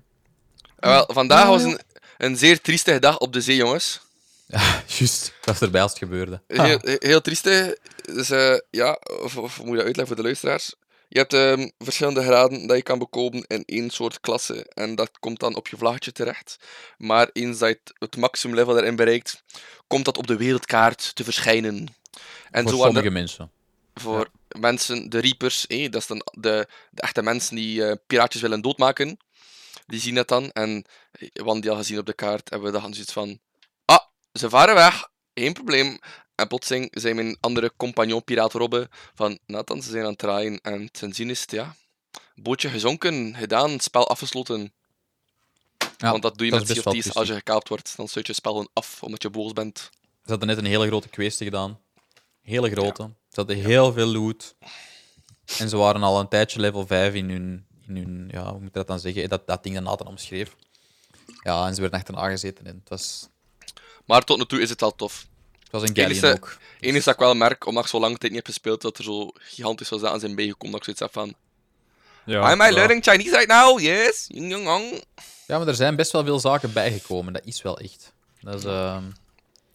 Eh, wel, vandaag was een, een zeer triestige dag op de zee, jongens.
Ja, juist. Ik was erbij als het gebeurde.
Heel, heel triest, hè. Dus eh, ja, of, of moet je dat uitleggen voor de luisteraars? Je hebt ehm, verschillende graden dat je kan bekomen in één soort klasse. En dat komt dan op je vlaggetje terecht. Maar eens dat je het- het maximum level daarin bereikt, komt dat op de wereldkaart te verschijnen. En
voor
zo waren
sommige
er
mensen.
voor mensen, de Reapers, hé, dat zijn de, de echte mensen die eh piraatjes willen doodmaken. Die zien dat dan. En eh, want die al gezien op de kaart hebben we dan zoiets van... Ah, ze varen weg. Geen probleem. En plotseling zijn mijn andere compagnon, piraat Robbe, van Nathan, ze zijn aan het draaien. En ten zien is het, ja, bootje gezonken, gedaan, het spel afgesloten.
Ja,
want dat doe je
dat
met
is best wel
CFT's als je
triestig.
gekaapt wordt. Dan sluit je het spel gewoon af, omdat je boos bent.
Ze hadden net een hele grote quest gedaan. Hele grote. Ze hadden heel veel loot. En ze waren al een tijdje level 5 in hun... In hun ja, hoe moet je dat dan zeggen? Dat, dat ding dat Nathan omschreef. Ja, en ze werden achterna gezeten. En het, was,
Maar tot nu toe is het al tof.
het was een
Enige-
Galleon ook.
Eén is dat ik wel merk, omdat ik zo lang tijd niet heb gespeeld, dat er zo gigantisch veel zaken zijn bijgekomen, dat ik zoiets heb van...
Ja,
Am I learning Chinese right now? Yes! Ying, yong, yong.
Ja, maar er zijn best wel veel zaken bijgekomen. Dat is wel echt. Dat is, ehm,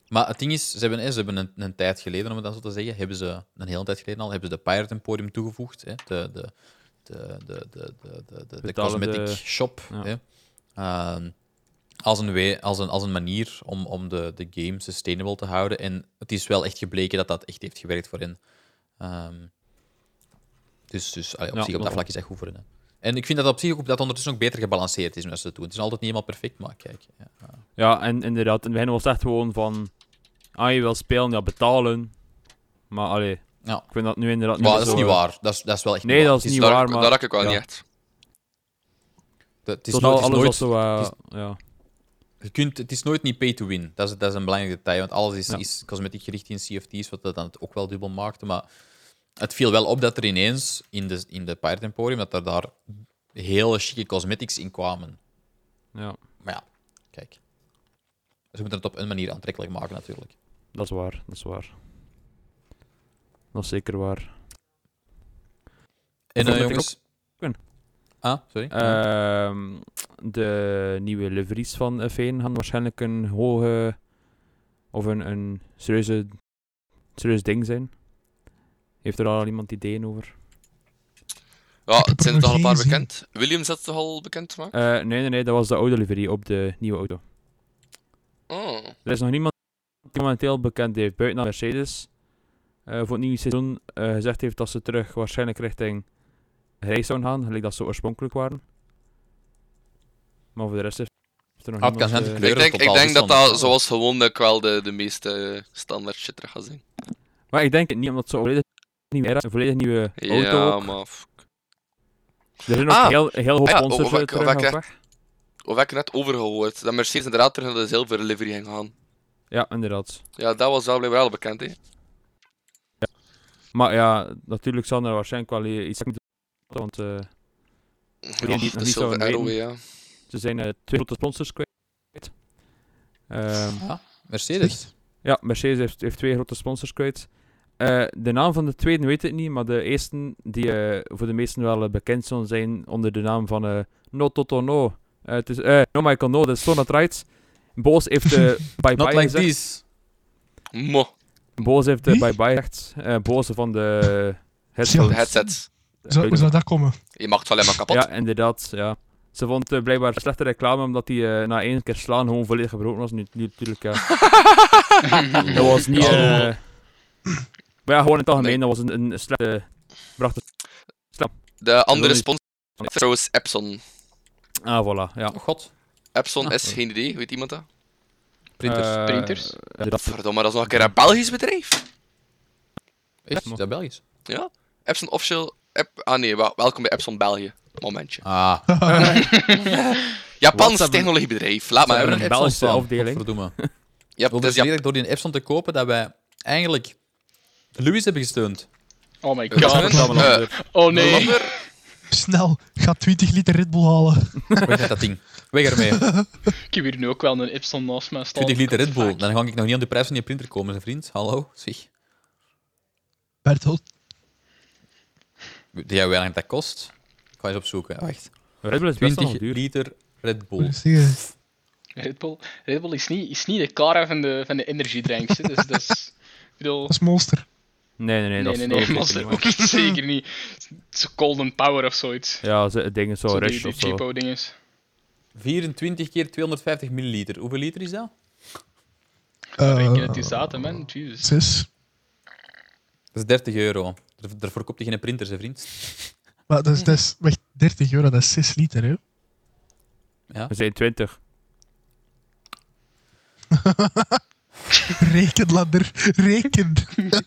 Maar het ding is, ze hebben, hè, ze hebben een, een tijd geleden, om het dan zo te zeggen, hebben ze een hele tijd geleden al, hebben ze de Pirate Emporium toegevoegd. Hè? De, de, de, de, de, de, de, de, de
Betalende-
cosmetic shop.
Ja.
Hè? Ehm, als, een we, als, een, als een manier om, om de, de game sustainable te houden. En het is wel echt gebleken dat dat echt heeft gewerkt voor hen. Ehm, dus dus allee, op
Ja,
zich op dat
dat-
vlak is dat goed voor hen. hè. En ik vind dat op zich ook dat ondertussen ook beter gebalanceerd is nu als ze het doen. Het is altijd niet helemaal perfect, maar kijk. Ja.
ja, en inderdaad. In het begin was het echt gewoon van... Ah, je wil spelen, ja, betalen. Maar allee,
Ja.
ik vind dat nu inderdaad
Maar dat is
zo- eh,
niet waar. Dat is, dat is wel echt
Nee,
waar.
dat is
Het
niet
Daar-
waar, maar...
Daar raak ik wel
ja.
niet echt.
dat- Het is,
Tot
nooit,
al-
het is
alles
nooit-
was zo... eh,
het
ja.
je kunt, het is nooit niet pay to win. Dat is, dat is een belangrijk detail. Want alles is,
Ja.
is cosmetic gericht in CFT's, wat dat dan ook wel dubbel maakte. Maar het viel wel op dat er ineens in de, in de Pirate Emporium dat er daar hele chique cosmetics in kwamen.
ja,
Maar ja, kijk. Ze moeten het op een manier aantrekkelijk maken, natuurlijk.
dat is waar. Dat is waar. Dat is zeker waar.
En
Of
eh,
met
jongens.
de
Ah, sorry.
Ehm, de nieuwe liveries van F1 gaan waarschijnlijk een hoge of een, een serieuze, serieus ding zijn. Heeft er al iemand ideeën over?
Ja,
heb
het
er
zijn
nog
er toch al een paar
geen gezien.
bekend. Williams had het toch al bekend gemaakt?
Eh, nee, nee, nee, dat was de oude livery op de nieuwe auto.
Oh.
Er is nog niemand die momenteel bekend heeft buiten dan Mercedes eh, voor het nieuwe seizoen eh, gezegd heeft dat ze terug waarschijnlijk richting grijs zouden gaan, gelijk dat ze oorspronkelijk waren. Maar voor de rest is er nog
Ah, het kan zijn
niemand...
dat de
eh,
kleur is
Ik denk, ik
totaal
denk dat
verschillend.
dat zoals gewoonlijk wel de, de meeste standaard shit terug gaat zijn.
Maar ik denk het niet, omdat ze een volledig nieuwe era, een volledig nieuwe auto.
Ja,
ook.
maar... f-
Er zijn ook
Ah.
heel, heel wat
Ah ja,
sponsors
oh, wat
eh,
ik-
terug
wat ik
aan
echt-
weg.
Of heb ik net overgehoord? Dat Mercedes inderdaad terug naar de zilveren livery ging gaan.
Ja, inderdaad.
Ja, dat was wel blijkbaar wel bekend, hè.
Maar ja, natuurlijk zal er waarschijnlijk wel eh, iets moeten want eh,
Ja,
die het nog
de
niet zouden
zilveren arrow,
weten.
ja.
ze zijn eh, twee grote sponsors kwijt. Ehm,
Ja, Mercedes.
ja, Mercedes heeft, heeft twee grote sponsors kwijt. Eh, de naam van de tweede weet ik niet, maar de eerste die eh, voor de meesten wel eh, bekend zal zijn onder de naam van eh, No Toto No. Eh, het is, eh, no Michael No, dat is So Not Right. Boos heeft eh, bye-bye
Not like
gezegd.
this.
Mo,
Boos heeft de
Wie?
bye-bye gezegd. Eh, Boze van de eh,
de
headphones.
Ja.
headsets.
Zou, hoe zou dat komen?
Je mag het wel helemaal kapot.
Ja, inderdaad. Ja. Ze vond eh, blijkbaar slechte reclame omdat hij eh, na één keer slaan gewoon volledig gebroken was. Nu, nu natuurlijk, ja. dat was niet... eh, maar ja, gewoon in het algemeen, dat was een, een slechte... Bracht het-
De andere
niet-
sponsor is trouwens Epson.
Ah, voilà, ja.
Oh god,
Epson
Ah,
is geen idee, weet iemand dat?
printers.
Eh,
Printers?
inderdaad.
Verdomme, dat is nog een keer een Belgisch bedrijf.
Echt? Is dat Belgisch?
Epson Official. Ep- ah nee, wel- welkom bij Epson België. Momentje.
Ah,
Japans
hebben-
technologiebedrijf, laat maar.
Ze
hebben
hebben.
een
een
Ah, Epson
Belgische
staan,
afdeling.
godverdomme. Wil
Ja, dat
dus
is Jap-
zeggen, door die Epson te kopen dat wij eigenlijk Louis hebben gesteund.
Oh my
dat is
god.
een-
allemaal
eh,
anders.
Oh nee.
Robber,
Snel, ga 20 liter Red Bull halen.
Weg met dat ding. Weg ermee.
Ik heb hier nu ook wel een Epson naast mij staan.
20 liter Red Bull.
Fuck.
Dan ga ik nog niet aan de prijs van die printer komen, zijn vriend. Hallo, zeg.
Bertolt,
Weet jij hoe weinig dat kost? Ik ga eens opzoeken. Wacht.
Red Bull is best wel
20
nog duur.
liter Red
moet
Bull.
ik zeggen.
Red Bull, Red Bull is, niet, is niet de Cara van de, van de energiedrinks. hè. Dus dat is. Ik bedoel,
Dat is monster.
Nee, nee, nee.
nee,
dat
nee,
is
nee,
dat is
Monster
niet,
ook
man.
niet, zeker niet. Zo Golden Power of zoiets.
Ja, ze- dingen zo,
Zo die-
Rush
die
of zo.
Cheapo-dinges.
24 keer 250 milliliter. Hoeveel liter is dat?
Uh,
Eh,
het is datum, man. Jezus.
Zes.
Dat is 30 euro. Daar- Daarvoor koopt je geen printer, hè, vriend.
Maar dat is, dat is wacht, 30 euro, dat is 6 liter, hè?
Ja.
We zijn 20.
Reken, ladder, reken.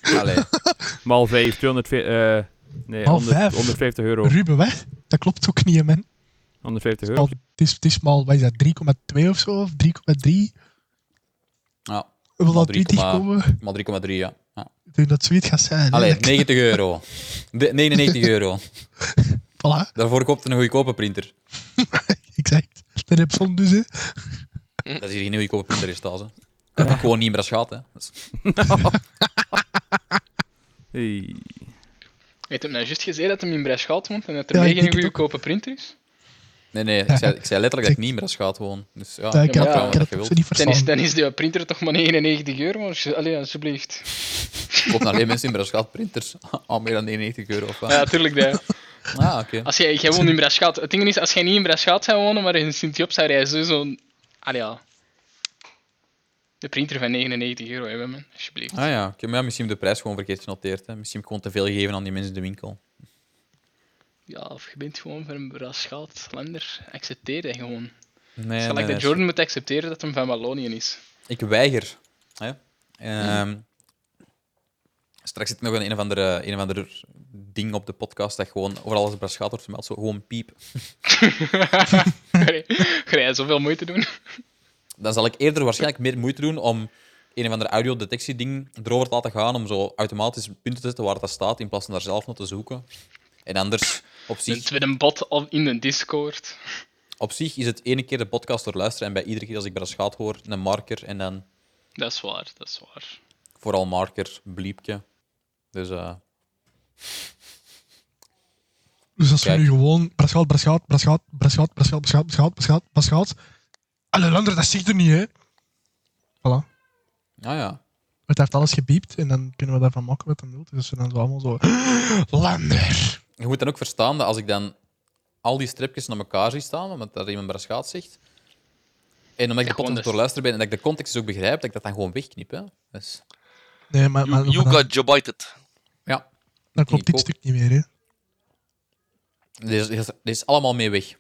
Allee.
Maal 5, 240. eh, nee,
Maal
100
vijf?
150 euro.
Ruben, weg. Dat klopt ook niet, hè, man.
150
Al-
euro.
Het is, het is maar, wat is dat, 3,2 of zo? Of 3,3?
Ja,
We willen
Al
al 20
3,3.
komen. Ik
maar 3,3, ja. ja.
denk dat zoiets gaat zijn. hè.
Allee,
Dat-
90 euro. De- 99 euro.
Voilà,
Daarvoor koopt een goedkope printer.
exact. Dan heb je zon dus, hè.
Dat is hier geen goedkope printer in staat, hè. Dat heb ik gewoon niet meer als gehad, hè. Dat is-
Hey.
Heeft hem nou juist gezegd dat hem in Bres gaat woont en dat er
Ja,
mee
ik
geen
denk het ook.
goedkope print is?
Nee, nee, ik zei, ik zei letterlijk dat ik
Zeg-
niet meer als gehad gewoon. Dus ja,
Ja, ik kan,
maar
ja,
het-
ja,
ik kan
dat
het
je
ook
wilt.
zo niet
Dan is,
verstaan.
dan is de printer toch maar 99 euro, maar alsje- allee, alsjeblieft.
Koop alleen mensen in Braschat printers. Al meer dan 99 euro of wat.
Ja, tuurlijk. Dat.
Ah, oké.
Als jij, jij woont in Bres gaat. Het ding is, als jij niet in Bres gaat zou wonen, maar in Sint-Job zou jij sowieso... een- Allee, ja. De printer van 99 euro hebben, man. Alsjeblieft.
Ah ja, oké. maar ja, misschien heb ik de prijs gewoon verkeerd genoteerd. Hè. Misschien heb ik gewoon te veel gegeven aan die mensen in de winkel.
Ja, of je bent gewoon van een Brasschaat lander. Accepteer dat gewoon.
Nee,
Het is
nee,
gelijk
nee,
dat Jordan moet accepteren dat hem van Wallonië is.
Ik weiger. Hè? Ehm, Straks zit er nog een, een, of andere, een of ander ding op de podcast dat gewoon overal als Braschat wordt vermeld. Zo gewoon piep.
Ga jij zoveel moeite doen?
Dan zal ik eerder waarschijnlijk meer moeite doen om een of ander audiodetectieding erover te laten gaan. Om zo automatisch punten te zetten waar dat staat in plaats van daar zelf naar te zoeken. En anders, op zich,
Met een bot al in een Discord.
op zich is het ene keer de podcast door luisteren en bij iedere keer als ik Braschat hoor, een marker en dan
Dat is waar, dat is waar.
vooral marker, bliepje. Dus eh,
Dus als we
Kijk.
nu gewoon Braschaat, Braschaat, Braschaat, Braschaat, Braschaat, Braschaat, Braschaat, Braschaat, Braschaat. Alle lander, dat zegt er niet, hè. Voilà.
nou ja.
Het heeft alles gebiept en dan kunnen we daarvan maken wat dan wilt. Dus we dan zo allemaal zo... Lander!
Je moet dan ook verstaan dat als ik dan al die stripjes naar elkaar zie staan, omdat daar iemand Braschaat zegt, en omdat ik de
Ja, gewoon
podcast
dus.
doorluister ben en dat ik de context dus ook begrijp, dat ik dat dan gewoon wegknip. Hè. Dus,
Nee, maar, maar
You, you
maar dan,
got jobited.
Eh,
ja,
dan klopt
ik
dit
ook.
stuk niet meer, hè.
dit is, dit is- dit is allemaal mee weg.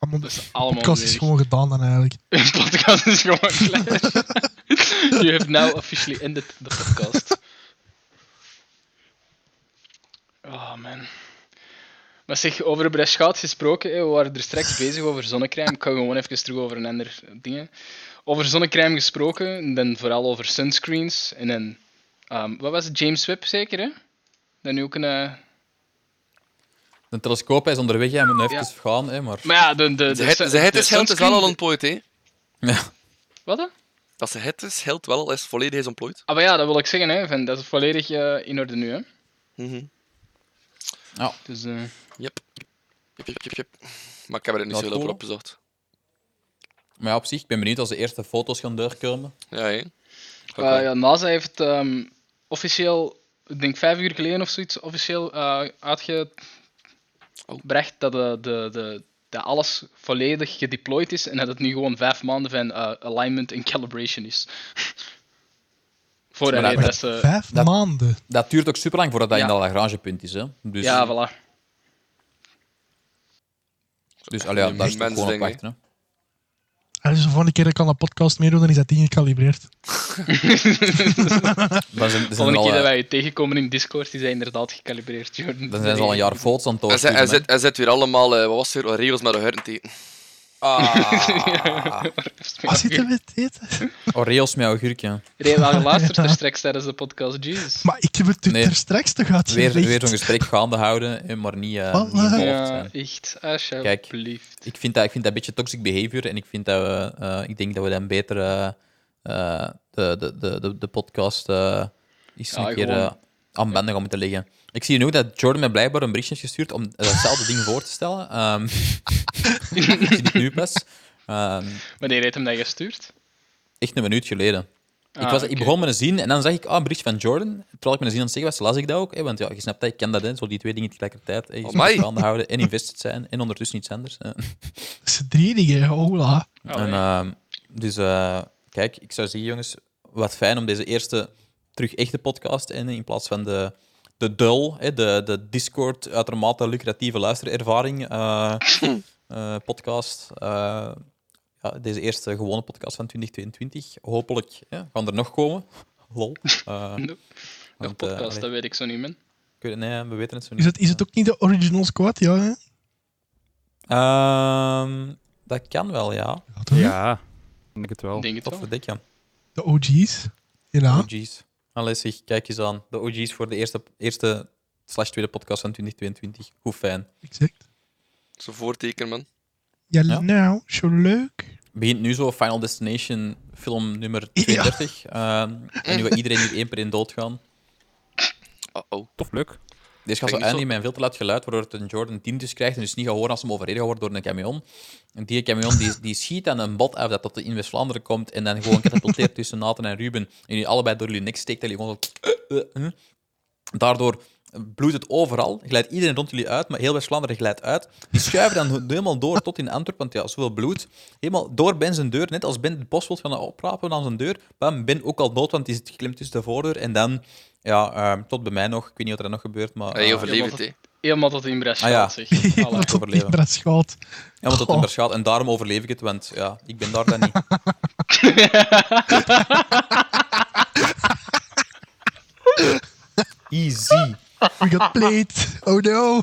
Allemaal,
Dat is
de
allemaal
podcast is
weer-
gewoon gedaan dan eigenlijk.
De podcast is gewoon klaar. you have now nou officially ended the podcast. Oh man. Maar zeg, over Breschgaat gesproken, hè, we waren er straks bezig over zonnecrème. Ik ga gewoon even terug over een ander ding. hè. Over zonnecrème gesproken, en dan vooral over sunscreens. En dan, ehm, wat was het, James Webb zeker, hè? Dan nu ook een... eh,
De telescoop hij is onderweg, hij moet nog even
Ja.
gaan, hè, maar...
Maar ja, de... de, de,
Ze het,
sun-
ze
dus, eh,
het
de
is geld is wel
sunscreen-
al ontplooit, hè?
Ja.
Wat, hè?
Dat ze het is geld wel al is volledig is ontplooit.
Ah, maar ja, dat wil ik zeggen, hè. Van, dat is volledig eh, in orde nu, hè.
Mhm.
Dus... eh,
Yep. Yep, yep, yep, yep. Maar ik heb er niet
Dat
zoveel over
cool.
opgezocht.
maar ja, op zich, ik ben benieuwd als de eerste foto's gaan doorkomen.
Ja, hè?
Eh, ja, NASA heeft ehm, officieel, ik denk vijf uur geleden of zoiets, officieel eh, uitgebracht dat de, de, de, dat alles volledig gedeployed is en dat het nu gewoon vijf maanden van eh, alignment en calibration is. Voor
Maar
allee,
dat-
dat ze...
Vijf
dat-
maanden.
Dat duurt ook super lang voordat dat
Ja.
in dat lagrangepunt is, hè. Dus,
Ja, voilà.
dus allee, ja, daar is het
Immens
gewoon op
ding, hè.
wachten, hè.
En dus de volgende keer dat ik aan een podcast meedoen, dan is dat ding gecalibreerd.
Dan zijn, dan zijn er
Volgende
al,
keer dat
eh,
wij je tegenkomen in Discord, die zijn inderdaad gecalibreerd, Jordan.
dan zijn ze al een jaar foto's aan het
Hij zet, hij,
doorschieten,
zet, hij zet weer allemaal, eh, wat was er, regels met de hurrenteken.
hè. Ah,
Wat zitten we te eten?
Oreos met augurkje.
Reden we geluisterd er straks tijdens de podcast, jeez.
Maar ik heb het
Nee.
er straks toch uit
Weer,
gelegd.
weer zo'n gesprek gaande houden, hè, maar niet, eh,
Voilà.
niet involved
Ja,
zijn.
echt, alsjeblieft.
Ik vind, dat, ik vind dat een beetje toxic behavior en ik, vind dat we, eh, ik denk dat we dan beter eh, eh, de, de, de, de, de podcast eh eens
Ja,
een keer
gewoon.
eh, aan banden gaan moeten leggen. Ik zie nu ook dat Jordan mij blijkbaar een berichtje heeft gestuurd om hetzelfde ding voor te stellen. Ehm dat zie ik nu pas. Ehm,
Wanneer heeft hem dat gestuurd?
echt een minuut geleden. ik,
Ah,
was, ik begon met een zin en dan zag ik, ah, een bericht van Jordan. Terwijl ik met een zin aan het zeggen was, las ik dat ook. Hè, want ja, je snapt dat, ik ken dat, hè, zo die twee dingen tegelijkertijd. Hè, je moet
Amai.
staande houden en invested zijn en ondertussen iets anders. hè.
Dat is de drieënige, hola.
Ah,
En, ehm, dus eh, kijk, ik zou zeggen, jongens, wat fijn om deze eerste terug echte podcast in, in plaats van de, de dull, hè, de, de Discord uitermate lucratieve luisterervaring eh, eh, podcast. eh, ja, deze eerste gewone podcast van 2022. Hopelijk hè, gaan er nog komen. Lol. Eh,
Nope. Nog
want, eh,
podcast,
allee,
dat weet ik zo niet, man.
ik weet- nee, we weten het zo niet.
Is het, is het ook niet de original squad? Ja, hè?
Ehm, dat kan wel, ja.
Ja, toch?
Ja, denk het wel.
Ik denk het
Toffe
wel.
dik, ja.
De OG's. Ja.
OG's. Allee, zeg, kijk eens aan. De OG's voor de eerste, eerste slash tweede podcast van 2022. Hoe fijn.
exact.
Zo voorteken, man.
Ja,
Ja.
nou, zo leuk.
Begint nu zo Final Destination film nummer 32. Ehm, en nu gaat iedereen hier één per één doodgaan.
Oh-oh.
Tof, leuk.
Deze gaat zo
Kijk, niet zo-
eindigen met een veel te luid geluid, waardoor het een Jordan 10 dus krijgt en dus niet gaat horen als hem overreden gaat worden door een camion. En die camion die, die schiet aan een bot af dat tot in West-Vlaanderen komt en dan gewoon catapulteert tussen Nathan en Ruben. En jullie allebei door jullie nek steekt en jullie gewoon zo... eh, eh, eh. Daardoor bloedt het overal, glijdt iedereen rond jullie uit, maar heel West-Vlaanderen glijdt uit. Die schuiven dan helemaal door tot in Antwerpen, want ja, zoveel bloed. Helemaal door Ben zijn deur, net als Ben het bos wil gaan oprapen aan zijn deur. Bam, Ben ook al dood, want die zit geklemd tussen de voordeur. En dan, ja, ehm, tot bij mij nog. Ik weet niet wat er nog gebeurt, maar...
Hij
eh,
overleeft,
ja,
hè.
Helemaal tot in Brescia,
Ah, ja.
zeg. Allee.
Iemand op
overleven.
Libra schaalt.
Ja, want dat
Goh.
in Berschaal. En daarom overleef ik het, want ja, ik ben daar dan niet. Easy.
We got played. Oh no.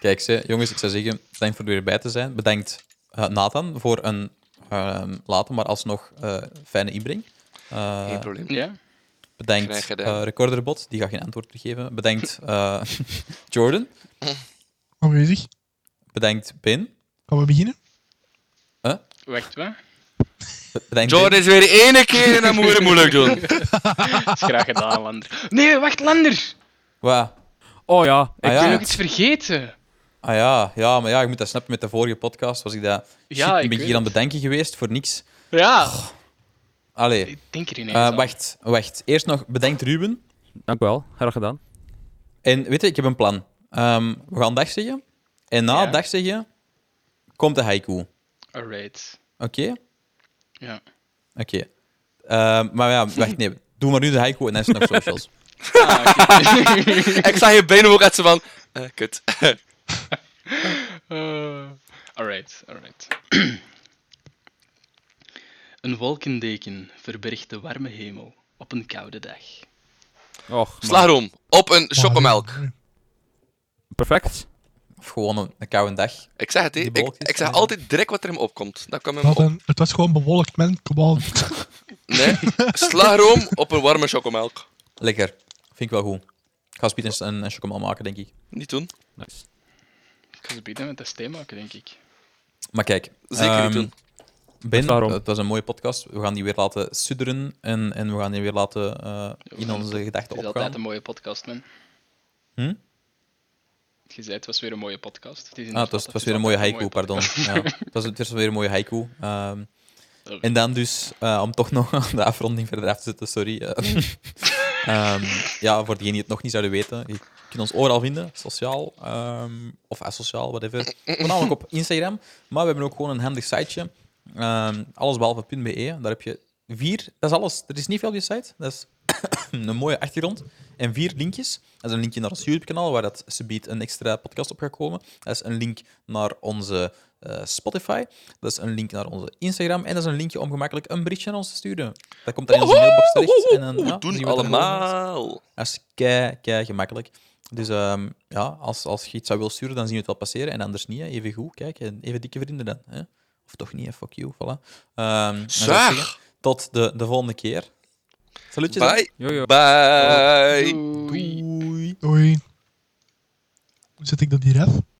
Kijk, ze, jongens, ik zou zeggen, bedankt voor er weer bij te zijn. Bedankt eh, Nathan voor een ehm late, maar alsnog eh, fijne inbreng. Eh,
Geen probleem.
Ja.
bedankt
Graag gedaan.
eh, Recorderbot, die gaat geen antwoord geven. Bedankt eh, Jordan.
Aanwezig.
Bedankt Ben.
Gaan we beginnen?
Wacht, wat?
Bedankt
Jordan is weer de ene keer en dan moet je het moeilijk doen.
Dat is graag gedaan, Lander. Nee, wacht, Lander!
Wow.
Oh ja, ik
Ah,
Ik
ja.
ben ook iets vergeten.
Ah ja, ja, maar ja, je moet dat snappen met de vorige podcast. Was ik dat
Ja,
shit,
ik
ben ik
weet
hier aan
het.
bedenken geweest voor niks.
Ja,
Allee,
Oh. ik denk er ineens
eh,
aan.
wacht, wacht. Eerst nog bedankt Ruben.
dank u wel. Graag gedaan.
En weet je, ik heb een plan. Ehm, we gaan dag zeggen. En na
Ja.
dag zeggen komt de haiku. Oké?
Alright. Ja.
Oké. Ehm, maar ja, wacht, nee. Doe maar nu de haiku en dan is het nog socials.
Ah, oké.
Ik zag je benen ook uit zo van... eh, kut.
Eh, alright, alright. een wolkendeken verbergt de warme hemel op een koude dag.
Och, man.
Slagroom. Op een chocomelk.
Perfect.
Of gewoon een, een koude dag.
Ik zeg het, hè.
Die
Ik,
bolletjes
ik zeg
zijn er.
altijd direct wat er in me opkomt. Dat kwam in me
Wat
op.
een- Nou, het was gewoon bewolkt, man. Kom on.
Nee. Slagroom op een warme chocomelk.
Lekker. Vind ik wel goed. Ik ga speed een, een chocomel maken, denk ik.
Niet doen.
Nice.
Ik ga ze bieden met dat steen maken, denk ik.
Maar kijk.
Zeker niet
ehm,
doen.
Ben,
Daarom.
het was een mooie podcast. We gaan die weer laten sudderen en, en we gaan die weer laten eh, in onze
Het
gedachten
is
opgaan.
altijd een mooie podcast, man.
Hm?
Je zei, het was weer een mooie podcast. Het is
Ah, het
inderdaad-
was, het was
dus is
weer een mooie
altijd
haiku, pardon.
podcast.
Ja, het, was, het was weer een mooie haiku. Ehm,
Dat-
en dan dus, eh, om toch nog aan de afronding verder af te zetten, sorry. eh. Ehm, ja, voor diegenen die het nog niet zouden weten, je kunt ons overal vinden, sociaal ehm, of asociaal, whatever.
Eh,
Voornamelijk op Instagram, maar we hebben ook gewoon een handig siteje. Ehm allesbehalve.be, daar heb je vier, dat is alles, er is niet veel op die site, dat is een mooie achtergrond. En vier linkjes. Dat is een linkje naar ons YouTube-kanaal, waar dat subiet een extra podcast op gaat komen. Dat is een link naar onze eh, Spotify. Dat is een link naar onze Instagram. En dat is een linkje om gemakkelijk een berichtje aan ons te sturen. Dat komt dan in onze mailbox terecht. En dan, ja,
Oeh, doen
zien we het er volgende keer.
allemaal.
Dat is kei, kei gemakkelijk. Dus ehm, ja, als, als je iets zou willen sturen, dan zien we het wel passeren. En anders niet, hè. even goed. Kijk, en even dikke vrienden dan. Hè. Of toch niet, hè. fuck you. Voilà. Ehm, dan zou ik
Zeg.
zeggen, Tot de, de volgende keer. Salutjes. hè.
Bye.
Yo, yo.
Bye.
Doei.
Doei. Hoe zet ik dat hier af?